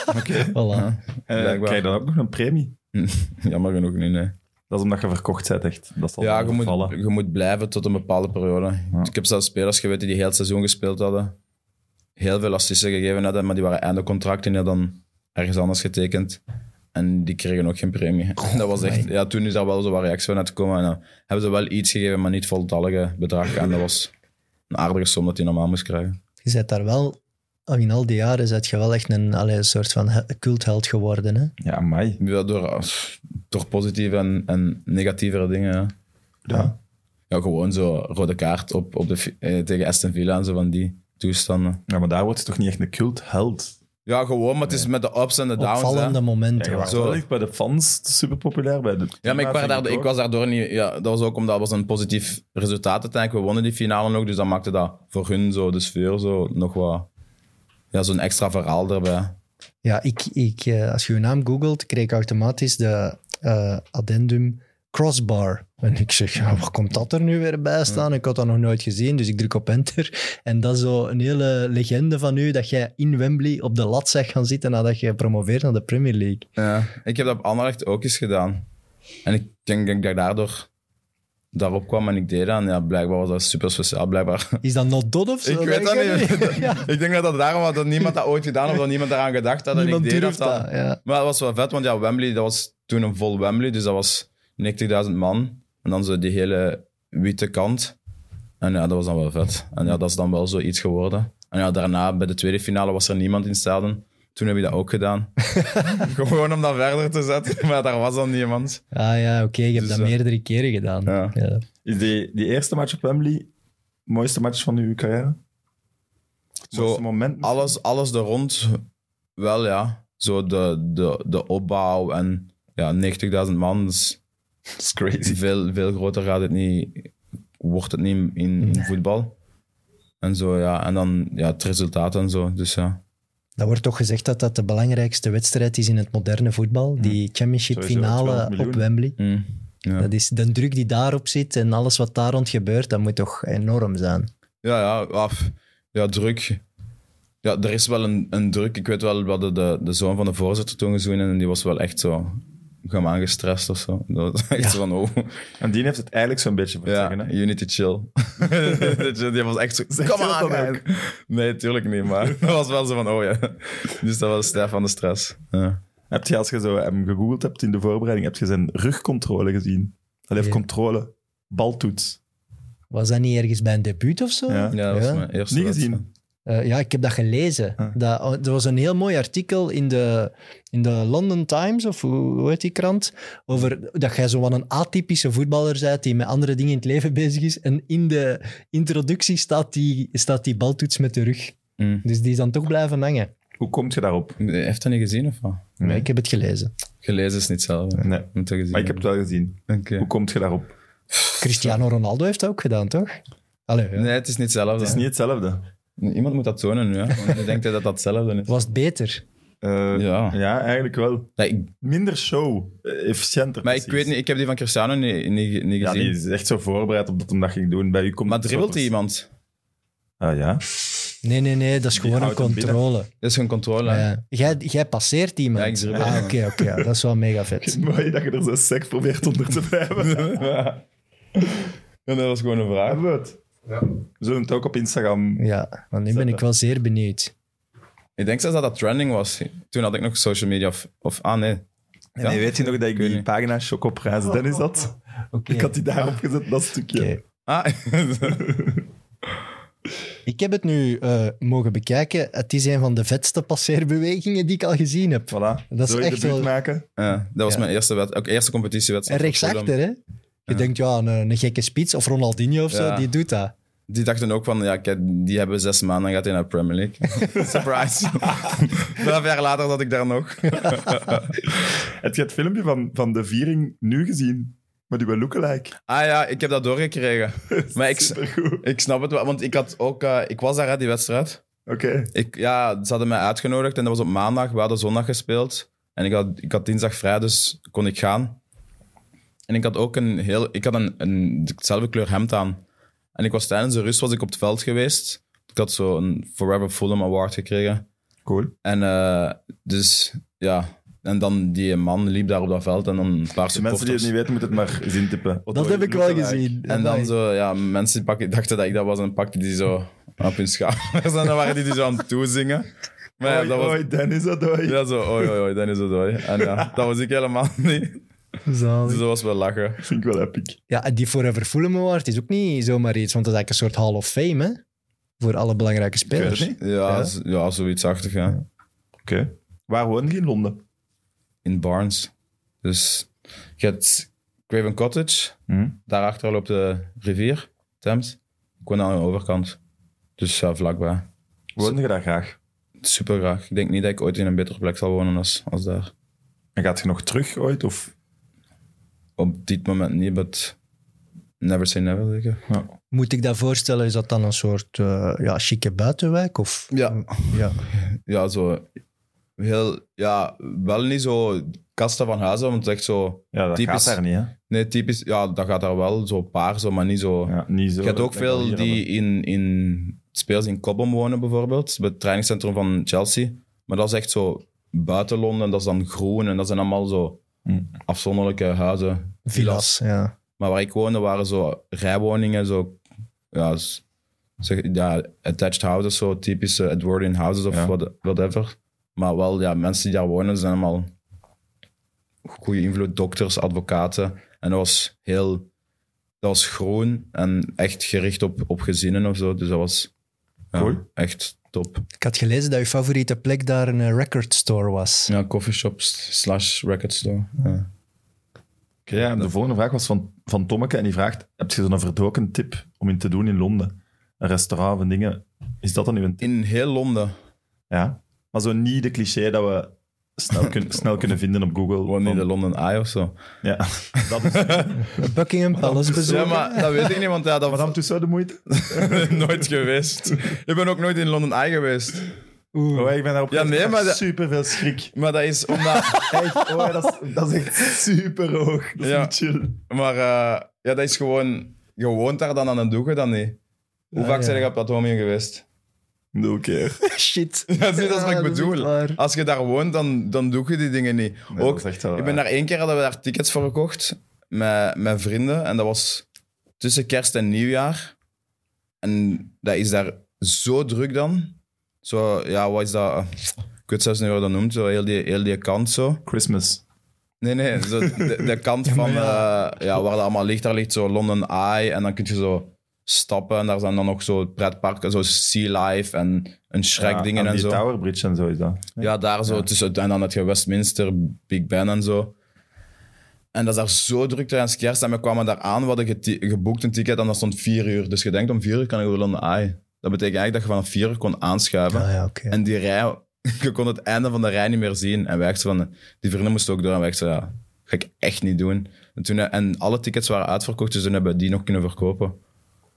B: Voilà.
A: Eh
C: Blijkbaar.
A: krijg je dan ook nog een premie?
C: Jammer genoeg niet, nee.
A: Dat is omdat je verkocht bent, echt. Dat zal
C: Ja,
A: ja,
C: je moet,
A: vallen.
C: je moet blijven tot een bepaalde periode.
A: Ja.
C: Ik heb zelfs spelers geweten die heel het seizoen gespeeld hadden. Heel veel assisten gegeven hadden, maar die waren einde contract en die hadden ergens anders getekend. En die kregen ook geen premie. dat was echt, ja, toen is daar wel zo wat reactie van uitgekomen. En dan hebben ze wel iets gegeven, maar niet voltallige bedrag. En dat was een aardige som dat hij normaal moest krijgen.
B: Je bent daar wel, al in al die jaren, bent je wel echt een allee, soort van he- cultheld geworden. Hè?
A: Ja, mij.
C: Ja, Door, door positieve en, en negatievere dingen. Ja.
A: Ja.
C: Ja, gewoon zo rode kaart op, op de, fi- eh, tegen Aston Villa en zo van die toestanden.
A: ja, maar daar wordt je toch niet echt een cult held.
C: Ja, gewoon, maar het is met de ups en de downs.
B: Opvallende
A: Ja,
C: hè.
B: momenten.
A: je
B: Ja,
A: was
C: Zo.
A: wel echt bij de fans super populair. Bij de
C: Ja, maar ik, was
A: teammaat,
C: daar,
A: denk
C: ik was daardoor niet... Ja, dat was ook omdat het was een positief resultaat uiteindelijk. We wonnen die finale nog, dus dat maakte dat voor hun zo, de sfeer zo, nog wat... Ja, zo'n extra verhaal erbij.
B: ik, ik, eh, als je je naam googelt, kreeg ik automatisch de eh, addendum crossbar. En ik zeg, ja, wat komt dat er nu weer bij staan? Ik had dat nog nooit gezien, dus ik druk op enter. En dat is zo een hele legende van u, dat jij in Wembley op de lat zegt gaan zitten nadat je promoveert naar de Premier League.
C: Ja. Ik heb dat op Anderlecht ook eens gedaan. En ik denk, denk dat ik daardoor daarop kwam en ik deed dat. En ja, blijkbaar was dat super speciaal, blijkbaar.
B: Is dat not dot of zo?
C: Ik weet dat niet.
B: Ja.
C: ik denk dat dat daarom was dat niemand dat ooit gedaan had, of dat niemand eraan gedacht had. en
B: Niemand
C: ik deed
B: durft
C: dat.
B: dat. Ja.
C: Maar dat was wel vet, want ja, Wembley, dat was toen een vol Wembley, dus dat was 90.000 man. En dan zo die hele witte kant. En ja, dat was dan wel vet. En ja, dat is dan wel zoiets geworden. En ja, daarna, bij de tweede finale, was er niemand in het stadion. Toen heb je dat ook gedaan. Gewoon om dat verder te zetten, maar daar was dan niemand.
B: Ah ja, oké, je hebt
C: Dus,
B: dat
C: eh,
B: meerdere keren gedaan.
C: ja.
B: Ja.
A: ik. Is die, die eerste match op Wembley mooiste match van uw carrière? Het
C: Zo,
A: mooiste moment?
C: Alles, alles er rond, wel ja. Zo de, de, de opbouw en ja, 90.000 man. dus
A: Dat is crazy.
C: Veel, veel groter gaat het niet, wordt het niet in, in voetbal. En zo, ja. En dan ja, het resultaat en zo. Dus ja.
B: Dat wordt toch gezegd dat dat de belangrijkste wedstrijd is in het moderne voetbal. Die championship
A: Sowieso, 12
B: finale
A: miljoen.
B: op Wembley.
C: Mm. Ja.
B: Dat is de druk die daarop zit en alles wat daar rond gebeurt, dat moet toch enorm zijn.
C: Ja, ja, af. Ja, druk. Ja, er is wel een, een druk. Ik weet wel, we hadden de, de zoon van de voorzitter toen gezien en die was wel echt zo... Ik heb hem aangestrest of zo. Dat was echt zo van, oh.
A: En die heeft het eigenlijk zo'n beetje voor het
C: Ja,
A: zeggen, hè?
C: you need to chill. die was echt zo, kom
A: nou? je dat
C: aan.
A: dan
C: man." Nee, tuurlijk niet, maar dat was wel zo van, oh ja. Dus dat was sterf van de stress. Ja.
A: Heb je, als je zo hem gegoogeld hebt in de voorbereiding, heb je zijn rugcontrole gezien? Hij heeft
B: Ja.
A: controle, baltoets.
B: Was dat niet ergens bij een debuut of zo?
A: Ja.
C: Ja, dat was
B: Ja.
C: mijn eerste
A: Niet
C: wedstrijd.
A: gezien.
B: Eh, ja, ik heb dat gelezen.
A: Ah.
B: Dat, oh, er was een heel mooi artikel in de, in de London Times, of hoe, hoe heet die krant, over dat jij zo wat een atypische voetballer bent die met andere dingen in het leven bezig is. En in de introductie staat die, staat die baltoets met de rug.
C: Mm.
B: Dus die is dan toch blijven hangen.
A: Hoe komt je daarop?
C: Nee, Heeft dat niet gezien of wat?
A: Nee.
B: Maar ik heb het gelezen.
C: Gelezen is niet zelf.
A: Nee.
C: Moet dat gezien
A: Maar ik heb het wel gezien.
C: hebben.
A: Hoe
C: Oké.
A: komt je daarop?
B: Cristiano Ronaldo heeft dat ook gedaan, toch? Allee, ja.
C: Nee, het is niet hetzelfde.
A: Het is niet hetzelfde.
C: Iemand moet dat tonen nu. Hè? Want ik denk dat dat hetzelfde is.
B: Was het beter?
A: Eh,
C: Ja.
A: ja, eigenlijk wel.
C: Nee, ik-
A: Minder show, eh, efficiënter.
C: maar
A: precies.
C: ik weet niet, ik heb die van Cristiano niet, niet, niet
A: Ja,
C: gezien.
A: die is echt zo voorbereid op dat hem dat ging doen. Bij u komt
C: maar
A: het
C: dribbelt
A: zo-
C: hij iemand?
A: Ah ja.
B: Nee, nee, nee, dat is gewoon een
A: houdt hem
B: controle.
C: Dat is geen controle. hè?
B: Ja. Jij, jij passeert iemand.
C: Ja, ik dribbel.
B: ah, oké, oké. ja, dat is wel mega vet.
A: Mooi dat je er zo sec probeert onder te blijven.
C: Ja. En dat was gewoon een vraag.
A: Hebben we het? Zullen we het ook op Instagram?
B: Ja, want nu ben ik wel zeer benieuwd.
C: Ik denk zelfs dat dat trending was. Toen had ik nog social media of... of ah, nee. Ja.
A: Nee, weet je nog dat ik
C: weet
A: die
C: niet.
A: pagina Chocoprijs, Dennis had?
B: Oké.
A: Ik had die daarop gezet, dat stukje.
B: Oké.
C: Ah,
B: Ik heb het nu eh, mogen bekijken. Het is een van de vetste passeerbewegingen die ik al gezien heb.
A: Voilà.
B: Dat is
A: Zo in
B: echt
A: de buurt
B: wel-
A: maken.
C: Ja, dat was
B: Ja.
C: mijn eerste, wed- ook
B: En
C: eerste competitiewedstrijd. voor
B: rechtsachter,
C: Fulham.
B: hè? Je denkt, ja, een, een gekke spits of Ronaldinho of zo,
C: Ja.
B: die doet dat.
C: Die dachten ook van, ja, kijk, die hebben zes maanden, dan gaat hij naar de Premier League. Surprise. Vijf jaar later zat ik daar nog.
A: Heb je het filmpje van, van de viering nu gezien? Maar die wel lookalike.
C: Ah ja, ik heb dat doorgekregen. Maar ik,
A: Supergoed.
C: ik snap het wel, want ik had ook... eh, ik was daar, hè, die wedstrijd.
A: Oké.
C: Ik, ja, ze hadden mij uitgenodigd en dat was op maandag. We hadden zondag gespeeld. En ik had, ik had dinsdag vrij, dus kon ik gaan. En ik had ook een heel... Ik had een, een dezelfde kleur hemd aan. En ik was tijdens de rust was ik op het veld geweest. Ik had zo een Forever Fulham Award gekregen.
A: Cool.
C: En eh, dus, ja. En dan die man liep daar op dat veld en dan een paar
A: De mensen die het
C: supporters.
A: niet weten, moeten het maar zien tippen.
B: Dat heb ik wel gezien.
C: En dan
B: Amai.
C: zo, ja, mensen die pakken, dachten dat ik dat was en pakten die zo op hun schouders. En dan waren die, die zo aan het toezingen. Maar ja,
A: Oi,
C: dat was...
A: oi, Dennis Adoy.
C: Ja, zo, oi, oi, oi, dan is het oi. En ja, dat was ik helemaal niet.
B: Zalig.
C: Dus dat was wel lachen.
A: Vind ik wel epic.
B: Ja, en die Forever Fulham Award is ook niet zomaar iets, want dat is eigenlijk een soort Hall of Fame, hè? Voor alle belangrijke spelers.
A: weet het
C: Ja, z- ja zoietsachtig, ja.
A: Oké. Waar wonen die in Londen?
C: In Barnes. Dus je hebt Craven Cottage. Daarachter loopt de rivier, Thames. Ik woon aan de overkant. Dus ja, vlakbij.
A: Woonde je daar graag?
C: Super graag. Ik denk niet dat ik ooit in een betere plek zal wonen als, als daar.
A: En gaat je nog terug ooit? Of?
C: Op dit moment niet, but never say never, denk ik.
B: Moet ik dat voorstellen, is dat dan een soort eh, ja, chique buitenwijk? Of,
C: Ja.
B: ja.
C: Ja, zo heel... Ja, wel niet zo kasten van huizen, want het is echt zo...
A: Ja, dat
C: Typisch.
A: gaat daar niet, hè?
C: Nee, typisch... Ja, dat gaat daar wel, zo paar, zo, maar niet zo...
A: Ja, niet zo.
C: Je hebt ook
A: dat we
C: veel
A: hier
C: die in, in spelers in Cobham wonen, bijvoorbeeld. Bij het trainingscentrum van Chelsea. Maar dat is echt zo buiten Londen. Dat is dan groen en dat zijn allemaal zo
A: Mm.
C: afzonderlijke huizen.
B: Villas, ja.
C: Maar waar ik woonde waren zo rijwoningen, zo... Ja, s- zeg, ja attached houses, zo typische Edwardian houses of
A: Ja.
C: what- whatever. Maar wel, ja, mensen die daar wonen zijn allemaal goede invloed. Dokters, advocaten. En dat was heel... Dat was groen en echt gericht op, op gezinnen of zo. Dus dat was ja,
A: Cool.
C: echt top.
B: Ik had gelezen dat je favoriete plek daar een eh, record store was.
C: Ja, coffeeshops slash record store. Ja.
A: Oké, ja, de volgende vraag was van, van Tommeke en die vraagt: Heb je zo'n verdoken tip om in te doen in Londen? Een restaurant of dingen. Is dat dan uw tip?
C: In heel Londen.
A: Ja. Maar zo niet de cliché dat we snel, kun- snel kunnen vinden op Google.
C: Gewoon in
A: Van-
C: de London Eye of zo.
A: Ja, dat is
B: Buckingham Palace
C: Oh, Ja,
B: bezoeken.
C: maar dat weet ik niet, want ja, dat,
A: Madame Tussauds de moeite.
C: nooit geweest. Ik ben ook nooit in London Eye geweest.
B: Oeh.
A: Oh, ik ben daarop
C: Ja, nee, maar dat-
A: super veel schrik.
C: Maar dat is omdat.
A: Echt, oh, dat, is, dat is echt super hoog. Dat is
C: Ja.
A: niet chill.
C: maar eh, ja, dat is gewoon. Je woont daar dan aan het doeken dan niet. Hoe
B: Ah,
C: vaak
B: ja.
C: zijn je op dat homium geweest?
A: Nul keer.
B: Shit.
C: Dat is niet als wat
B: Ja,
C: ik
B: dat is
C: bedoel.
B: waar.
C: Als je daar woont, dan, dan doe je die dingen niet.
A: Nee,
C: ook,
A: dat is echt wel eh,
C: ik
A: waar.
C: ben daar één keer hadden we daar tickets voor gekocht met, met vrienden. En dat was tussen kerst en nieuwjaar. En dat is daar zo druk dan. Zo, ja, wat is dat? Ik weet zelfs niet hoe dat noemt. Zo, heel, die, heel die kant zo.
A: Christmas.
C: Nee, nee, zo de, de kant van eh, ja, waar dat allemaal ligt, daar ligt zo London Eye en dan kun je zo stappen en daar zijn dan nog zo pretparken, zo Sea Life en een Shrek
A: Ja,
C: dingen
A: aan
C: en
A: die
C: zo.
A: Tower Bridge en zo is dat.
C: Ja, daar zo tussen, en dan het je Westminster, Big Ben en zo. En dat is daar zo druk tijdens kerst en we kwamen daar aan, we hadden geti- geboekt een ticket en dat stond vier uur. Dus je denkt om vier uur kan ik over London Eye. Dat betekent eigenlijk dat je vanaf vier uur kon aanschuiven.
B: Ah ja, oké.
C: En die rij, je kon het einde van de rij niet meer zien. En wij echt zo van, die vrienden moesten ook door. En wij echt zo, ja, ga ik echt niet doen. En, toen, en alle tickets waren uitverkocht, dus toen hebben we die nog kunnen verkopen.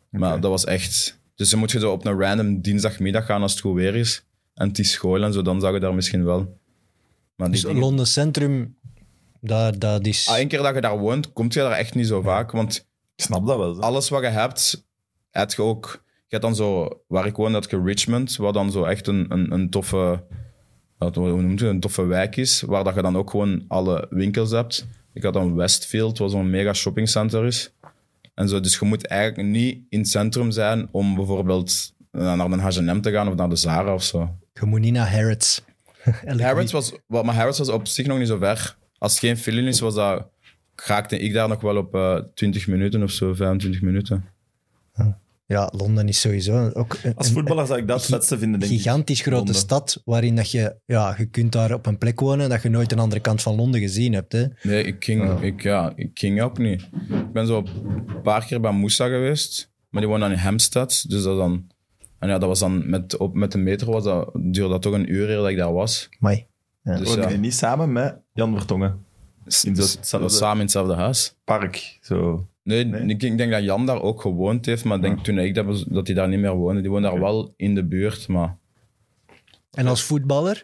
C: Maar dat was echt... Dus dan moet je zo op een random dinsdagmiddag gaan als het goed weer is. En het is school en zo, dan zou je daar misschien wel... Maar die
B: Dus
C: dingen-
B: Londen Centrum, daar, dat is...
C: Ah, één keer dat je daar woont, komt je daar echt niet zo vaak. Want
A: Ik snap dat wel. zo.
C: alles wat je hebt, heb je ook. Je hebt dan zo, waar ik woon, dat je Richmond, wat dan zo echt een, een, een toffe, wat- hoe noemt je, dat? een toffe wijk is, waar dat je dan ook gewoon alle winkels hebt. Ik had dan Westfield, wat zo'n mega shoppingcenter is. En zo, dus je moet eigenlijk niet in het centrum zijn om bijvoorbeeld eh, naar een H&M te gaan of naar de Zara of zo.
B: Je moet niet naar Harrods. Elke
C: Harrods was, wel, maar Harrods was op zich nog niet zo ver. Als het geen file is, was dat, raakte ik daar nog wel op eh, 20 minuten of zo, 25 minuten.
B: week. Ja, Londen is sowieso ook een,
A: Als
B: een-
A: voetballer zou ik dat het
B: gi-
A: vetste vinden,
B: een
A: denk ik.
B: gigantisch grote
A: Londen.
B: stad waarin dat je, ja, je kunt daar op een plek wonen dat je nooit een andere kant van Londen gezien hebt. Hè.
C: Nee, ik ging, Ik, ja, ik ging ook niet. Ik ben zo een paar keer bij Moussa geweest, maar die woonde in Hempstead. Dus dat dan, en ja, dat was dan met, op, met de metro was dat, duurde dat toch een uur eer dat ik daar was.
B: Amai.
C: Dus
A: Woonde
C: ja,
A: je Oh, niet samen met Jan Vertongen? in
C: dus
A: dat-
C: dat was samen in hetzelfde huis.
A: Park, zo.
C: Nee,
A: Nee?
C: Ik, ik denk dat Jan daar ook gewoond heeft, maar ik denk toen ik dat, was- dat hij daar niet meer woonde. Die woonde daar wel in de buurt, maar
B: En als voetballer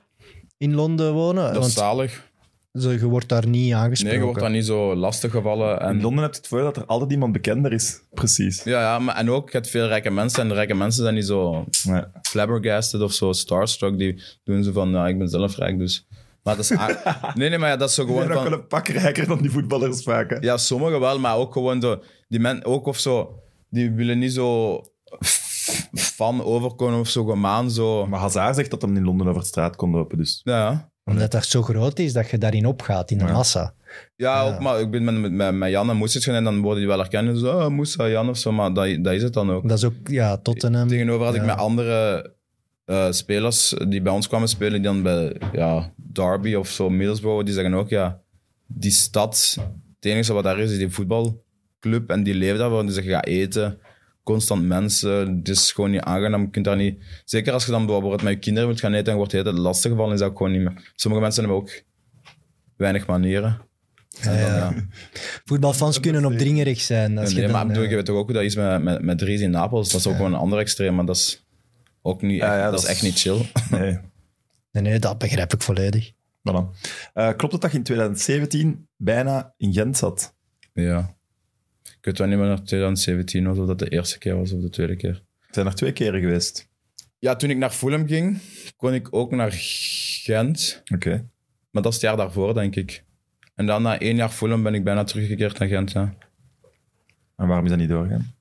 B: in Londen wonen,
C: dat is
B: want
C: zalig.
B: ze- je wordt daar niet
C: Nee,
B: aangesproken.
C: je wordt daar niet zo lastig gevallen. En
A: In Londen heb je het voordeel dat er altijd iemand bekender is. Precies.
C: Ja, ja maar, en ook, je hebt veel rijke mensen en de rijke mensen zijn niet zo
A: Ja.
C: flabbergasted of zo starstruck. Die doen ze van, nou, ik ben zelf rijk, dus... Maar dat is... a- nee, nee, maar ja, dat is zo
A: Ik
C: gewoon
A: ben ook
C: van...
A: wel een pak rijker dan die voetballers vaak. hè.
C: Ja, sommigen wel, maar ook gewoon zo... Die men, ook of zo, die willen niet zo f- fan overkomen of zo, gemaan zo...
A: Maar Hazard zegt dat hem in Londen over de straat kon lopen, dus...
C: Ja,
B: Omdat dat zo groot is dat je daarin opgaat, in de massa.
C: ja, ook, maar ik ben met, met, met, met Jan en Moes gaan en dan worden die wel herkend. Zo, ah, Moussa, Jan of zo, maar dat, dat is het dan ook.
B: Dat is ook, ja, Tottenham.
C: Tegenover had ik
B: Ja.
C: met andere eh, spelers die bij ons kwamen spelen, die dan bij ja, Derby of zo, Middlesbrough, die zeggen ook, ja, die stad, het enige wat daar is, is die voetbalclub en die leven daarvoor. Dus je gaat eten, constant mensen, het is gewoon niet aangenaam. Je kunt daar niet... Zeker als je dan bijvoorbeeld met je kinderen wilt gaan eten en wordt het lastig gevallen, is dat ook gewoon niet meer... Sommige mensen hebben ook weinig manieren. En dan, ja.
B: Voetbalfans kunnen opdringerig zijn. Als
C: Nee,
B: je
C: maar
B: dan,
C: ik bedoel,
B: eh,
C: je weet toch ook hoe dat is met, met, met Dries in Napels. Dat is ook gewoon een ander extreem, maar dat is ook niet echt,
A: Ja, ja,
C: dat
A: dat
C: is
A: is-
C: echt niet chill.
A: Nee.
B: nee, nee, dat begrijp ik volledig.
A: Voilà. Eh, klopt het dat je in 2017 bijna in Gent zat?
C: Ja. Ik weet wel niet meer of 2017 was, of dat de eerste keer was of de tweede keer.
A: Het zijn er twee keren geweest.
C: Ja, toen ik naar Fulham ging, kon ik ook naar Gent.
A: Oké.
C: Maar dat is het jaar daarvoor, denk ik. En dan na één jaar Fulham ben ik bijna teruggekeerd naar Gent. Ja.
A: En waarom is dat niet doorgegaan?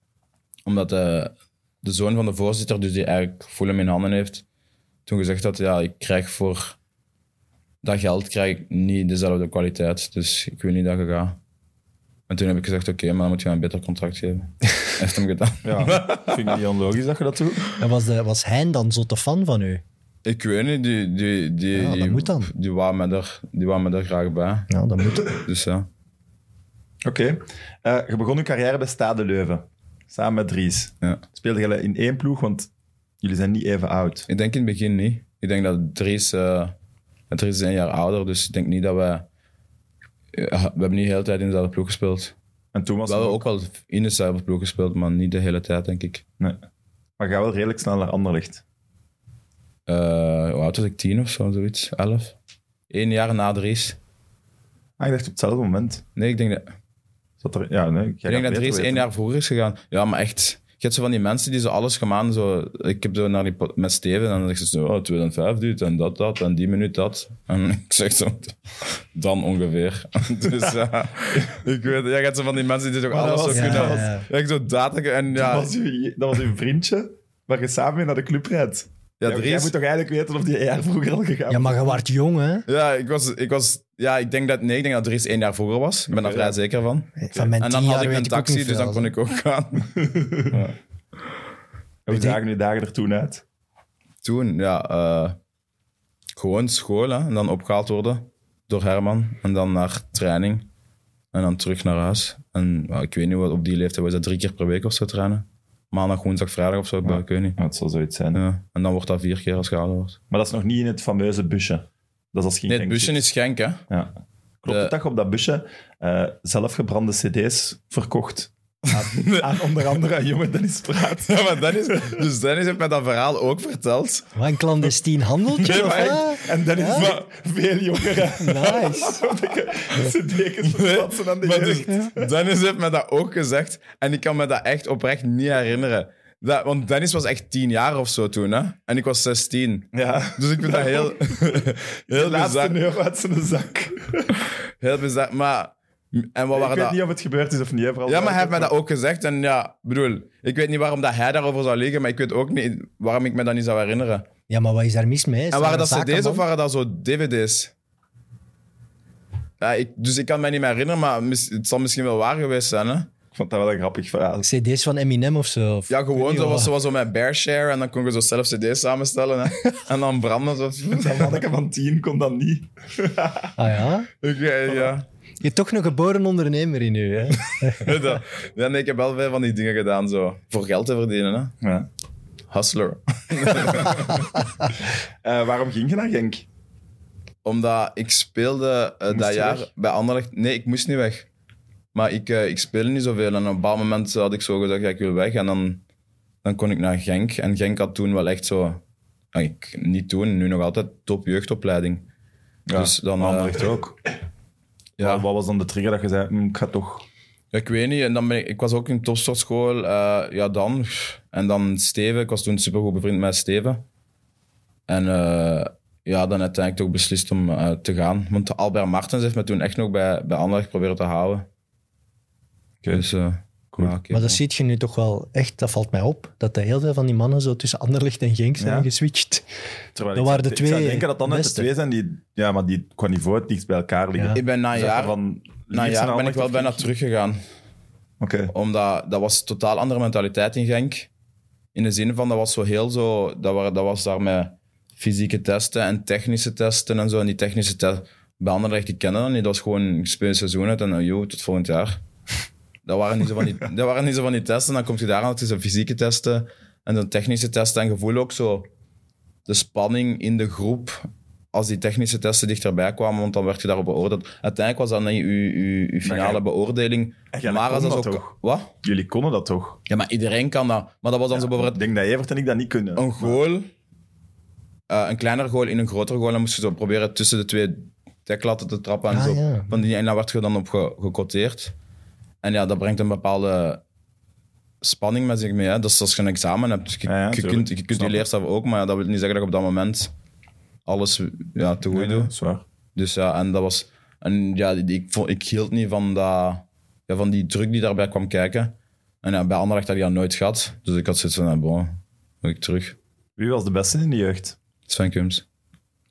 C: Omdat eh, de zoon van de voorzitter, dus die eigenlijk Fulham in handen heeft, toen gezegd had, ja, ik krijg voor dat geld krijg ik niet dezelfde kwaliteit. Dus ik wil niet dat je gaat. En toen heb ik gezegd, oké, maar dan moet je mij een beter contract geven. heeft hem gedaan.
A: Ja, vind ik niet onlogisch dat je dat doet.
B: En was, de, was Hein dan zotte fan van u?
C: Ik weet niet, die, die, die,
B: Ja, dat
C: die,
B: moet dan.
C: die waren me er, die waren me er graag bij.
B: Nou, dat moet.
C: Dus ja.
A: Oké. Eh, je begon je carrière bij Stade Leuven. Samen met Dries.
C: Ja.
A: Speelde je in één ploeg, want jullie zijn niet even oud.
C: Ik denk in het begin niet. Ik denk dat Dries, eh Dries is een jaar ouder, dus ik denk niet dat wij... We hebben niet de hele tijd in dezelfde ploeg gespeeld.
A: En toen was
C: We hebben
A: het ook...
C: ook wel in de cyberploeg gespeeld, maar niet de hele tijd, denk ik.
A: Nee. Maar ga wel redelijk snel naar Anderlecht.
C: Eh hoe oud was ik? Tien of zo, zoiets. Elf. Eén jaar na Dries.
A: Ah, ik dacht op hetzelfde moment.
C: Nee, ik denk dat, ik
A: Zat er... Ja, nee. Ik
C: denk dat Dries één jaar vroeger is gegaan. Ja, maar echt. Je hebt zo van die mensen die zo alles gemaakt zo, Ik heb zo naar die pod- met Steven en dan zegt ze zo, oh, 2005 duurt en dat, dat en die minuut dat. En ik zeg zo, dan ongeveer. dus eh, ik weet, ja, je hebt zo van die mensen die zo
A: Oh, dat
C: alles zo
A: was-
C: kunnen.
A: ja,
B: ja.
C: Ja, ik zo data en ja.
A: Dat was, uw, dat was uw vriendje waar je samen mee naar de club rijdt.
C: Ja,
A: maar
C: Dries-
A: Jij moet toch eigenlijk weten of die een jaar vroeger al gegaan
B: Ja, maar je waart jong, hè?
C: Ja, ik was, ik was, ja, ik denk dat, nee, ik denk dat Dries één jaar vroeger was. Ik ben daar vrij zeker van.
B: Van mijn
C: En
B: tien
C: dan
B: jaar
C: had ik
B: weet
C: een
B: ook
C: taxi,
B: niet
C: dus dan
B: veel.
C: kon ik ook gaan.
A: En Hoe zagen die dagen er toen uit?
C: Toen, ja, eh, gewoon school hè, en dan opgehaald worden door Herman. En dan naar training en dan terug naar huis. En ja, ik weet niet, wat op die leeftijd was dat drie keer per week of zo trainen. Maandag, woensdag, vrijdag of zo, ik- ik weet niet.
A: Ja, het zal zoiets zijn.
C: Ja. En dan wordt dat vier keer als je ouder wordt.
A: Maar dat is nog niet in het fameuze busje. Dat is als geen
C: Nee, het busje is Genk, hè.
A: Ja. Klopt het
C: De-
A: dat je op dat busje eh, zelfgebrande cd's verkocht?
B: Ah,
A: Aan onder andere aan jongen Dennis Praat.
C: Ja, maar Dennis, dus Dennis heeft mij dat verhaal ook verteld.
B: Wat een clandestien handeltje,
C: Nee,
B: of
C: maar
B: wat?
A: En Dennis
B: Ja?
A: is veel jonger.
B: Nice.
A: Zodat ik cd's verplaatsen aan de
C: Maar
A: jeugd.
C: dus, Dennis heeft me dat ook gezegd. En ik kan me dat echt oprecht niet herinneren. Dat, want Dennis was echt tien jaar of zo toen, hè? En ik was 16.
A: Ja.
C: Dus ik vind dat heel, heel,
A: Laatste
C: bizar,
A: euro uit zijn zak.
C: heel bizar. Maar, en wat
A: Ik
C: waren
A: weet
C: dat?
A: niet of het gebeurd is of niet. hè, vooral
C: Ja, maar hij heeft mij
A: wel.
C: dat ook gezegd. En ja, bedoel, ik weet niet waarom dat hij daarover zou liggen, maar ik weet ook niet waarom ik me dat niet zou herinneren.
B: Ja, maar wat is daar mis mee?
C: En waren dat
B: Zakenman?
C: cd's of waren dat zo dvd's? Ja, ik, dus ik kan mij niet meer herinneren, maar mis- het zal misschien wel waar geweest zijn, hè?
A: vond dat wel een grappig verhaal.
B: CD's van Eminem of zo. of-
C: Ja, gewoon
B: weet
C: zo
B: niet
C: was,
B: wat.
C: zo was zo met Bear Share en dan kon je zo zelf cd's samenstellen. Hè. En dan branden ze.
A: Dat manneke van tien kon dat niet.
B: Ah ja?
C: Oké, ja.
B: Je bent toch een geboren ondernemer in u, hè?
C: Dat- Ja, nee, ik heb wel veel van die dingen gedaan zo. Voor geld te verdienen, hè.
A: Ja.
C: Hustler.
A: Eh, waarom ging je naar Genk?
C: Omdat ik speelde eh,
A: Moest
C: dat
A: je
C: jaar
A: weg?
C: bij Anderlecht. Nee, ik moest niet weg. Maar ik, eh, ik speelde niet zoveel. En op een bepaald moment had ik zo gezegd, ja, ik wil weg. En dan, dan kon ik naar Genk. En Genk had toen wel echt zo... nou, Ik, niet toen, nu nog altijd top jeugdopleiding. dus dan... eh,
A: Anderlecht ook.
C: ja.
A: Wat, wat was dan de trigger dat je zei, hm, ik ga toch...
C: Ja, Ik weet niet. En dan ben ik, ik was ook in topsportschool. eh, ja, dan. En dan Steven. Ik was toen supergoed bevriend met Steven. En eh, ja, dan uiteindelijk toch beslist om eh, te gaan. Want Albert Martens heeft me toen echt nog bij, bij Anderlecht proberen te houden.
A: Oké.
C: Dus, eh,
A: Cool.
C: ja, oké.
B: Maar dat ziet je nu toch wel echt, dat valt mij op, dat de heel veel van die mannen zo tussen Anderlecht en Genk zijn
A: Ja.
B: geswitcht.
A: Terwijl
B: Dat
A: ik-
B: waren de
A: Ik zou
B: twee
A: denken dat dan net de
B: beste.
A: twee zijn die, ja, maar die qua niveau het dichtst bij elkaar liggen.
B: Ja.
C: Ik ben na een
A: Zeg maar
C: jaar,
A: van,
C: na een
A: liefst
C: jaar ben ik
A: Anderlecht
C: wel
A: of
C: bijna
A: Genk?
C: teruggegaan.
A: Oké.
C: Omdat dat was een totaal andere mentaliteit in Genk. In de zin van, dat was zo heel zo... Dat, waren, dat was daar met fysieke testen en technische testen en zo. En die technische testen... Bij Anderlecht, die kennen dat niet. Dat was gewoon, ik speel een seizoen uit en eh, joh, tot volgend jaar. Dat waren niet zo van die, dat waren niet zo van die testen. Dan kom je daar aan, het is een fysieke testen en dan technische testen. En gevoel ook zo de spanning in de groep als die technische testen dichterbij kwamen, want dan werd je daarop beoordeeld. Uiteindelijk was dat niet uw, uw, uw finale
A: Maar jij-
C: beoordeling.
A: En jij
C: maar als
A: kon
C: dat
A: dat
C: zo...
A: toch?
C: Wat?
A: Jullie konden dat toch?
C: Ja, maar iedereen kan dat. Maar dat was dan zo
A: Ik
C: bijvoorbeeld
A: denk dat Evert en ik dat niet kunnen.
C: een goal, eh, een kleiner goal in een groter goal. Dan moest je zo proberen tussen de twee deklatten te trappen. En,
B: Ah,
C: zo.
B: ja.
C: Van die, en daar werd je dan op ge- gecoteerd. En ja, dat brengt een bepaalde spanning met zich mee. Hè. Dat is als je een examen hebt. Je,
A: Ja, ja,
C: je
A: tuurlijk.
C: kunt, je kunt
A: Snap
C: je
A: ik.
C: leerstof ook, maar ja, dat wil niet zeggen dat je op dat moment alles ja, te goed
A: Nee, nee,
C: doet.
A: dat is waar.
C: Dus ja, en dat was. En ja, die- ik, vond, ik hield niet van, dat, ja, van die druk die daarbij kwam kijken. En ja, bij Anderlecht had ik dat nooit gehad. Dus ik had zoiets van, ah, bon, moet ik terug.
A: Wie was de beste in de jeugd?
C: Sven Kums.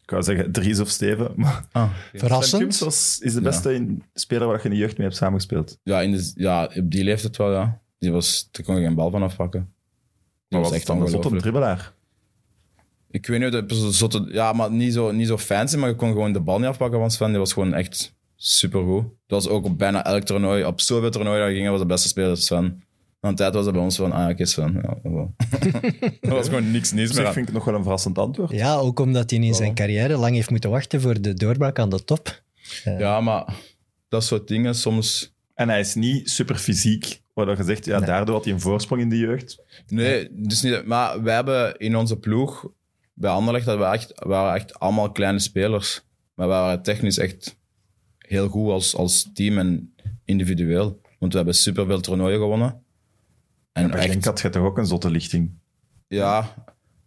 A: Ik wou zeggen Dries of Steven, maar
C: Ah.
A: Sven
B: Verrassend.
A: Kums was, is de beste in, speler waar je in de jeugd mee hebt samengespeeld.
C: Ja, in de, ja, op die leeftijd wel, ja. Die was, daar kon je geen bal van afpakken.
A: Maar
C: Dat
A: was
C: was
A: echt
C: echt
A: dan een zotte
C: ongelooflijk.
A: dribbelaar.
C: Ik weet niet, hoe dat- zotte- ja, maar niet zo, niet zo fancy, maar je kon gewoon de bal niet afpakken van Sven. Die was gewoon echt supergoed. Dat was ook op bijna elk toernooi, op zoveel toernooien dat we gingen, was de beste speler Sven. Aan de tijd was dat bij ons van, ah, oké, Sven. Ja, dat wel. dat was gewoon niks nieuws
A: Op
C: meer
A: zich
C: aan.
A: vind Dus ik het nog wel een verrassend antwoord.
B: Ja, ook omdat hij in zijn carrière lang heeft moeten wachten voor de doorbraak aan de top.
C: Ja, maar dat soort dingen soms...
A: En hij is niet super fysiek, waar dat je zegt, ja, daardoor had hij een voorsprong in de jeugd.
C: Nee, dus niet, maar wij hebben in onze ploeg, bij Anderlecht, dat we echt, waren echt allemaal kleine spelers. Maar we waren technisch echt heel goed als, als team en individueel. Want we hebben superveel toernooien gewonnen. En
A: Bij Genk
C: echt,
A: had je toch ook een zotte lichting?
C: ja.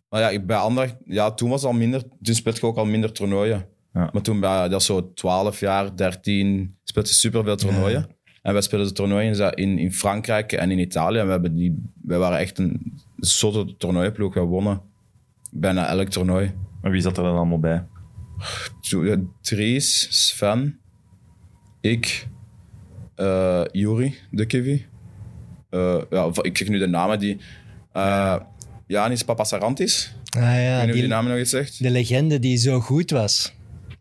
C: Maar ja, ik- bij Anderlecht, ja, toen was het al minder, toen speelde ik ook al minder toernooien.
A: Ja.
C: Maar toen, bij, dat is zo 12 jaar, 13, speelde superveel toernooien. En wij speelden de toernooien in, in Frankrijk en in Italië. En we hebben die, wij waren echt een zotte toernooiploeg. We wonnen bijna elk toernooi.
A: Maar wie zat er dan allemaal bij?
C: Zo, ja, Dries, Sven, ik, eh Juri, de Kiwi. Eh, ja, ik zeg nu de namen die... eh Janis Papasarantis.
B: Ah ja,
C: ik weet niet of
B: die,
C: die naam nog iets zegt.
B: de legende die zo goed was.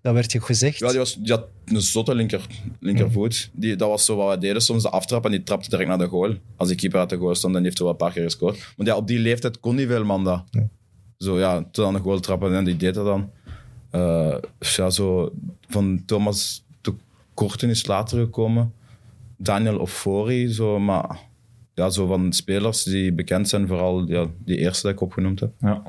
B: Dat werd je gezegd.
C: Ja, die, was, die had een zotte linker, linkervoet. Die, dat was zo wat wij deden soms, de aftrap. En die trapte direct naar de goal. Als de keeper uit de goal stond, dan heeft hij wel een paar keer gescoord. Want ja, op die leeftijd kon die veel man dat. Zo ja, tot aan de goal trappen en die deed dat dan. Eh, ja, zo van Thomas de Korten is later gekomen. Daniel Ofori, zo, maar... Ja, zo van spelers die bekend zijn, vooral ja, die eerste dat ik opgenoemd heb.
A: Ja.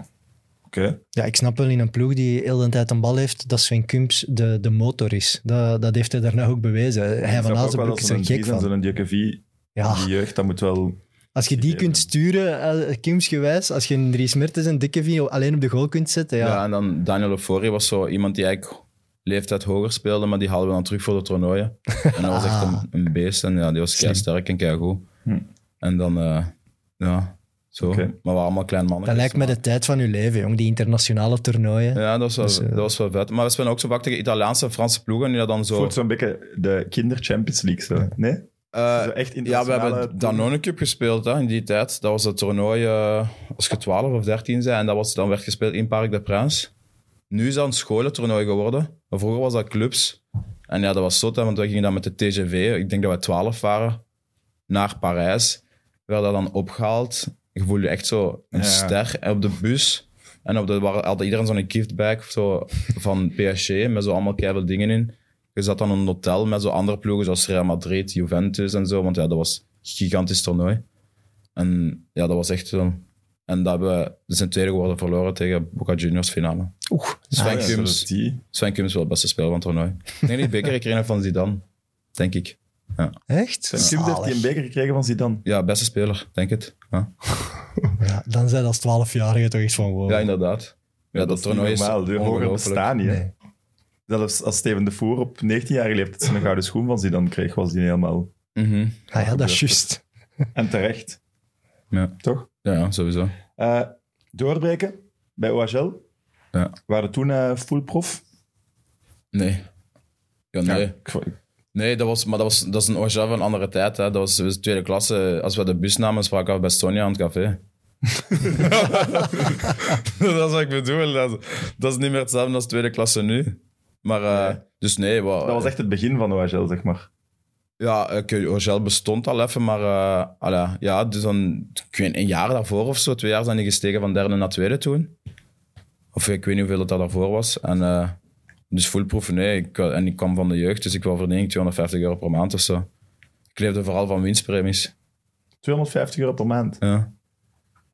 A: Oké.
B: Ja, ik snap wel in een ploeg die heel de tijd een bal heeft, dat Sven Kumps de, de motor is. Dat, dat heeft hij daarna ook bewezen. Hij
A: Ik
B: van
A: snap ook wel
B: Azenbroek
A: dat
B: is
A: zo'n
B: er gek
A: Dries en
B: van.
A: zo'n Djokovic,
B: Ja,
A: die jeugd, dat moet wel...
B: als je die kunt sturen, eh, Kumps gewijs, als je een Dries Mertens en Dikkevie alleen op de goal kunt zetten,
C: Ja.
B: ja.
C: en dan Daniel Ofori was zo iemand die eigenlijk leeftijd hoger speelde, maar die haalden we dan terug voor de toernooien. En dat was echt een, een beest en ja, die was kei sterk en kei goed.
A: Hm.
C: En dan, eh, ja, zo.
A: Oké.
C: Maar we waren allemaal klein mannen.
B: Dat lijkt me de tijd van je leven, jong. Die internationale toernooien.
C: Ja, dat was, wel,
B: Dus, eh,
C: dat was wel vet. Maar we spelen ook zo vaak tegen Italiaanse en Franse ploegen die dat dan zo...
A: Het voelt zo'n beetje de kinder Champions League zo. Nee?
C: Eh,
A: Zo echt
C: ja, we
A: internationale
C: hebben Danone Cup gespeeld hè, in die tijd. Dat was het toernooi eh, als je 12 of 13 bent. En dat was, dan werd gespeeld in Parc de Prins. Nu is dat een scholentoernooi geworden. Maar vroeger was dat clubs. En ja, dat was zot, hè, want wij gingen dan met de TGV. Ik denk dat wij 12 waren. Naar Parijs. We werden dan opgehaald. Je voelde je echt zo een
A: Ja.
C: ster En op de bus. En op de, waar- had iedereen zo'n giftbag of zo, van PSG met zo allemaal keiveel dingen in. Je zat dan in een hotel met zo andere ploegen zoals Real Madrid, Juventus en zo. Want ja, dat was een gigantisch toernooi. En ja, dat was echt zo. En dat hebben we dus in tweede geworden verloren tegen Boca Juniors finale.
B: Oeh,
C: Sven
A: Ah, ja,
C: Kums.
A: zodat die-
C: Sven Kums wel het beste speler van het toernooi. Ik denk die beker gekregen heeft van Zidane, denk ik.
B: echt?
A: Sven Kums heeft die een
B: Zalig.
A: beker gekregen van Zidane.
C: Ja, beste speler, denk het. Ja,
B: Ja, dan zijn dat als 12-jarige toch echt van wow.
C: ja inderdaad. Ja, dat,
A: is niet
C: toernooi is
A: normaal. De hoger
C: ongelooflijk.
A: bestaan niet. hè.
B: Nee.
A: Zelfs als Steven de Voer op 19-jarige leeftijd zijn gouden schoen van Zidane kreeg, was die helemaal...
C: Mhm.
B: Ah ja, dat is juist.
A: En terecht.
C: Ja.
A: Toch?
C: Ja, ja, sowieso.
A: Eh, doorbreken bij OHL.
C: Ja.
A: Waren toen eh full prof.
C: Nee. Ja, nee.
A: Ik vo-
C: Nee, dat was, maar dat, was, dat is een OHL van een andere tijd. Hè. Dat was, dat was tweede klasse. Als we de bus namen, spraken we bij Sonja aan het café. dat is wat ik bedoel. Dat, dat is niet meer hetzelfde als tweede klasse nu. Maar, eh, dus nee. Wat,
A: dat was echt het begin van OHL, zeg maar.
C: Ja, eh, OHL bestond al even, maar eh, allee, ja, dus dan, ik weet, een jaar daarvoor of zo, twee jaar zijn die gestegen van derde naar tweede toen. Of ik weet niet hoeveel dat dat daarvoor was. En, eh, dus fullproof, nee. Ik, eh, en ik kwam van de jeugd, dus ik wou verdienen 250 euro per maand of zo. Ik leefde vooral van winstpremies.
A: 250 euro per maand.
C: Ja.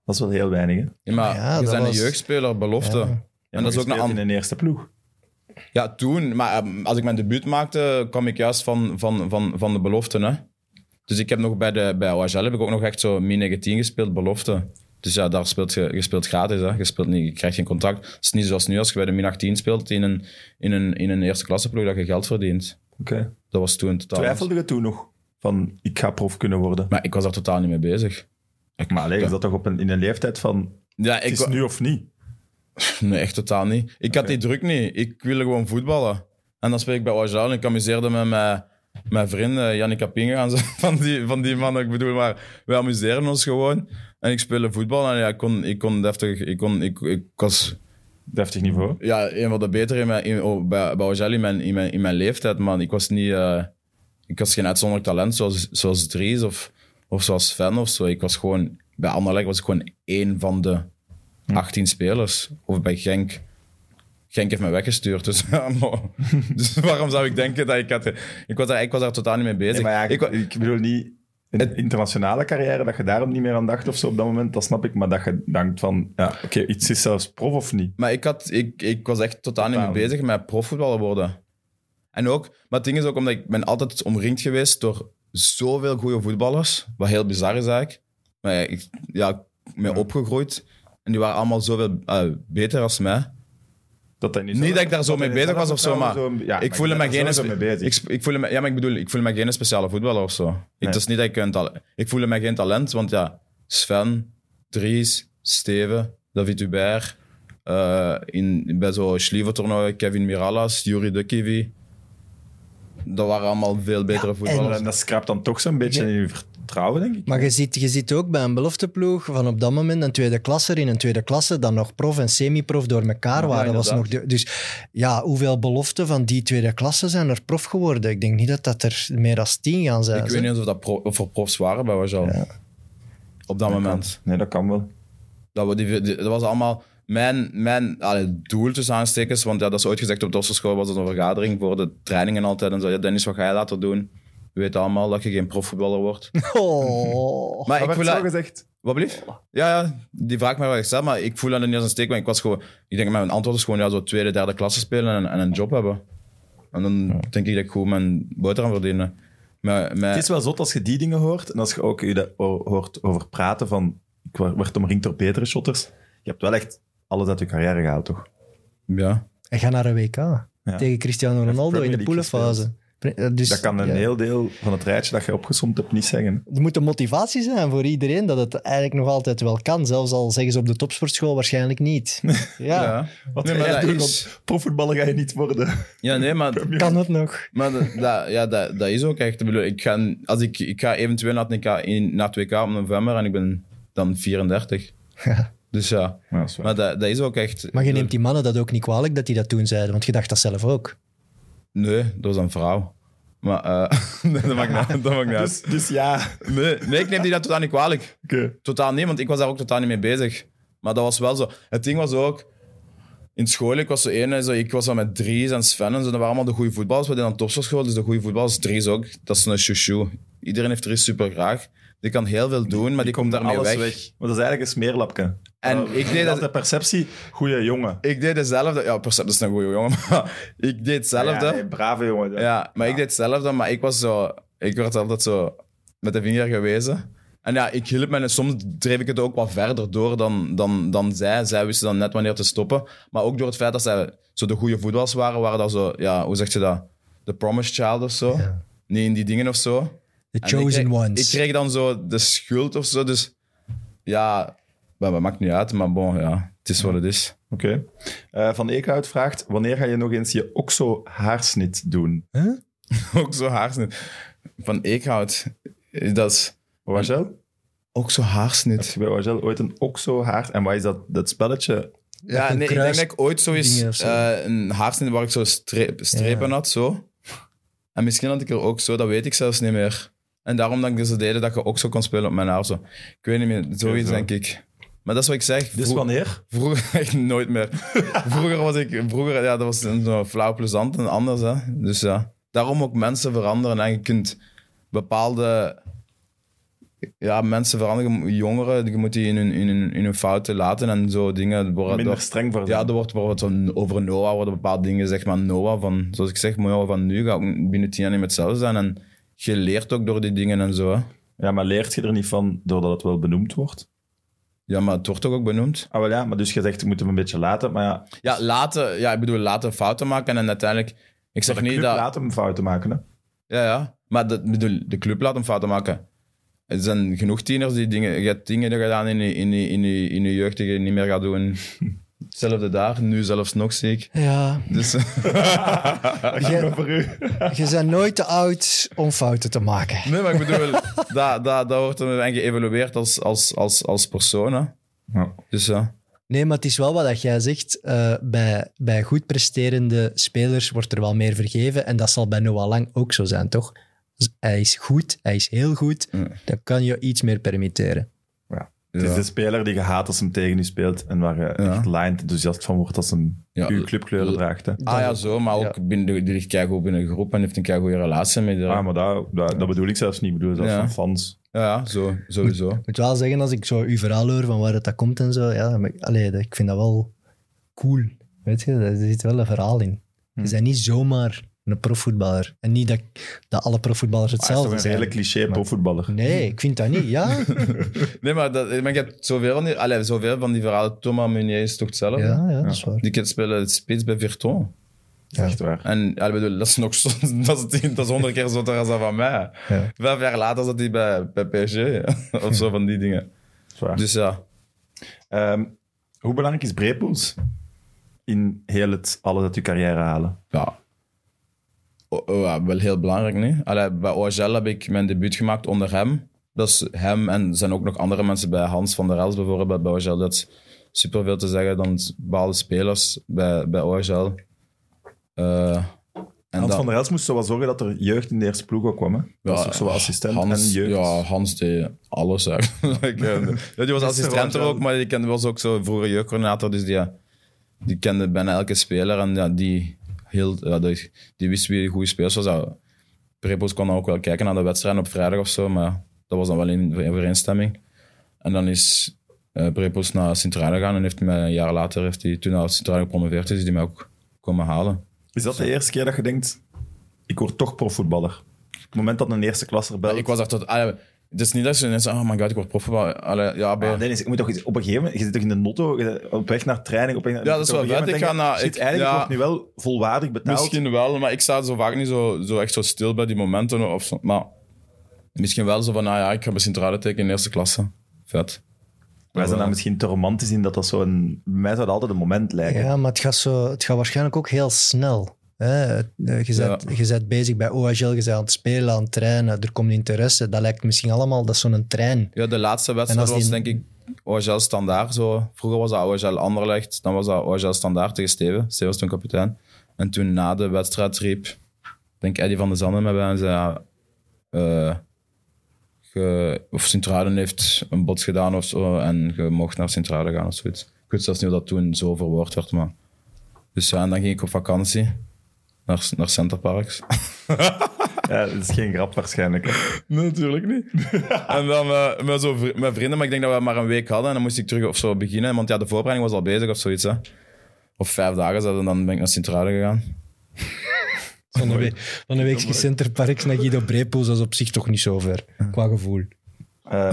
A: Dat is wel heel weinig, hè?
C: Ja, maar
B: Ah Ja,
C: je
B: dat
C: bent een
B: was-
C: jeugdspeler, belofte.
B: Ja.
A: Ja,
C: dat is
A: je
C: ook een
A: speelt
C: an-
A: in een eerste ploeg.
C: Ja, toen. Maar ehm, als ik mijn debuut maakte, kwam ik juist van, van, van, van de belofte. Hè? Dus ik heb nog bij, de, bij OHL heb ik ook nog echt zo min-19 gespeeld, belofte. Dus ja, daar speelt je, je speelt gratis. Hè? Je, speelt niet, je krijgt geen contract. Het is niet zoals nu als je bij de min-18 speelt in een, in een, in een eerste klasseploeg dat je geld verdient.
A: Oké.
C: Dat was toen totaal.
A: Twijfelde je toen nog van, ik ga prof kunnen worden?
C: Maar ik was daar totaal niet mee bezig.
A: Maar alleen, is dat toch op een, in een leeftijd van,
C: Ja,
A: het
C: ik,
A: is nu of niet?
C: Nee, echt totaal niet. Ik had die druk niet. Ik wilde gewoon voetballen. En dan speel ik bij OHL en ik amuseerde me met mijn vrienden, Jannik Kapinga en zo, van die, van die mannen. Ik bedoel, maar wij amuseerden ons gewoon. En ik speelde voetbal en ja, ik kon, ik kon deftig... Ik, kon, ik, ik was
A: Deftig niveau.
C: ja, een van de betere in mijn, in, oh, bij, bij OHL in mijn, in, mijn, in mijn leeftijd, man. Ik was niet... eh, ik was geen uitzonderlijk talent zoals, zoals Dries of, of zoals Sven of zo. Ik was gewoon... Bij Anderlecht was ik gewoon één van de 18 spelers. Of bij Genk. Genk heeft mij weggestuurd. Dus, ja, maar- dus waarom zou ik denken dat ik had... Ik was daar, ik was daar totaal niet mee bezig.
A: Nee, maar ja, ik,
C: ik, wa-
A: ik bedoel niet... Een internationale carrière, dat je daarom niet meer aan dacht of zo op dat moment, dat snap ik. Maar dat je denkt van, ja, oké, iets is zelfs prof of niet.
C: Maar ik, had, ik, ik was echt totaal niet mee
A: Totaal.
C: bezig met profvoetballer worden. En ook, maar het ding is ook omdat ik ben altijd omringd geweest door zoveel goede voetballers. Wat heel bizar is eigenlijk. Maar ja, ik ja, ik ben opgegroeid. En die waren allemaal zoveel eh, beter als mij.
A: Dat dat niet,
C: Niet
A: zo-
C: dat ik daar zo
A: dat
C: mee
A: dat
C: bezig
A: niet
C: was
A: zo-
C: of zo, maar
A: ja,
C: ik voelde
A: ben
C: me
A: daar
C: geen...
A: sowieso mee bezig.
C: Ik, ik voelde me, ja, maar ik bedoel, ik voelde me geen speciale voetballer of zo. Ik, het is niet dat ik een talent... Ik voelde me geen talent, want ja, Sven, Dries, Steven, David Hubert, eh, in, bij zo'n Schlieven-toernooi, Kevin Miralas, Juri Dukivi. Dat waren allemaal veel betere voetballers.
A: En dat scraapt dan toch zo'n beetje in je vertrouwen, denk ik.
B: Maar je ziet, je ziet ook bij een belofteploeg van op dat moment een tweede klasser in een tweede klasse, dan nog prof en semi-prof door elkaar waren. was nog
C: inderdaad.
B: de, dus ja, hoeveel beloften van die tweede klasse zijn er prof geworden? Ik denk niet dat dat er meer dan tien gaan zijn.
C: ik
B: hè.
C: weet niet eens of dat pro- of er profs waren bij Wajal. Op dat moment.
A: Nee, dat kan wel.
C: Dat, we die, die- dat was allemaal mijn, mijn allee, doel tussen aanstekens. Want ja, dat is ooit gezegd op de Osterschool, was het een vergadering voor de trainingen altijd. En zo, ja, Dennis, wat ga je later doen? Je weet allemaal dat je geen profvoetballer wordt.
B: Oh.
C: Maar
A: Dat
C: ik
A: werd
C: voel...
A: zo
C: dat-
A: gezegd.
C: Wat blieft? Ja, ja, die vraag mij wel gesteld, maar ik voel dat niet als een steek. Want ik was gewoon... Ik denk, mijn antwoord is gewoon ja, zo tweede, derde klasse spelen en, en een job hebben. En dan denk ik dat ik gewoon mijn boterham verdienen. Maar, maar,
A: Het is wel zot als je die dingen hoort en als je ook je dat o- hoort over praten van ik wa- werd omringd door betere shotters. Je hebt wel echt alles uit je carrière gehaald, toch?
C: ja.
B: En ga naar een WK. Tegen Cristiano Ronaldo
A: Premier
B: in de
A: League
B: poelenfase.
A: gespeeld.
B: Eh, Dus,
A: Dat kan een
B: ja.
A: heel deel van het rijtje dat je opgesomd hebt niet zeggen.
B: Er moet een motivatie zijn voor iedereen dat het eigenlijk nog altijd wel kan. Zelfs al zeggen ze op de topsportschool waarschijnlijk niet. Ja,
C: Ja.
A: Wat
C: Nee,
A: ga
C: maar
A: jij
C: dat
A: doen,
C: is-
A: want profvoetballer ga je niet worden.
C: Ja, nee, maar
B: kan het nog.
C: Maar dat, dat- ja, dat, dat is ook echt. Ik bedoel, ik ga, als ik, ik ga eventueel naar het, NK in, naar het WK op november en ik ben dan 34.
B: Ja.
C: Dus ja,
A: Ja, dat is waar.
C: maar dat, dat is ook echt.
B: Maar je neemt die mannen dat ook niet kwalijk dat die dat toen zeiden, want je dacht dat zelf ook.
C: Nee, dat was een vrouw. Maar eh, nee, dat maakt niet uit, dat maakt niet uit.
A: Dus, dus ja,
C: Nee, nee, ik neem die dat totaal niet kwalijk.
A: oké.
C: Totaal niet, want ik was daar ook totaal niet mee bezig. Maar dat was wel zo. Het ding was ook. In school, ik was zo één, en zo, ik was dan met Dries en Sven en zo. Dat waren allemaal de goede voetballers. We deden aan topsportschool, dus de goede voetballers. Dries ook, dat is een chouchou. Iedereen heeft Dries super graag. Die kan heel veel doen, maar die, komt daarmee
A: Alles
C: weg.
A: weg. Maar dat is eigenlijk een smeerlapje.
C: En
A: Eh,
C: ik deed
A: De
C: dat...
A: perceptie, goeie jongen.
C: Ik deed hetzelfde. Ja, Percept is een goede jongen, maar ik deed hetzelfde.
A: Ja,
C: Ja,
A: nee, brave jongen. Ja.
C: maar ik deed hetzelfde, maar ik was zo... Ik werd altijd zo met de vinger gewezen. En ja, ik hielp me en soms dreef ik het ook wat verder door dan, dan, dan zij. Zij wisten dan net wanneer te stoppen. Maar ook door het feit dat zij zo de goede voetballers waren, waren dat zo... Ja, hoe zeg je dat? De promised child of zo. Nee, in die dingen of zo.
B: The
C: En ik
B: chosen
C: kreeg- Ik
B: ones.
C: kreeg dan zo de schuld of zo. Dus ja, maar dat maakt niet uit. Maar bon, ja, het is wat het is.
A: Oké. Eh, Van Eekhout vraagt, wanneer ga je nog eens je OXO-haarsnit doen?
C: ook zo haarsnit. Van Eekhout, dat is
A: Wagel?
C: ook zo haarsnit.
A: Heb je bij Wagel ooit een OXO-haart? En wat is dat, dat spelletje?
C: Ja,
B: een
C: nee, ik denk
B: kruis-
C: dat ik ooit zo eens
B: dingen of zo.
C: eh, een haarsnit waar ik zo streep- strepen had, zo. En misschien had ik er ook zo, dat weet ik zelfs niet meer. En daarom dat ik dus deden dat je ook zo kon spelen op mijn haar, zo. Ik weet niet meer, zoiets
A: zo.
C: denk ik. Maar dat is wat ik zeg.
A: Dus
C: Vroeg-
A: wanneer?
C: Vroeger echt nooit meer. Vroeger was ik, vroeger, ja, dat was een zo flauw plezant en anders. Hè. Dus ja, daarom ook mensen veranderen. En je kunt bepaalde ja, mensen veranderen, jongeren, je moet die in hun, in hun, in hun fouten laten en zo dingen. worden
A: Minder
C: door-
A: streng voor
C: ja,
A: zijn.
C: er wordt bijvoorbeeld zo over Noah worden bepaalde dingen gezegd, maar Noah van, zoals ik zeg, Noah van nu gaat ook binnen tien jaar niet meer hetzelfde zijn. En je leert ook door die dingen en zo. Hè.
A: Ja, maar leert je er niet van doordat het wel benoemd wordt?
C: Ja, maar het wordt toch ook benoemd.
A: Ah, wel ja, maar dus je zegt, ik moet hem een beetje laten. Maar ja,
C: Ja, laten, ja, ik bedoel, laten fouten maken en uiteindelijk... Ik zeg
A: de
C: niet
A: club
C: dat...
A: laat hem fouten maken. Hè?
C: Ja, ja. Maar dat, bedoel, de club laat hem fouten maken. Er zijn genoeg tieners die dingen... Je hebt dingen gedaan in je, in je, in je, in je jeugd die je niet meer gaat doen. Hetzelfde daar. Nu zelfs nog, zie ik.
B: Ja,
C: Dus
B: je,
A: Voor u.
B: je bent nooit te oud om fouten te maken.
C: nee, maar ik bedoel... Dat, dat, dat wordt dan en geëvalueerd als, als, als, als persoon, hè.
A: Ja.
C: Dus ja.
B: Nee, maar het is wel wat dat jij zegt. eh, bij, bij goed presterende spelers wordt er wel meer vergeven. En dat zal bij Noah Lang ook zo zijn, toch? Dus hij is goed, hij is heel goed.
C: Ja.
B: Dan kan je iets meer permitteren.
A: Het is dus-
C: Ja.
A: de speler die je haat als hem tegen u speelt en waar je
C: Ja.
A: echt lined enthousiast van wordt als hem
C: Ja,
A: uw clubkleuren
C: l-
A: draagt. Hè?
C: Ah ja, zo. Maar ook binnen, de- die ligt keigoed binnen de groep en heeft een keigoede relatie met de...
A: Ah,
C: Ja,
A: maar dat, dat, dat bedoel ik zelfs niet. Ik bedoel zelfs
C: Ja.
A: van fans.
C: ja, zo, sowieso.
B: Ik moet wel zeggen, als ik zo uw verhaal hoor van waar het dat komt en zo. Ja, maar, allee, dat- ik vind dat wel cool. Weet je, daar zit wel een verhaal in.
A: Hmm.
B: Je bent niet zomaar een profvoetballer. En niet dat, dat alle profvoetballers
A: Ah, dat is toch
B: hetzelfde
A: een
B: zijn.
A: redelijk cliché profvoetballer.
B: Nee, ik vind dat niet. Ja,
C: Nee, maar, dat, maar je hebt zoveel, van die- allee, zoveel van die verhalen. Thomas Meunier is toch hetzelfde?
B: ja, ja dat is waar.
C: Die kind spelen spits bij Virton.
A: Dat is Echt waar.
C: En ja, ik bedoel, dat is nog zo- dat is, tien- dat is honderd keer zotter als dat van mij.
B: Ja.
C: Vijf jaar later zat hij bij, bij PSG. of zo van die dingen.
A: Dat is waar.
C: Dus ja.
A: Ehm, hoe belangrijk is Brepoels in heel het alles uit je carrière halen?
C: ja. O- o- ja, wel heel belangrijk nu. Allee, bij OHL heb ik mijn debuut gemaakt onder hem. Dat is hem en er zijn ook nog andere mensen bij Hans van der Els bijvoorbeeld bij OHL. Dat is superveel te zeggen dan bepaalde spelers bij, bij OHL. Eh, en
A: Hans
C: dan-
A: van der Els moest zo wel zorgen dat er jeugd in de eerste ploeg ook kwam. Hè? Dat was ook zo wel assistent
C: Hans,
A: en jeugd.
C: Ja, Hans deed alles eigenlijk. ja, die was assistent er ook, maar die kende, was ook zo vroeger jeugdcoördinator, dus die, die kende bijna elke speler. En ja, die, heel, ja, die, die wist wie de goede spelers was. Ja, Prepos kon dan ook wel kijken naar de wedstrijd op vrijdag of zo, maar dat was dan wel in overeenstemming. En dan is eh Prepos naar sint gegaan en heeft mij een jaar later, heeft hij, toen hij uit sint gepromoveerd is, is hij mij ook komen halen.
A: Is dat de eerste keer dat je denkt, ik word toch profvoetballer? Op het moment dat een eerste klasser belt,
C: Ik was daar tot... ah ja, het is niet dat ze ineens, oh my god, ik word profvoetbal. Allee, ja, maar-
A: Ja, Ah, Dennis, ik moet toch, iets- op een gegeven moment, je zit toch in de notto, je bent op weg naar training, op weg naar...
C: Ja, dat is
A: op een
C: wel
A: gegeven
C: vet.
A: moment
C: Ik
A: denk
C: ga
A: je,
C: naar-
A: shit,
C: ik-
A: eigenlijk
C: ja.
A: wordt nu wel volwaardig betaald.
C: Misschien wel, maar ik sta zo vaak niet zo, zo echt zo stil bij die momenten. Of zo, maar misschien wel zo van, nou ja, ik ga misschien eruit tekenen in eerste klasse. Vet.
A: Wij zijn daar misschien te romantisch in dat dat zo'n... Bij mij zou dat altijd een moment lijken.
B: Ja, maar het gaat, zo, het gaat waarschijnlijk ook heel snel. Hè? Eh, Je
C: Ja.
B: bent, je bent bezig bij OHL, je bent aan het spelen, aan het trainen, er komt interesse. Dat lijkt misschien allemaal, dat is zo'n trein.
C: Ja, de laatste
B: En
C: wedstrijd
B: als
C: was
B: die-
C: denk ik OHL Standaard. Zo. Vroeger was dat OHL Anderlecht, dan was dat OHL Standaard tegen Steven. Steven was toen kapitein. En toen na de wedstrijd riep, denk Eddie van der Zanden met bij en zei, ja, eh, ge- of Sint-Truiden heeft een bots gedaan of zo en je mocht naar Sint-Truiden gaan of zoiets. Ik weet zelfs niet of dat toen zo verwoord werd, maar... Dus ja, en dan ging ik op vakantie naar, naar Centerparks.
A: Ja, dat is geen grap waarschijnlijk. hè.
C: Nee, natuurlijk niet. en dan eh, met, zo, vri- met vrienden, maar ik denk dat we maar een week hadden en dan moest ik terug of zo beginnen. Want ja, de voorbereiding was al bezig of zoiets. Hè. Of vijf dagen zat en dan ben ik naar Sint-Truiden gegaan.
B: Van een, week, van een week is Centerparks naar Guido Brepoels, dat is op zich toch niet zo ver, qua gevoel.
A: Eh,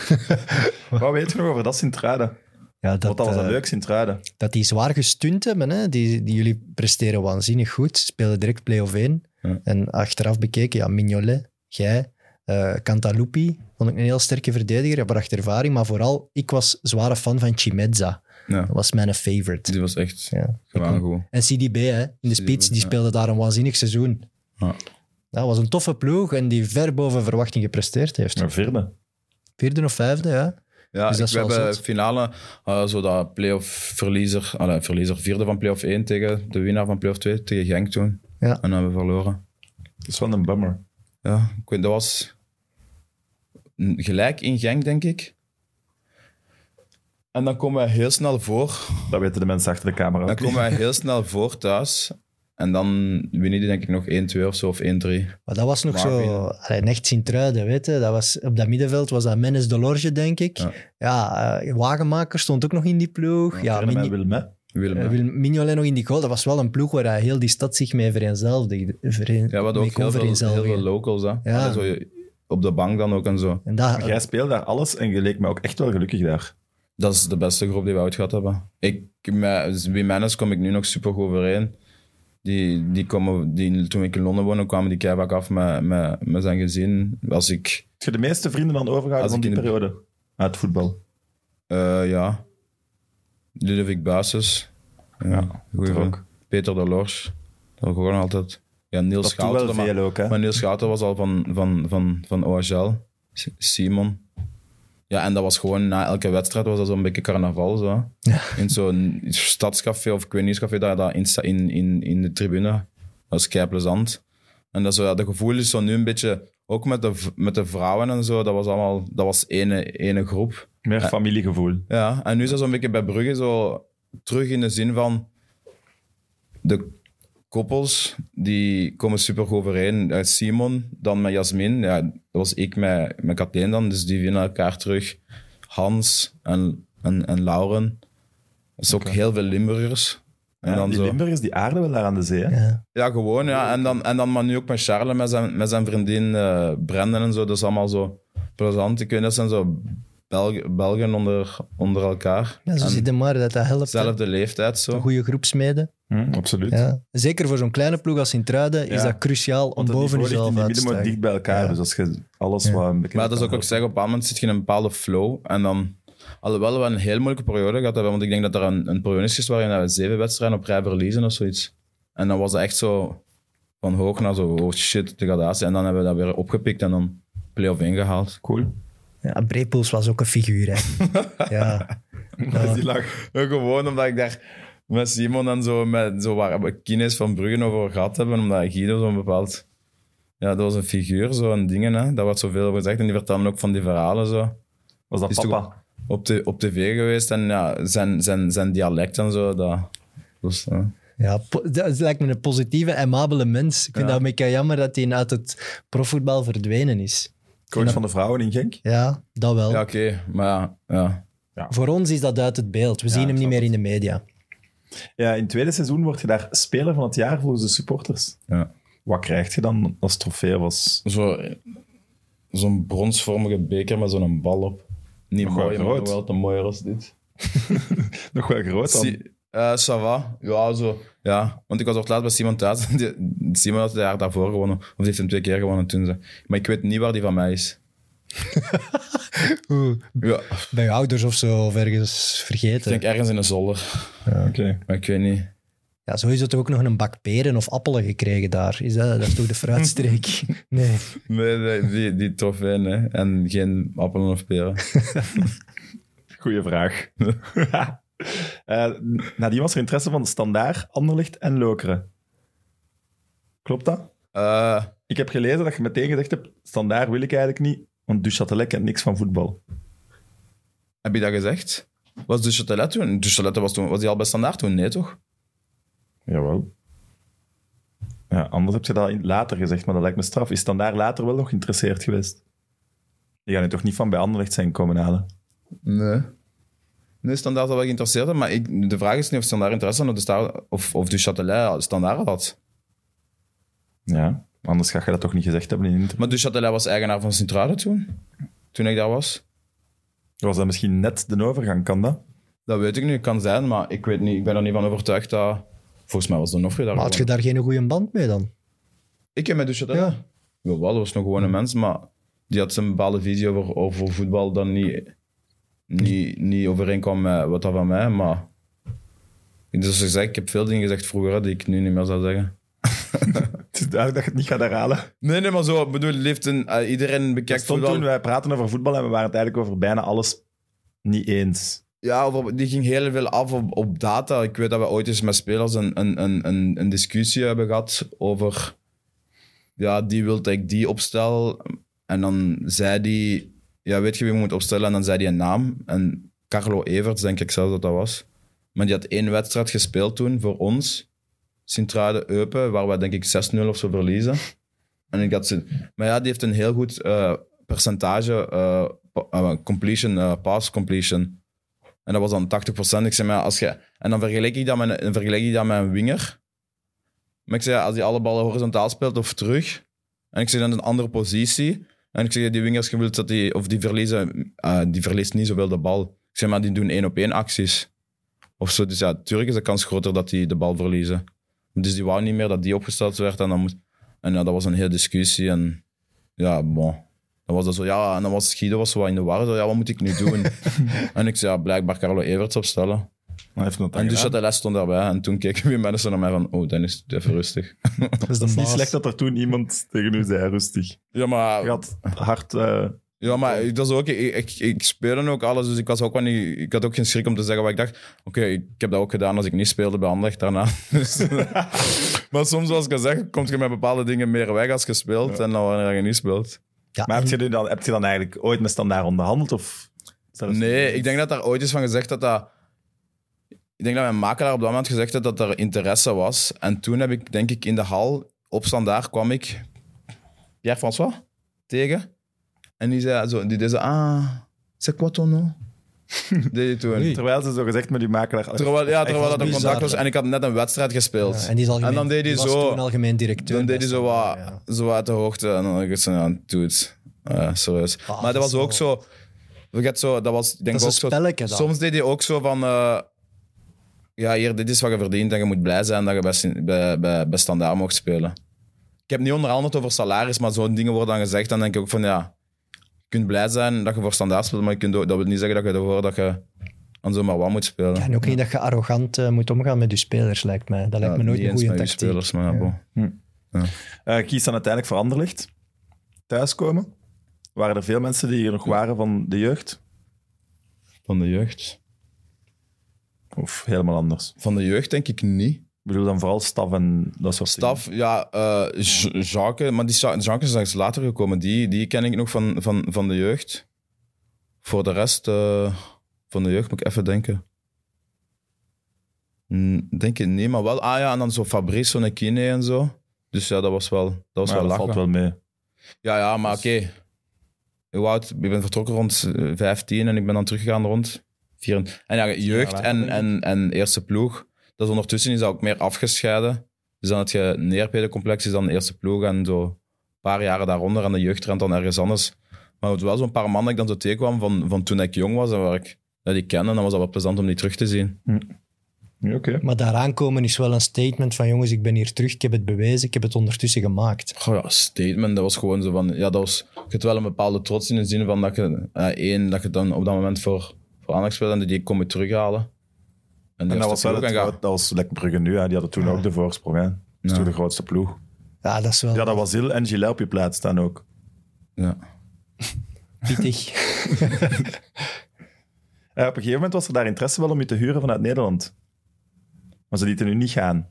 A: wat weten we nog over dat Sint-Truiden?
B: Ja, dat,
A: Wat dat was
B: eh,
A: een leuk Sint-Truiden.
B: dat die zwaar gestunt hebben. Hè? Die, die jullie presteren waanzinnig goed. Spelen direct play-off 1.
C: Ja.
B: En achteraf bekeken, ja, Mignolet, jij, eh Cantalupi, vond ik een heel sterke verdediger. Hij bracht ervaring, maar vooral, ik was zware fan van Chimezza.
C: Ja.
B: Dat was mijn favorite.
C: Die was echt
B: Ja.
C: gewoon goed.
B: En CDB, hè, in de spits, die
C: ja.
B: speelde daar een waanzinnig seizoen.
C: Ja.
B: Dat was een toffe ploeg en die ver boven verwachting gepresteerd heeft.
A: Een vierde.
B: Vierde of vijfde, ja.
C: Ja,
B: Dus dat
C: ik-
B: is
C: we
B: wel
C: hebben
B: zot.
C: finale, eh, zo dat play-off verliezer, allee, verliezer, vierde van play-off 1 tegen de winnaar van play-off 2, tegen Genk toen.
B: Ja.
C: En dan hebben we verloren.
A: Dat is wel een bummer.
C: Ja, ik weet, dat was n- gelijk in Genk, denk ik. En dan komen we heel snel voor
A: Dat weten de mensen achter de camera
C: Dan
A: ook niet.
C: komen wij heel snel voor thuis. En dan winnen die denk ik nog 1-2 of zo, of 1-3.
B: Maar dat was nog
C: Maar
B: zo...
C: binnen.
B: Allee, echt Sint-Truiden, weet je. Dat was, op dat middenveld was dat Menes de Lorge, denk ik. Ja, eh, Wagenmaker stond ook nog in die ploeg. Ja,
A: Kennen mij
B: Mign-
A: Willem, hè?
C: Willem.
B: eh,
C: hè.
B: Wil- Mignolet nog in die goal. Dat was wel een ploeg waar hij heel die stad zich mee vereenzeldigde. Vereen,
C: Ja, we hadden
B: mee
C: ook heel
B: kon
C: veel, heel
B: vereenzeldigen.
C: veel locals. Hè.
B: Ja.
C: Allee, zo, je- op de bank dan ook en zo.
B: En dat,
A: Jij speelde daar alles en je leek me ook echt wel gelukkig daar.
C: Dat is de beste groep die we ooit gehad hebben. Ik, met Wim Mennes kom ik nu nog super goed overeen. Die, die komen, die, toen ik in Londen woonde, kwamen die keihard af met, met, met zijn gezin. Als ik,
A: Heb je de meeste vrienden dan overgehouden
C: Als
A: van
C: ik
A: die
C: in de-
A: periode? Uit voetbal.
C: eh, ja, Ludovic Buises. Ja, goeie
A: toch
C: vriend.
A: ook.
C: Peter de Lors. Dat gewoon altijd. Ja, Niels
A: Dat doet
C: Schouten.
A: wel
C: maar-
A: veel ook, hè?
C: Maar Niels Schouten was al van, van, van, van OHL. S- Simon. Ja, en dat was gewoon na elke wedstrijd was dat zo'n beetje carnaval. Zo. In zo'n stadscafé of ik weet niet, eens café, daar, daar in, sta- in, in, in de tribune. Dat is kei plezant. En dat, is zo, ja, dat gevoel is zo nu een beetje, ook met de, v- met de vrouwen en zo, dat was allemaal, dat was ene, ene groep.
A: Meer familiegevoel.
C: Ja, en nu is dat zo'n beetje bij Brugge zo terug in de zin van de koppels die komen super goed overeen. Eh, Simon, dan met Jasmin, ja, dat was ik met, met Kathleen dan, dus die winnen elkaar terug. Hans en, en, en Lauren. Dat is ook heel veel Limburgers. En
A: Ja,
C: dan
A: die
C: zo.
A: Limburgers, die aarden wel daar aan de zee, hè?
B: ja.
C: Ja, gewoon. Ja. En, dan, en dan maar nu ook met Charles, met zijn, met zijn vriendin eh, Brendan en zo. Dat is allemaal zo plezant. Ik weet, dat zijn zo Belgen, Belgen onder, onder elkaar.
B: Ja, zo
C: En-
B: zie je maar dat dat helpt. hè.
C: zelfde leeftijd zo.
B: Een goede groepsmede.
A: Hm, absoluut.
B: Ja. Zeker voor zo'n kleine ploeg als Sint-Truiden
A: Ja.
B: is dat cruciaal om
A: Want het
B: boven
A: niveau ligt in
B: jezelf
A: die
B: uit te
A: midden maar
B: stijgen.
A: dicht bij elkaar.
B: Ja.
A: Dus als je alles wat een beetje...
C: Maar dat is ook wat ik zeg, op een bepaald moment zit je in een bepaalde flow. En dan, alhoewel we een heel moeilijke periode gehad hebben, want ik denk dat er een, een periode is geweest waarin we zeven wedstrijden op rij verliezen of zoiets. En dan was het echt zo van hoog naar zo, oh shit, degradatie. En dan hebben we dat weer opgepikt en dan play-off ingehaald.
A: Cool.
B: Ja, Brepoels was ook een figuur, hè. ja.
A: Dat is die lach.
C: Ja, Gewoon omdat ik daar met Simon en zo, met, zo waar we kines van Bruggen over gehad hebben, omdat Guido zo'n bepaald... Ja, dat was een figuur, zo'n dingen, hè. Daar wordt zoveel over gezegd en die vertellen ook van die verhalen, zo.
A: Was dat
C: Is toch-
A: papa?
C: op, de, op tv geweest en ja, zijn, zijn, zijn dialect en zo. Dat, dus, ja.
B: Ja, po- dat lijkt me een positieve, amabele mens. Ik vind dat een beetje jammer dat hij uit het profvoetbal verdwenen is.
A: Coach van de vrouwen in Genk?
B: Ja, dat wel.
C: Ja, oké, maar ja, ja.
B: Voor ons is dat uit het beeld. We zien hem niet meer in de media.
A: Ja, in het tweede seizoen word je daar speler van het jaar volgens de supporters.
C: ja.
A: Wat krijg je dan als trofee? Was...
C: Zo, zo'n bronsvormige beker met zo'n bal op. Niet
A: Nog wel
C: mooi, maar
A: groot.
C: wel te mooier als dit.
A: Nog wel groot dan.
C: Si- eh, ça va. Ja, zo. Ja, want ik was op het laatst bij Simon thuis. Die- Simon had het jaar daarvoor gewonnen. Of die heeft hem twee keer gewonnen toen. Ze. Maar ik weet niet waar die van mij is.
B: Oeh,
C: Ja,
B: Bij je ouders of zo, of ergens vergeten.
C: ik denk ergens in een zolder.
A: Oké.
C: Maar ik weet niet.
B: Ja, zo is het ook nog een bak peren of appelen gekregen daar. Is dat, dat is toch de fruitstreek? nee.
C: Nee, nee, die, die trofee, nee. En geen appelen of peren.
A: Goeie vraag. Eh nadien was er interesse van Standaard, Anderlicht en Lokeren. Klopt dat?
C: Eh,
A: Ik heb gelezen dat je meteen gezegd hebt, Standaard wil ik eigenlijk niet, want Duchatelet kent niks van voetbal.
C: heb je dat gezegd? Was Duchatelet toen? Duchatelet was toen... Was die al bij Standaard toen? Nee, toch?
A: Jawel. Ja, anders heb je dat in- later gezegd, maar dat lijkt me straf. Is Standaard later wel nog geïnteresseerd geweest? Die gaan nu toch niet van bij Anderlecht zijn komen halen?
C: Nee. Nee, Standaard had wel geïnteresseerd, maar ik, de vraag is niet of Standaard interesse had of, de Sta- of, of Duchatelet Standaard had.
A: Ja, anders ga je dat toch niet gezegd hebben in een interview.
C: Maar Duchatelet was eigenaar van Sint-Truiden toen, toen ik daar was.
A: Was dat misschien net de overgang, kan dat?
C: Dat weet ik nu, kan zijn, maar ik weet niet, ik ben er niet van overtuigd dat... Volgens mij was de Nofri daar
B: Maar had je
C: gewoon.
B: daar geen goede band mee dan?
C: Ik heb dus met Duchatelet...
B: Ja.
C: Wel, dat was nog gewoon een mens, maar die had zijn bepaalde visie over, over voetbal dat niet, niet, niet overeenkwam met wat dat van mij, maar... Dus ik, zeg, ik heb veel dingen gezegd vroeger hè, die ik nu niet meer zou zeggen.
A: Het is duidelijk dat je het niet gaat herhalen.
C: Nee, nee, maar zo, ik bedoel, heeft een, eh, iedereen
A: Ik
C: bekijkt
A: stond
C: voetbal.
A: toen, wij praten over voetbal en we waren het eigenlijk over bijna alles niet eens.
C: Ja, over- die ging heel veel af op, op data. Ik weet dat we ooit eens met spelers een, een, een, een, een discussie hebben gehad over... Ja, die wil dat ik die opstel. En dan zei die... Ja, weet je wie je moet opstellen? En dan zei die een naam. En Carlo Evert, denk ik zelf dat dat was. Maar die had één wedstrijd gespeeld toen voor ons. Sint-Truiden-Eupen, waar we denk ik 6-0 of zo verliezen. En ik had ze... Maar ja, die heeft een heel goed eh, percentage... eh, pa- eh, completion, eh, pass completion... En dat was dan 80%. Ik zei, maar ja, als je... En dan vergelijk ik dat met, een- vergelijk ik dat met een winger. Maar ik zei, ja, als hij alle ballen horizontaal speelt of terug... En ik zeg dan een andere positie. En ik zeg, die wingers, je wilt dat die... Of die verliezen... eh, die verliest niet zoveel de bal. Ik zeg, maar die doen één-op-één acties. Of zo. Dus ja, natuurlijk is de kans groter dat die de bal verliezen. Dus die wou niet meer dat die opgesteld werd. En, dan moet... en ja, dat was een hele discussie. En ja, bon... Dan was dat zo, ja, en dan was Guido was zo wat in de war. Zo, ja, wat moet ik nu doen? En ik zei, ja, blijkbaar Carlo Everts opstellen.
A: Maar heeft dat dan
C: En dus
A: gedaan?
C: had de les stond daarbij. En toen keken weer mensen naar mij van, oh, dan is het even rustig.
B: Dat is, de
A: Het is niet
B: baas.
A: slecht dat er toen iemand tegen u zei, rustig.
C: Ja,
A: Je
C: maar,
A: had hard... eh,
C: ja, maar ik- dat is ook, ik, ik, ik speelde ook alles, dus ik, was ook wel niet, ik had ook geen schrik om te zeggen wat ik dacht. Oké, ik heb dat ook gedaan als ik niet speelde bij Anderlecht daarna. Dus- maar soms, zoals ik al zeg, kom je met bepaalde dingen meer weg als je speelt en dan wanneer je niet speelt.
B: Ja,
A: maar heb
B: en-
A: je, nu dan, heb je dan eigenlijk ooit met standaard onderhandeld? Of zelfs-
C: Nee, ik denk dat daar ooit is van gezegd dat dat... Ik denk dat mijn makelaar op dat moment gezegd had dat er interesse was. En toen heb ik, denk ik, in de hal op standaard kwam ik Pierre-François tegen. En die zei zo, die deed zo, ah, c'est quoi ton nom? deed hij toen.
A: Terwijl ze zo gezegd met die makelaar...
C: Terwijl, ja, terwijl
A: Echt
C: dat er
B: bizar,
C: contact was
B: hè?
C: en ik had net een wedstrijd gespeeld.
B: Ja, en, die is algemeen,
C: en dan deed hij
B: die was
C: zo,
B: toen algemeen directeur.
C: dan deed
B: best
C: hij zo
B: wel,
C: wat,
B: ja.
C: zo wat uit de hoogte. En dan dacht ik zo, ja, doe het. Eh, serieus.
B: Ah,
C: maar dat
B: dat
C: was
B: is
C: ook zo... Ik had zo, dat was, ik denk
B: Dat is
C: ook
B: een spelletje
C: zo,
B: dan.
C: Soms deed hij ook zo van... eh, ja, hier, dit is wat je verdient en je moet blij zijn dat je bij, Sin- bij, bij, bij standaard mocht spelen. Ik heb niet onderhandeld over salaris, maar zo'n dingen worden dan gezegd. Dan denk ik ook van, ja... Je kunt blij zijn dat je voor standaard speelt, maar je kunt ook, dat wil niet zeggen dat je ervoor dat je aan zomaar wat moet spelen.
B: En ook niet dat je arrogant eh, moet omgaan met je spelers, lijkt mij. Dat lijkt me
C: Ja,
B: nooit
C: niet
B: een
C: eens
B: goede
C: met je
B: tactiek.
C: spelers, maar ja, bon.
A: Eh, kies dan uiteindelijk voor Anderlicht. Thuiskomen. Waren er veel mensen die hier nog waren van de jeugd?
C: Van de jeugd?
A: Of helemaal anders?
C: Van de jeugd denk ik niet.
A: Ik bedoel dan vooral staf en dat soort
C: Staf, ja, eh J- Jacques, maar die Sa- Jacques is straks later gekomen. Die, die ken ik nog van, van, van de jeugd. Voor de rest eh, van de jeugd moet ik even denken. Mm, Denk ik niet, maar wel. Ah ja, en dan zo Fabrice Sonekine en zo. Dus ja, dat was wel, dat was
A: dingen. Maar
C: wel
A: dat
C: lachen.
A: valt wel mee.
C: Ja, ja, maar
A: Dus-
C: oké. Hoe oud? Ik ben vertrokken rond eh, 15 en ik ben dan teruggegaan rond 24. En ja, jeugd
A: later,
C: en,
A: denk ik.
C: en, en eerste ploeg. Dat is ondertussen is dat ook meer afgescheiden. Dus dan het je neerpedencomplex is dan eerste ploeg en zo paar jaren daaronder aan de jeugdtrend dan ergens anders. Maar het was wel zo'n paar mannen dat ik dan zo tegenkwam van, van toen ik jong was en waar ik dat ik ken. En dan was dat wel plezant om die terug te zien.
A: Ja, Oké.
B: Maar daaraan komen is wel een statement van jongens, ik ben hier terug, ik heb het bewezen, ik heb het ondertussen gemaakt.
C: Goh, ja, statement. Dat was gewoon zo van... Ja, dat was... Ik had wel een bepaalde trots in de zin van dat je... eh, één, dat je dan op dat moment voor, voor Anderlecht speelde en die kom je terughalen. die
A: En dat
C: was
A: was
C: er
A: wel
C: ook
A: het,
C: aan gaan.
A: dat was Lek Brugge nu, hè. die hadden toen ook de voorsprong. Hè. Dat is
C: Ja.
A: toen de grootste ploeg.
B: Ja, dat is wel
A: Ja, dat was Zil en Gilles op je plaats staan ook.
C: Ja.
B: pittig.
A: Eh, op een gegeven moment was er daar interesse wel om je te huren vanuit Nederland. Maar ze lieten nu niet gaan.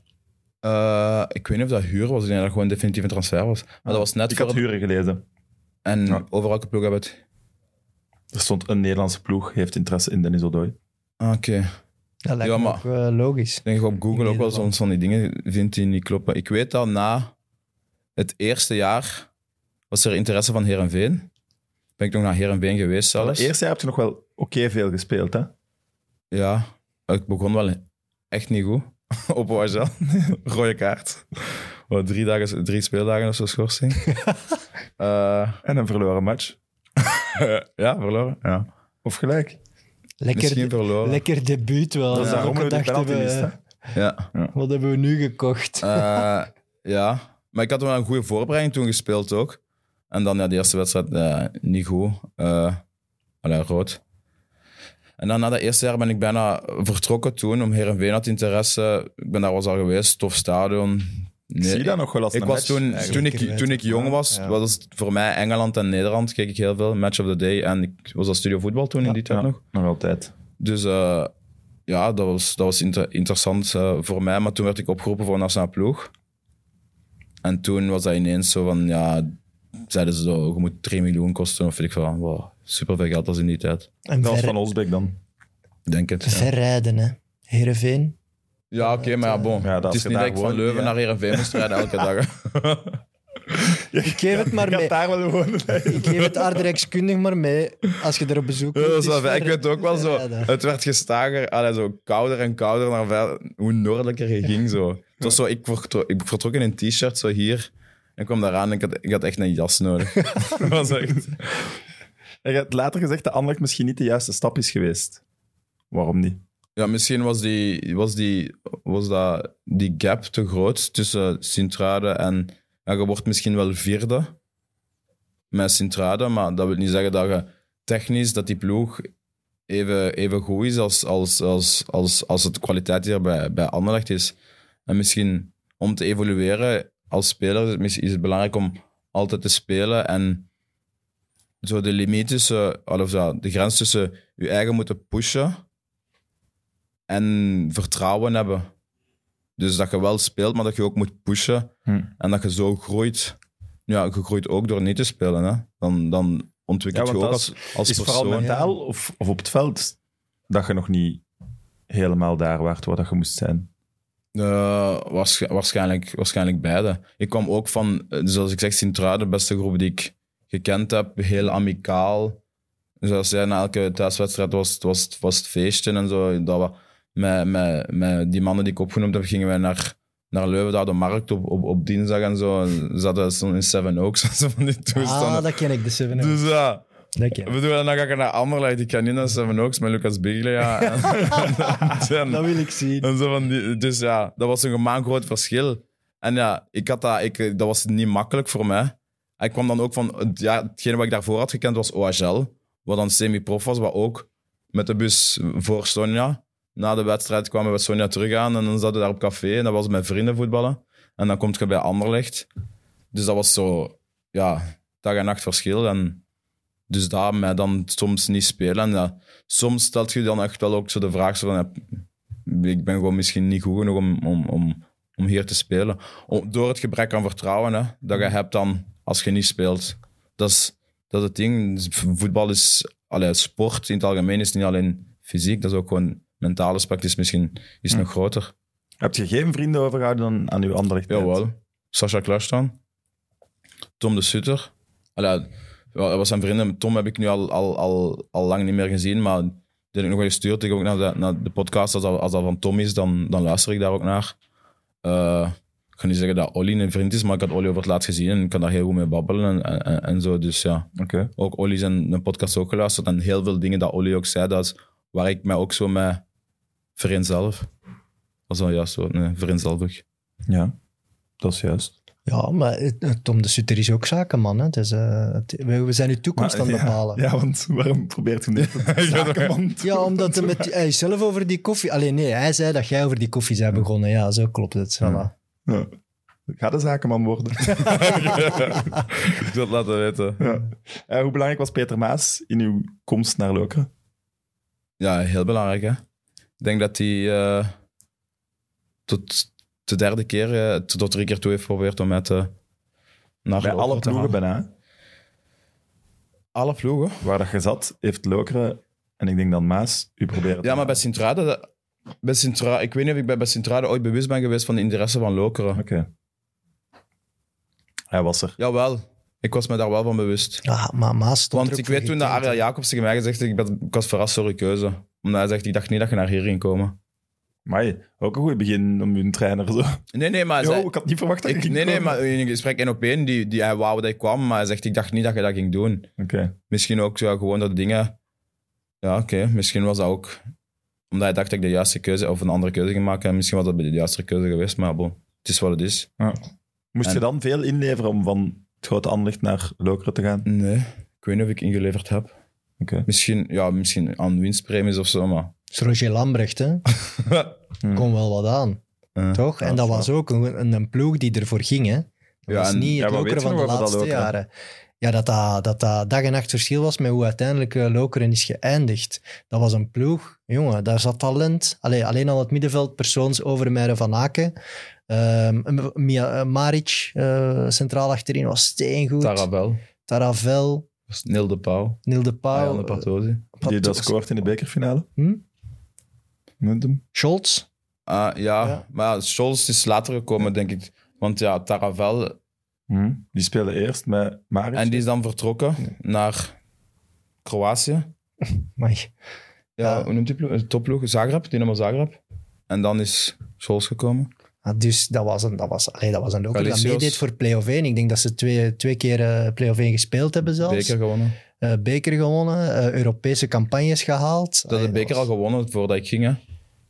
C: Eh, ik weet niet of dat huur was, ik denk dat dat gewoon definitief een transfer was. Maar dat was net
A: Ik
C: voor...
A: had huren gelezen.
C: En
A: Ja.
C: over welke ploeg hebben we het?
A: Er stond een Nederlandse ploeg, heeft interesse in Dennis Odoi.
C: Ah, Oké.
B: Dat lijkt
C: Ja,
B: me
C: maar-
B: ook eh, logisch.
C: Ik denk dat je op Google ook wel
B: Nederland.
C: soms van die dingen vindt die niet kloppen. Ik weet dat na het eerste jaar was er interesse van Herenveen. Ben ik nog naar Herenveen geweest zelfs.
A: Het eerste jaar heb je nog wel oké veel gespeeld, hè?
C: Ja, ik begon wel echt niet goed. Op OSL. Rode kaart. Wat, drie, dagen, drie speeldagen of zo schorsing. Eh,
A: En een verloren match.
C: ja, verloren. Ja.
A: Of
C: Oh,
A: gelijk.
B: Lekker,
C: Misschien verloren.
B: lekker debuut wel.
A: Dat is
B: Ja.
A: daarom
B: Ook
A: dat we die
B: gedacht
A: penalty
B: hebben,
A: mist, hè?
C: Ja.
B: Wat hebben we nu gekocht?
C: Eh, ja. Maar ik had wel een goede voorbereiding toen gespeeld ook. En dan ja, de eerste wedstrijd ja, niet goed. Eh allee, rood. En dan na dat eerste jaar ben ik bijna vertrokken toen. Om Herenveen had interesse. Ik ben daar was al geweest. Tof stadion. Nee,
A: Zie je dat nog wel als
C: Ik
A: een
C: was
A: match?
C: toen,
A: Eigenlijk.
C: toen,
B: Zeker
C: ik,
B: weten.
C: toen ik jong was,
B: Ja.
C: was het voor mij Engeland en Nederland. Keek ik heel veel. Match of the day. En ik was al studio voetbal toen in die tijd
A: Ja,
C: nog.
A: nog altijd.
C: Dus eh, ja, dat was, dat was inter- interessant eh, voor mij. Maar toen werd ik opgeroepen voor een nationale ploeg. En toen was dat ineens zo van, ja, zeiden ze zo, je moet 3 miljoen kosten. Of weet ik veel. Wow, superveel geld als in die tijd.
B: En
A: Dat was
B: ver,
A: van Olsbeek dan.
C: Ik Denk het. Ja,
B: verrijden, hè. Heerenveen.
C: Ja, oké, maar ja, bon.
A: eh, Ja, dat
C: het
A: als
C: is
A: je
C: niet
A: daar
C: dat ik van
A: woont,
C: Leuven
A: ja.
C: naar Heerenveen moest rijden elke dag.
B: Ik geef het maar
A: Ik had
B: mee.
A: daar wel gewoon...
B: Ik geef het aardrijkskundig maar mee als je er op bezoek
C: Ja,
B: komt,
C: dat is wel
B: is
C: fijn. ik
B: ver-
C: weet ook wel zo.
B: verrijden.
C: Het werd gestager, allee, zo kouder en kouder naar ver- hoe noordelijker je ging. Zo. Het was zo ik, vertro- ik vertrok in een t-shirt zo hier. En ik kwam daaraan en ik had, ik had echt een jas nodig. dat was echt.
A: Je hebt later gezegd dat Anderlecht misschien niet de juiste stap is geweest. Waarom niet?
C: Ja, misschien was, die, was, die, was dat, die gap te groot tussen Sint-Truiden en... Ja, je wordt misschien wel vierde met Sint-Truiden, maar dat wil niet zeggen dat je technisch dat die ploeg even, even goed is als, als, als, als, als het kwaliteit hier bij, bij Anderlecht is. En misschien om te evolueren als speler is het, mis- is het belangrijk om altijd te spelen en zo de limiet tussen, of ja, de grens tussen je eigen moeten pushen en vertrouwen hebben. Dus dat je wel speelt, maar dat je ook moet pushen.
A: Hm.
C: En dat je zo groeit. Ja, je groeit ook door niet te spelen. Hè. Dan, dan ontwikkelt
A: Ja,
C: je
A: want
C: ook
A: dat is-
C: als, als
A: is het
C: persoon.
A: vooral mentaal of, of op het veld dat je nog niet helemaal daar waart waar dat je moest zijn?
C: Eh, waarsch- waarschijnlijk, waarschijnlijk beide. Ik kwam ook van, eh, zoals ik zeg, Sint-Truiden, de beste groep die ik gekend heb. Heel amicaal. Zoals zij, na elke thuiswedstrijd was, het- was, het- was het feesten en zo. Dat we, met, met, met die mannen die ik opgenoemd heb, gingen wij naar, naar Leuven, daar de markt op, op, op dinsdag en zo. En zaten ze in Seven Oaks en zo van die
B: Ah,
A: dus
C: toestanden.
B: dat ken ik, de Seven.
C: dus ja,
B: Dat ken ik.
C: bedoel, en dan ga ik naar Anderlecht. Ik ga niet naar Seven Oaks met Lucas Biglia. En, en-
B: Dat wil ik zien.
C: en zo van die, dus ja, dat was een gemaakt groot verschil. En ja, ik had dat, ik, dat was niet makkelijk voor mij. En Ik kwam dan ook van, het jaar- hetgene wat ik daarvoor had gekend was OHL, wat dan semi-prof was, wat ook met de bus voor Sonja. Na de wedstrijd kwamen we bij Sonja terug aan en dan zaten we daar op café en dat was met vrienden voetballen. En dan komt je bij Anderlecht. Dus dat was zo, ja, dag en nacht verschil. En dus daar mij dan soms niet spelen. En ja, soms stelt je dan echt wel ook zo de vraag zo van, ja, ik ben gewoon misschien niet goed genoeg om, om, om, om hier te spelen. Om- door het gebrek aan vertrouwen hè, dat je hebt dan als je niet speelt. Dat is, dat is het ding. Dus Voetbal is, allee, sport in het algemeen is niet alleen fysiek, dat is ook gewoon mentaal aspect is misschien is nog groter.
A: Heb je geen vrienden overgehouden dan aan uw Anderlecht?
C: Jawel. Sascha Klarstaan. Tom de Sutter. Allee, ja, dat was zijn vrienden. Tom heb ik nu al, al, al, al lang niet meer gezien, maar die heb ik nog wel gestuurd. Ik heb ook naar de, naar de podcast. Als dat, als dat van Tom is, dan, dan luister ik daar ook naar. Eh, Ik ga niet zeggen dat Olly een vriend is, maar ik had Olly over het laatst gezien en ik kan daar heel goed mee babbelen en, en, en zo. Dus ja,
A: Oké.
C: ook Olly zijn een podcast ook geluisterd en heel veel dingen dat Olly ook zei, dat is waar ik mij ook zo mee vereenzelf. Als dan juist zo, nee, vereenzelvig.
A: Ja, dat is juist.
B: Ja, maar eh, Tom de Sutter is ook zakenman. Hè? Dus, eh, het- we, we zijn uw toekomst aan het
A: ja,
B: bepalen. Ja.
A: Ja, want waarom probeert hij niet dat zakenman te-
B: omdat hij, met, hij is zelf over die koffie... Alleen nee, hij zei dat jij over die koffie zei begonnen. Ja, zo klopt het. Voilà.
A: Ja. Ga de zakenman worden.
C: Ik zal het laten weten.
A: ja. Eh, hoe belangrijk was Peter Maas in uw komst naar Lokeren?
C: Ja, heel belangrijk. Hè? Ik denk dat hij eh, tot de derde keer, eh, tot drie keer toe heeft geprobeerd om met naar
A: Bij alle
C: Lokeren te
A: ploegen
C: gaan.
A: bijna. hè?
C: Alle ploegen?
A: Waar dat je zat, heeft Lokeren, en ik denk dan Maas, u proberen te
C: Ja, maar bij Sint-Truiden... dat- Bij sint ik weet niet of ik bij- bij Sint-Truiden ooit bewust ben geweest van de interesse van Lokeren.
A: Oké. Hij was er.
C: Jawel, ik was me daar wel van bewust.
B: Ja, Ah, maar Maas stond er
C: Want
B: ook
C: ik
B: voor
C: weet toen dat Ah,
B: getekend, hè.
C: Ariel Jacobs tegen mij gezegd heeft, ik, ben, ik was verrast door je keuze. Omdat hij zegt, ik dacht niet dat je naar hier ging komen.
A: Maar ook een goed begin om hun trainer zo.
C: Nee, nee, maar...
A: Yo,
C: zij-
A: ik had niet verwacht dat je
C: ik-
A: ging
C: nee, nee,
A: komen.
C: maar in een gesprek één op één, die, die, hij wou dat ik kwam, maar hij zegt, ik dacht niet dat je dat ging doen.
A: Oké.
C: misschien ook ja, gewoon dat dingen. Ja, oké. Misschien was dat ook. Omdat hij dacht dat ik de juiste keuze of een andere keuze ging maken. En misschien was dat de juiste keuze geweest, maar bon, het is wat het is.
A: Moest
C: En-
A: je dan veel inleveren om van het grote Anderlecht naar Lokeren te gaan?
C: Nee, ik weet niet of ik ingeleverd heb.
A: Oké.
C: Misschien, ja, misschien aan winstpremies of zo, maar.
B: Dat is Roger Lambrecht, hè? Kon wel wat aan,
C: eh.
B: toch? en dat
A: Hm. dat is
B: was ook een, een ploeg die ervoor ging, hè? Dat
C: Ja,
B: was
C: en-
B: niet
A: ja, wat
B: het lokeren
A: weet je
B: van de
A: nog over dat
B: laatste
A: Lokeren?
B: jaren. Ja, dat dat, dat dat dag en nacht verschil was met hoe uiteindelijk eh, Lokeren is geëindigd. Dat was een ploeg, jongen, daar zat talent. Allee, alleen al het middenveld, persoons Overmeijer van Aken. Ehm, Mia, eh, Maric, eh, centraal achterin, was steengoed.
C: Tarabel,
B: Taravel,
C: Neil de Pauw,
B: Niel
A: Ah
B: de Pauw,
C: Arjan de Partosi.
B: Ah, eh,
A: Die dat
B: Pat-
A: scoort in de bekerfinale?
B: Hm?
A: Met hem?
B: Scholz.
C: Ah, ja,
B: Ja.
C: maar ja, Scholz is later gekomen, denk ik. Want ja, Taravel,
A: Hm. Die spelen eerst met Marius.
C: en die is dan vertrokken naar Kroatië.
B: Amai.
C: Ja,
B: Ja.
C: hoe noemt die ploeg? Eh, Topploeg, Zagreb, Dynamo Zagreb. En dan is Scholz gekomen.
B: Ja, dus dat was een, dat was, allee, dat was een loker dat
C: Galicios.
B: meedeed voor play-off 1. Ik denk dat ze twee, twee keer eh play-off 1 gespeeld hebben zelfs.
C: Beker gewonnen.
B: Eh, beker gewonnen, eh, Europese campagnes gehaald.
C: Dat had de
B: Allee,
C: beker al
B: was-
C: gewonnen voordat ik ging. Hè.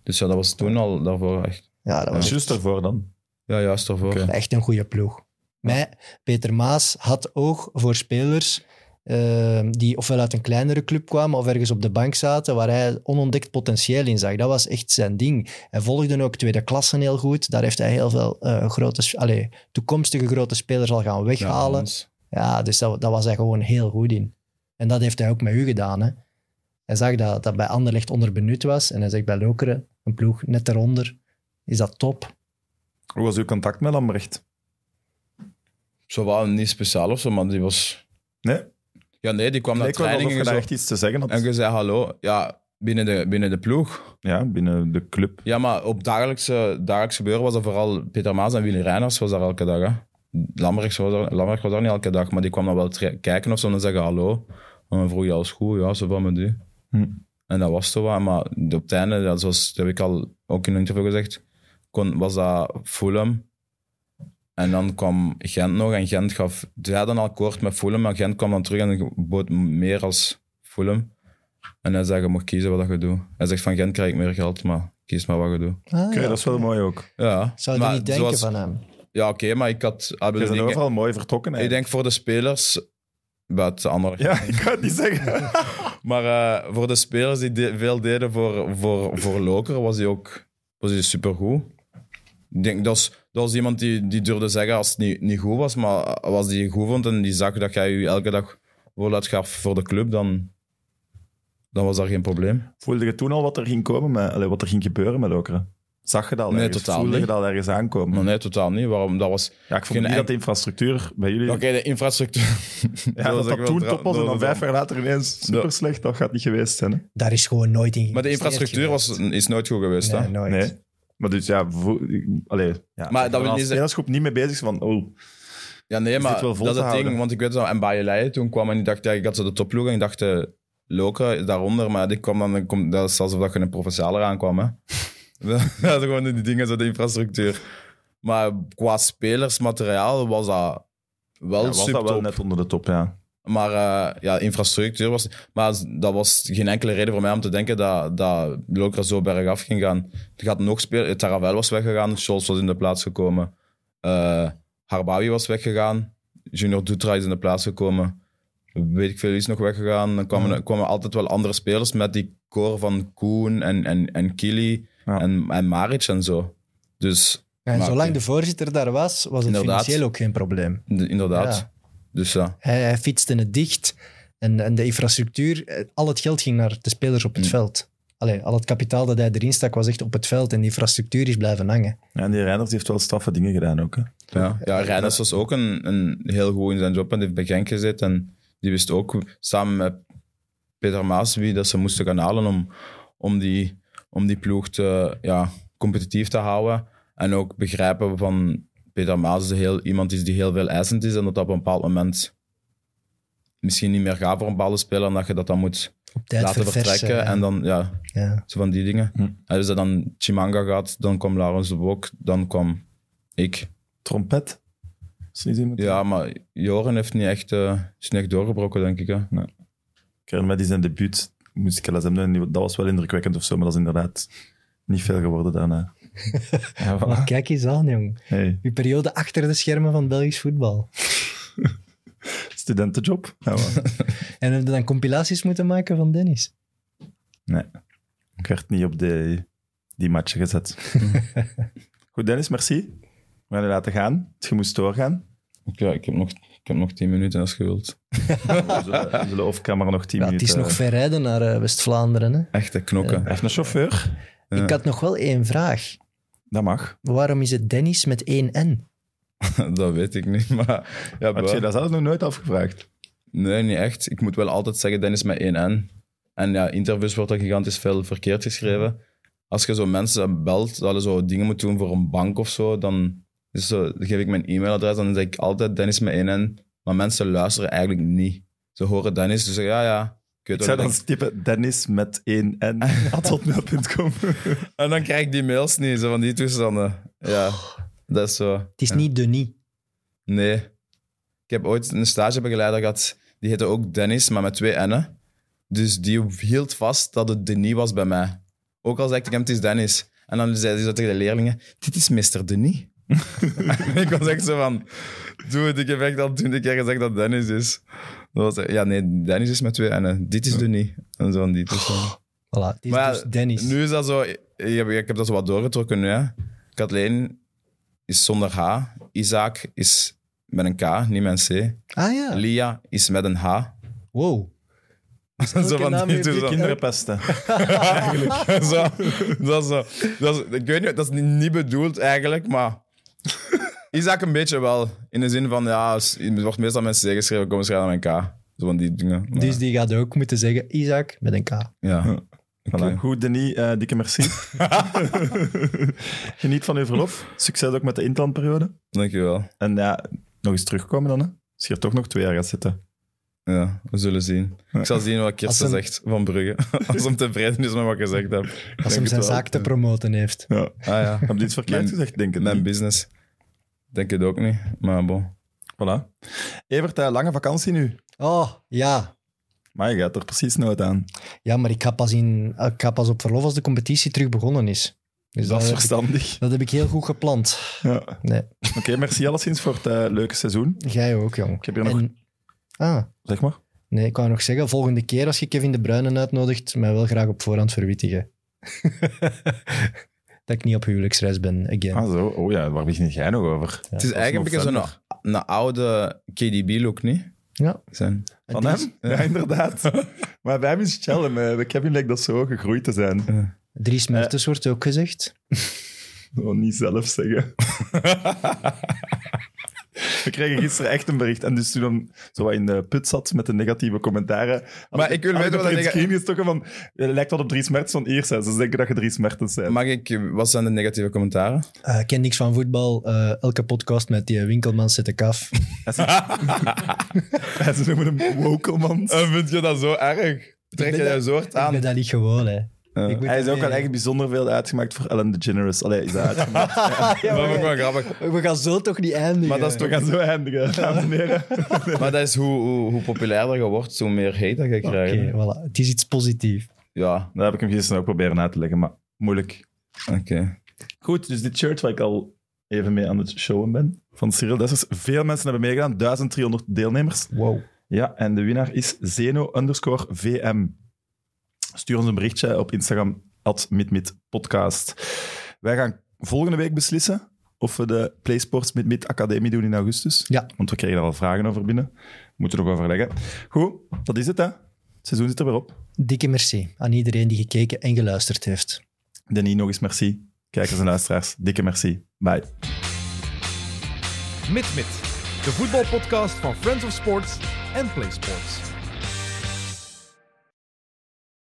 C: Dus ja, dat was toen al daarvoor echt.
B: Ja, dat
A: Dat is
B: was
A: juist daarvoor dan.
C: Ja, juist daarvoor.
A: Oké.
B: echt een goede ploeg. Maar Peter Maas had oog voor spelers eh, die ofwel uit een kleinere club kwamen of ergens op de bank zaten waar hij onontdekt potentieel in zag. Dat was echt zijn ding. Hij volgde ook tweede klassen heel goed. Daar heeft hij heel veel eh, grote, s- allee, toekomstige grote spelers al gaan
C: Ja,
B: weghalen.
C: Hans.
B: Ja, dus dat, dat was hij gewoon heel goed in. En dat heeft hij ook met u gedaan. Hè? Hij zag dat dat bij Anderlecht onderbenut was. En hij zegt bij Lokeren, een ploeg net daaronder, is dat top.
A: Hoe was uw contact met Lambrecht?
C: Zo wel niet speciaal of zo, maar die was.
A: Nee?
C: Ja, nee, die kwam naar
A: leek wel alsof
C: trainingen
A: je daar
C: en,
A: echt
C: zo.
A: iets te zeggen had.
C: en je zei hallo. Ja, binnen de, binnen de ploeg.
A: Ja, binnen de club.
C: Ja, maar op dagelijkse, dagelijks gebeuren was dat vooral Peter Maas en Willy Reiners was daar elke dag. Hè. Lambrecht was, daar- Lambrecht was daar niet elke dag, maar die kwam dan wel tre- kijken of zo en dan zeggen hallo. En dan vroeg je alles goed, ja, zo van met u.
A: Hm.
C: En dat was toch wel, maar op het einde, dat, was, dat heb ik al ook in een interview gezegd, kon, was dat Fulham. En dan kwam Gent nog en Gent gaf, ze hadden al kort met Fulham, maar Gent kwam dan terug en bood meer als Fulham. En hij zei, je mag kiezen wat dat je doet. Hij zegt, van Gent krijg ik meer geld, maar kies maar wat je doet.
B: Ah,
A: Oké,
B: ja.
A: dat is wel mooi ook.
C: Ja,
B: Zou je
C: maar
B: niet denken
C: zoals-
B: van hem?
C: Ja, oké, maar ik had. ah,
A: Je
C: bedoel,
A: bent
C: ik,
A: overal mooi vertrokken.
C: ik
A: eigenlijk.
C: denk voor de spelers. Buiten andere.
A: Ja, ik ga het niet zeggen.
C: Maar eh, voor de spelers die de- veel deden voor, voor, voor Loker was hij ook was hij supergoed. Ik denk, dat was, dat was iemand die, die durfde zeggen als het niet, niet goed was, maar als die goed vond en die zag dat jij je elke dag vooruit gaf voor de club, dan, dan was daar geen probleem.
A: Voelde je toen al wat er ging komen, met, allee, wat er ging gebeuren met Lokeren? Zag je dat al
C: Nee,
A: ergens?
C: totaal
A: Voelde je
C: niet.
A: dat al ergens aankomen?
C: Maar nee, totaal niet. Waarom? Dat was...
A: Ja, ik vond
C: Geen
A: niet
C: en-
A: dat de infrastructuur bij jullie...
C: Oké, de infrastructuur.
A: ja, dat
C: echt
A: dat
C: wel
A: toen
C: dra-
A: top was en
C: dat
A: dan
C: dra-
A: vijf jaar later ineens super slecht. Dat gaat niet geweest zijn. Hè?
B: Daar is gewoon nooit in
C: Maar de
B: geïnvesteerd
C: infrastructuur
B: geweest.
C: was, is nooit goed geweest. hè?
B: Nee, nooit.
A: Nee. Maar dus ja, vo- ik- allee, ja
C: Maar
A: ik ben
C: dat
A: als
C: wil niet zeggen-
A: spelersgroep niet mee bezig van, oh,
C: Ja, nee,
A: Is dit
C: maar
A: wel vol
C: dat
A: te
C: is het ding.
A: houden?
C: Want ik weet dat en Bajelei toen kwam en ik dacht, ja, ik had ze de topploeg en ik dacht, eh, Lokeren daaronder. Maar dit kwam dan, dan komt- dat is alsof dat je een provincialer aankwam. Hè. dat is gewoon die dingen, zo de infrastructuur. Maar qua spelersmateriaal was dat wel
A: was dat
C: subtop.
A: wel net onder de top, ja.
C: Maar eh, ja, infrastructuur was. Maar dat was geen enkele reden voor mij om te denken dat, dat Lokra zo bergaf ging gaan. Er gaat nog spelen. Taravel was weggegaan. Scholz was in de plaats gekomen. Eh Harbawi was weggegaan. Junior Dutra is in de plaats gekomen. Weet ik veel, wie is nog weggegaan. Dan kwamen, kwamen altijd wel andere spelers met die core van Koen en, en, en Kili
A: Ja.
C: en, en Maric en zo. Dus
B: Ja, en
C: Maar
B: zolang
C: oké.
B: de voorzitter daar was, was het
C: Inderdaad.
B: financieel ook geen probleem.
C: de- inderdaad.
B: Ja.
C: Dus ja.
B: Hij, hij fietste het dicht en, en de infrastructuur, eh, al het geld ging naar de spelers op het
C: Mm.
B: veld. Allee, al het kapitaal dat hij erin stak was echt op het veld en die infrastructuur is blijven hangen.
A: Ja, En die Reinders heeft wel straffe dingen gedaan ook. Hè.
C: Ja, ja Reiners was ook een, een heel goed in zijn job en die heeft bij Genk gezet. En die wist ook samen met Peter Maas wie dat ze moesten gaan halen om, om, die, om die ploeg te, ja, competitief te houden. En ook begrijpen van Peter Maas dat heel, iemand is die heel veel eisend is en dat dat op een bepaald moment misschien niet meer gaat voor een bepaalde speler en dat je dat dan moet
B: Op tijd
C: laten
B: verversen.
C: vertrekken. En dan, ja,
B: ja.
C: zo van die dingen.
A: Hm.
C: En dus dat dan Chimanga gaat, dan kwam Laurens de Bok, dan kwam ik.
A: Trompet. Is niet iemand?
C: Ja, maar Joren heeft niet echt, eh, is niet echt doorgebroken, denk ik. Hè?
A: Ik herinner me die zijn debuut, moest ik wel eens hem doen, en die- dat was wel indrukwekkend of zo, maar dat is inderdaad niet veel geworden daarna. ja,
B: Maar
A: voilà.
B: kijk eens aan, jong.
A: Hey,
B: Uw periode achter de schermen van Belgisch voetbal.
A: studentenjob. Ja, maar.
B: En hebben we dan compilaties moeten maken van Dennis.
A: ik werd niet op de, die matchen gezet. Goed, Dennis, merci. We gaan je laten gaan. Je moest doorgaan.
C: Ik, ja, ik, heb nog, ik heb nog tien minuten als je wilt.
A: We zullen, we zullen off-camera nog tien
B: Ja, het
A: minuten...
B: is nog ver rijden naar eh, West-Vlaanderen. hè.
C: Echte knokken.
A: Hij heeft een chauffeur.
C: Ja.
B: Ik had nog wel één vraag.
A: Dat mag.
B: Waarom is het Dennis met één N?
C: dat weet ik niet, maar... Ja,
A: Heb
C: bah.
A: je dat zelf nog nooit afgevraagd?
C: Nee, niet echt. Ik moet wel altijd zeggen, Dennis met één N. En ja, interviews wordt er gigantisch veel verkeerd geschreven. Als je zo mensen belt dat je zo dingen moet doen voor een bank of zo, dan, is zo, dan geef ik mijn e-mailadres dan zeg ik altijd Dennis met één N. Maar mensen luisteren eigenlijk niet. Ze horen Dennis, dus zeggen ja, ja. Ik weet
A: Ik zou
C: wel dat
A: dan
C: ik-
A: typen Dennis met 1 N at hotmail.com.
C: En dan krijg ik die mails niet, zo van die toestanden. Ja, dat is zo.
B: Het is niet Denis.
C: Nee. Ik heb ooit een stagebegeleider gehad, die heette ook Dennis, maar met twee N'en. Dus die hield vast dat het Denis was bij mij. Ook al zei ik tegen hem, het is Dennis. En dan zei hij zo tegen de leerlingen, dit is Mr. Denis. En ik was echt zo van, doe het, ik heb echt al twintig keer gezegd dat Dennis is. Dat was, ja, nee, Dennis is met twee N'en. Dit is Denis. En zo van die toestanden.
B: Voilà, het is
C: Maar
B: dus Dennis.
C: Nu is dat zo. Ik heb, ik heb dat zo wat doorgetrokken nu. Hè. Kathleen is zonder H. Isaac is met een K, niet met een C.
B: Ah ja,
C: Lia is met een H.
B: wow.
C: zo
B: Welke naam
C: die
B: heeft die
C: toestanden.
A: Kinderen pesten.
C: zo, dat is zo. Dat is, ik weet niet, dat is niet bedoeld eigenlijk, maar. Isaac een beetje wel. In de zin van, ja, het wordt meestal met C geschreven, kom schrijven met een K. Zo van die dingen. Maar,
B: Dus die gaat ook moeten zeggen Isaac met een K.
C: ja.
A: Voilà.
C: Oké.
A: Goed, Denis, eh, dikke merci. Geniet van uw verlof. Succes ook met de interlandperiode.
C: Dankjewel.
A: En ja, nog eens terugkomen dan. Hè. Als je hier toch nog twee jaar gaat zitten.
C: Ja, we zullen zien. Ik zal zien wat Kirsten
B: Als een-
C: zegt van Brugge. Als hem tevreden is met wat ik gezegd heb.
B: Als hem
A: het
B: zijn
A: wel.
B: zaak te promoten heeft.
A: Ja.
C: Ah ja,
A: Heb je iets verkeerd
C: Mijn-
A: gezegd, denk ik.
C: mijn
A: niet.
C: business. Denk het ook niet, maar bon.
A: Voilà. Evert, eh, lange vakantie nu.
B: Oh, ja.
A: Maar je gaat er precies nooit aan.
B: Ja, maar ik ga pas, in, ik ga pas op verlof als de competitie terug begonnen is. Dus
A: dat is
B: heb ik,
A: verstandig.
B: dat heb ik heel goed gepland.
A: Ja.
B: Nee.
A: Oké, merci alleszins voor het eh, leuke seizoen.
B: Jij ook, jong.
A: Ik heb hier nog-
B: En- ah,
A: Zeg maar.
B: nee, ik wou nog zeggen, volgende keer als je Kevin De Bruyne uitnodigt, mij wel graag op voorhand verwittigen. dat ik niet op huwelijksreis ben, again.
A: Ah, zo. Oh ja, waar begin jij nog over?
C: het is eigenlijk een beetje
A: november.
C: zo'n een oude KDB-look, niet?
B: Ja.
C: Zijn.
A: Van
B: Die-
A: hem? Ja, inderdaad. maar bij hem is challenge. We hebben Kevin lijkt dat zo gegroeid te zijn.
B: Dries
A: Eh.
B: Mertens wordt ook gezegd.
A: Gewoon niet zelf zeggen. We kregen gisteren echt een bericht. En dus toen hem zo wat in de put zat met de negatieve commentaren. had
C: Maar ik wil
A: had
C: weten
A: op
C: wat
A: een
C: dat nega-
A: screen gestoken van. Het lijkt wat op Dries Mertens van Eerst. Ze denken dat je Dries Mertens bent.
C: Mag ik, wat zijn de negatieve commentaren?
B: Eh, ken niks van voetbal. eh, elke podcast met die winkelman zet ik af.
A: En ze noemen hem Wokelmans.
C: vind je dat zo erg?
B: ben
C: Trek je
B: dat-
C: daar zo hard
B: Ik ben
C: aan?
B: dat niet gewoon, hè.
A: Ja.
B: Ik moet
A: Eh, Hij is
B: dat
A: ook al
B: mee-
A: echt bijzonder veel uitgemaakt voor Ellen DeGeneres. Allee, is dat uitgemaakt?
C: dat is wel grappig.
B: We gaan zo toch niet eindigen.
C: Maar dat is
A: We gaan zo eindigen, dames en heren.
C: Maar dat is hoe, hoe, hoe populairder je wordt, hoe meer hate dat je
B: Oké,
C: krijgt.
B: voilà. Het is iets positiefs.
C: Ja,
A: Dat heb ik hem gisteren ook proberen uit te leggen, maar moeilijk.
C: oké.
A: Goed, dus dit shirt waar ik al even mee aan het showen ben, van Cyril Dessers. Veel mensen hebben meegedaan, 1300 deelnemers.
B: Wow.
A: Ja, en de winnaar is Zeno underscore VM. Stuur ons een berichtje op Instagram, at midmidpodcast. Wij gaan volgende week beslissen of we de PlaySports Midmid Academie doen in augustus.
B: Ja.
A: Want we kregen daar al vragen over binnen. Moeten we nog overleggen. Goed, dat is het hè. Het seizoen zit er weer op.
B: Dikke merci aan iedereen die gekeken en geluisterd heeft.
A: Denis, nog eens merci. Kijkers en luisteraars, dikke merci. Bye.
D: Mit Mit, de voetbalpodcast van Friends of Sports en Play Sports.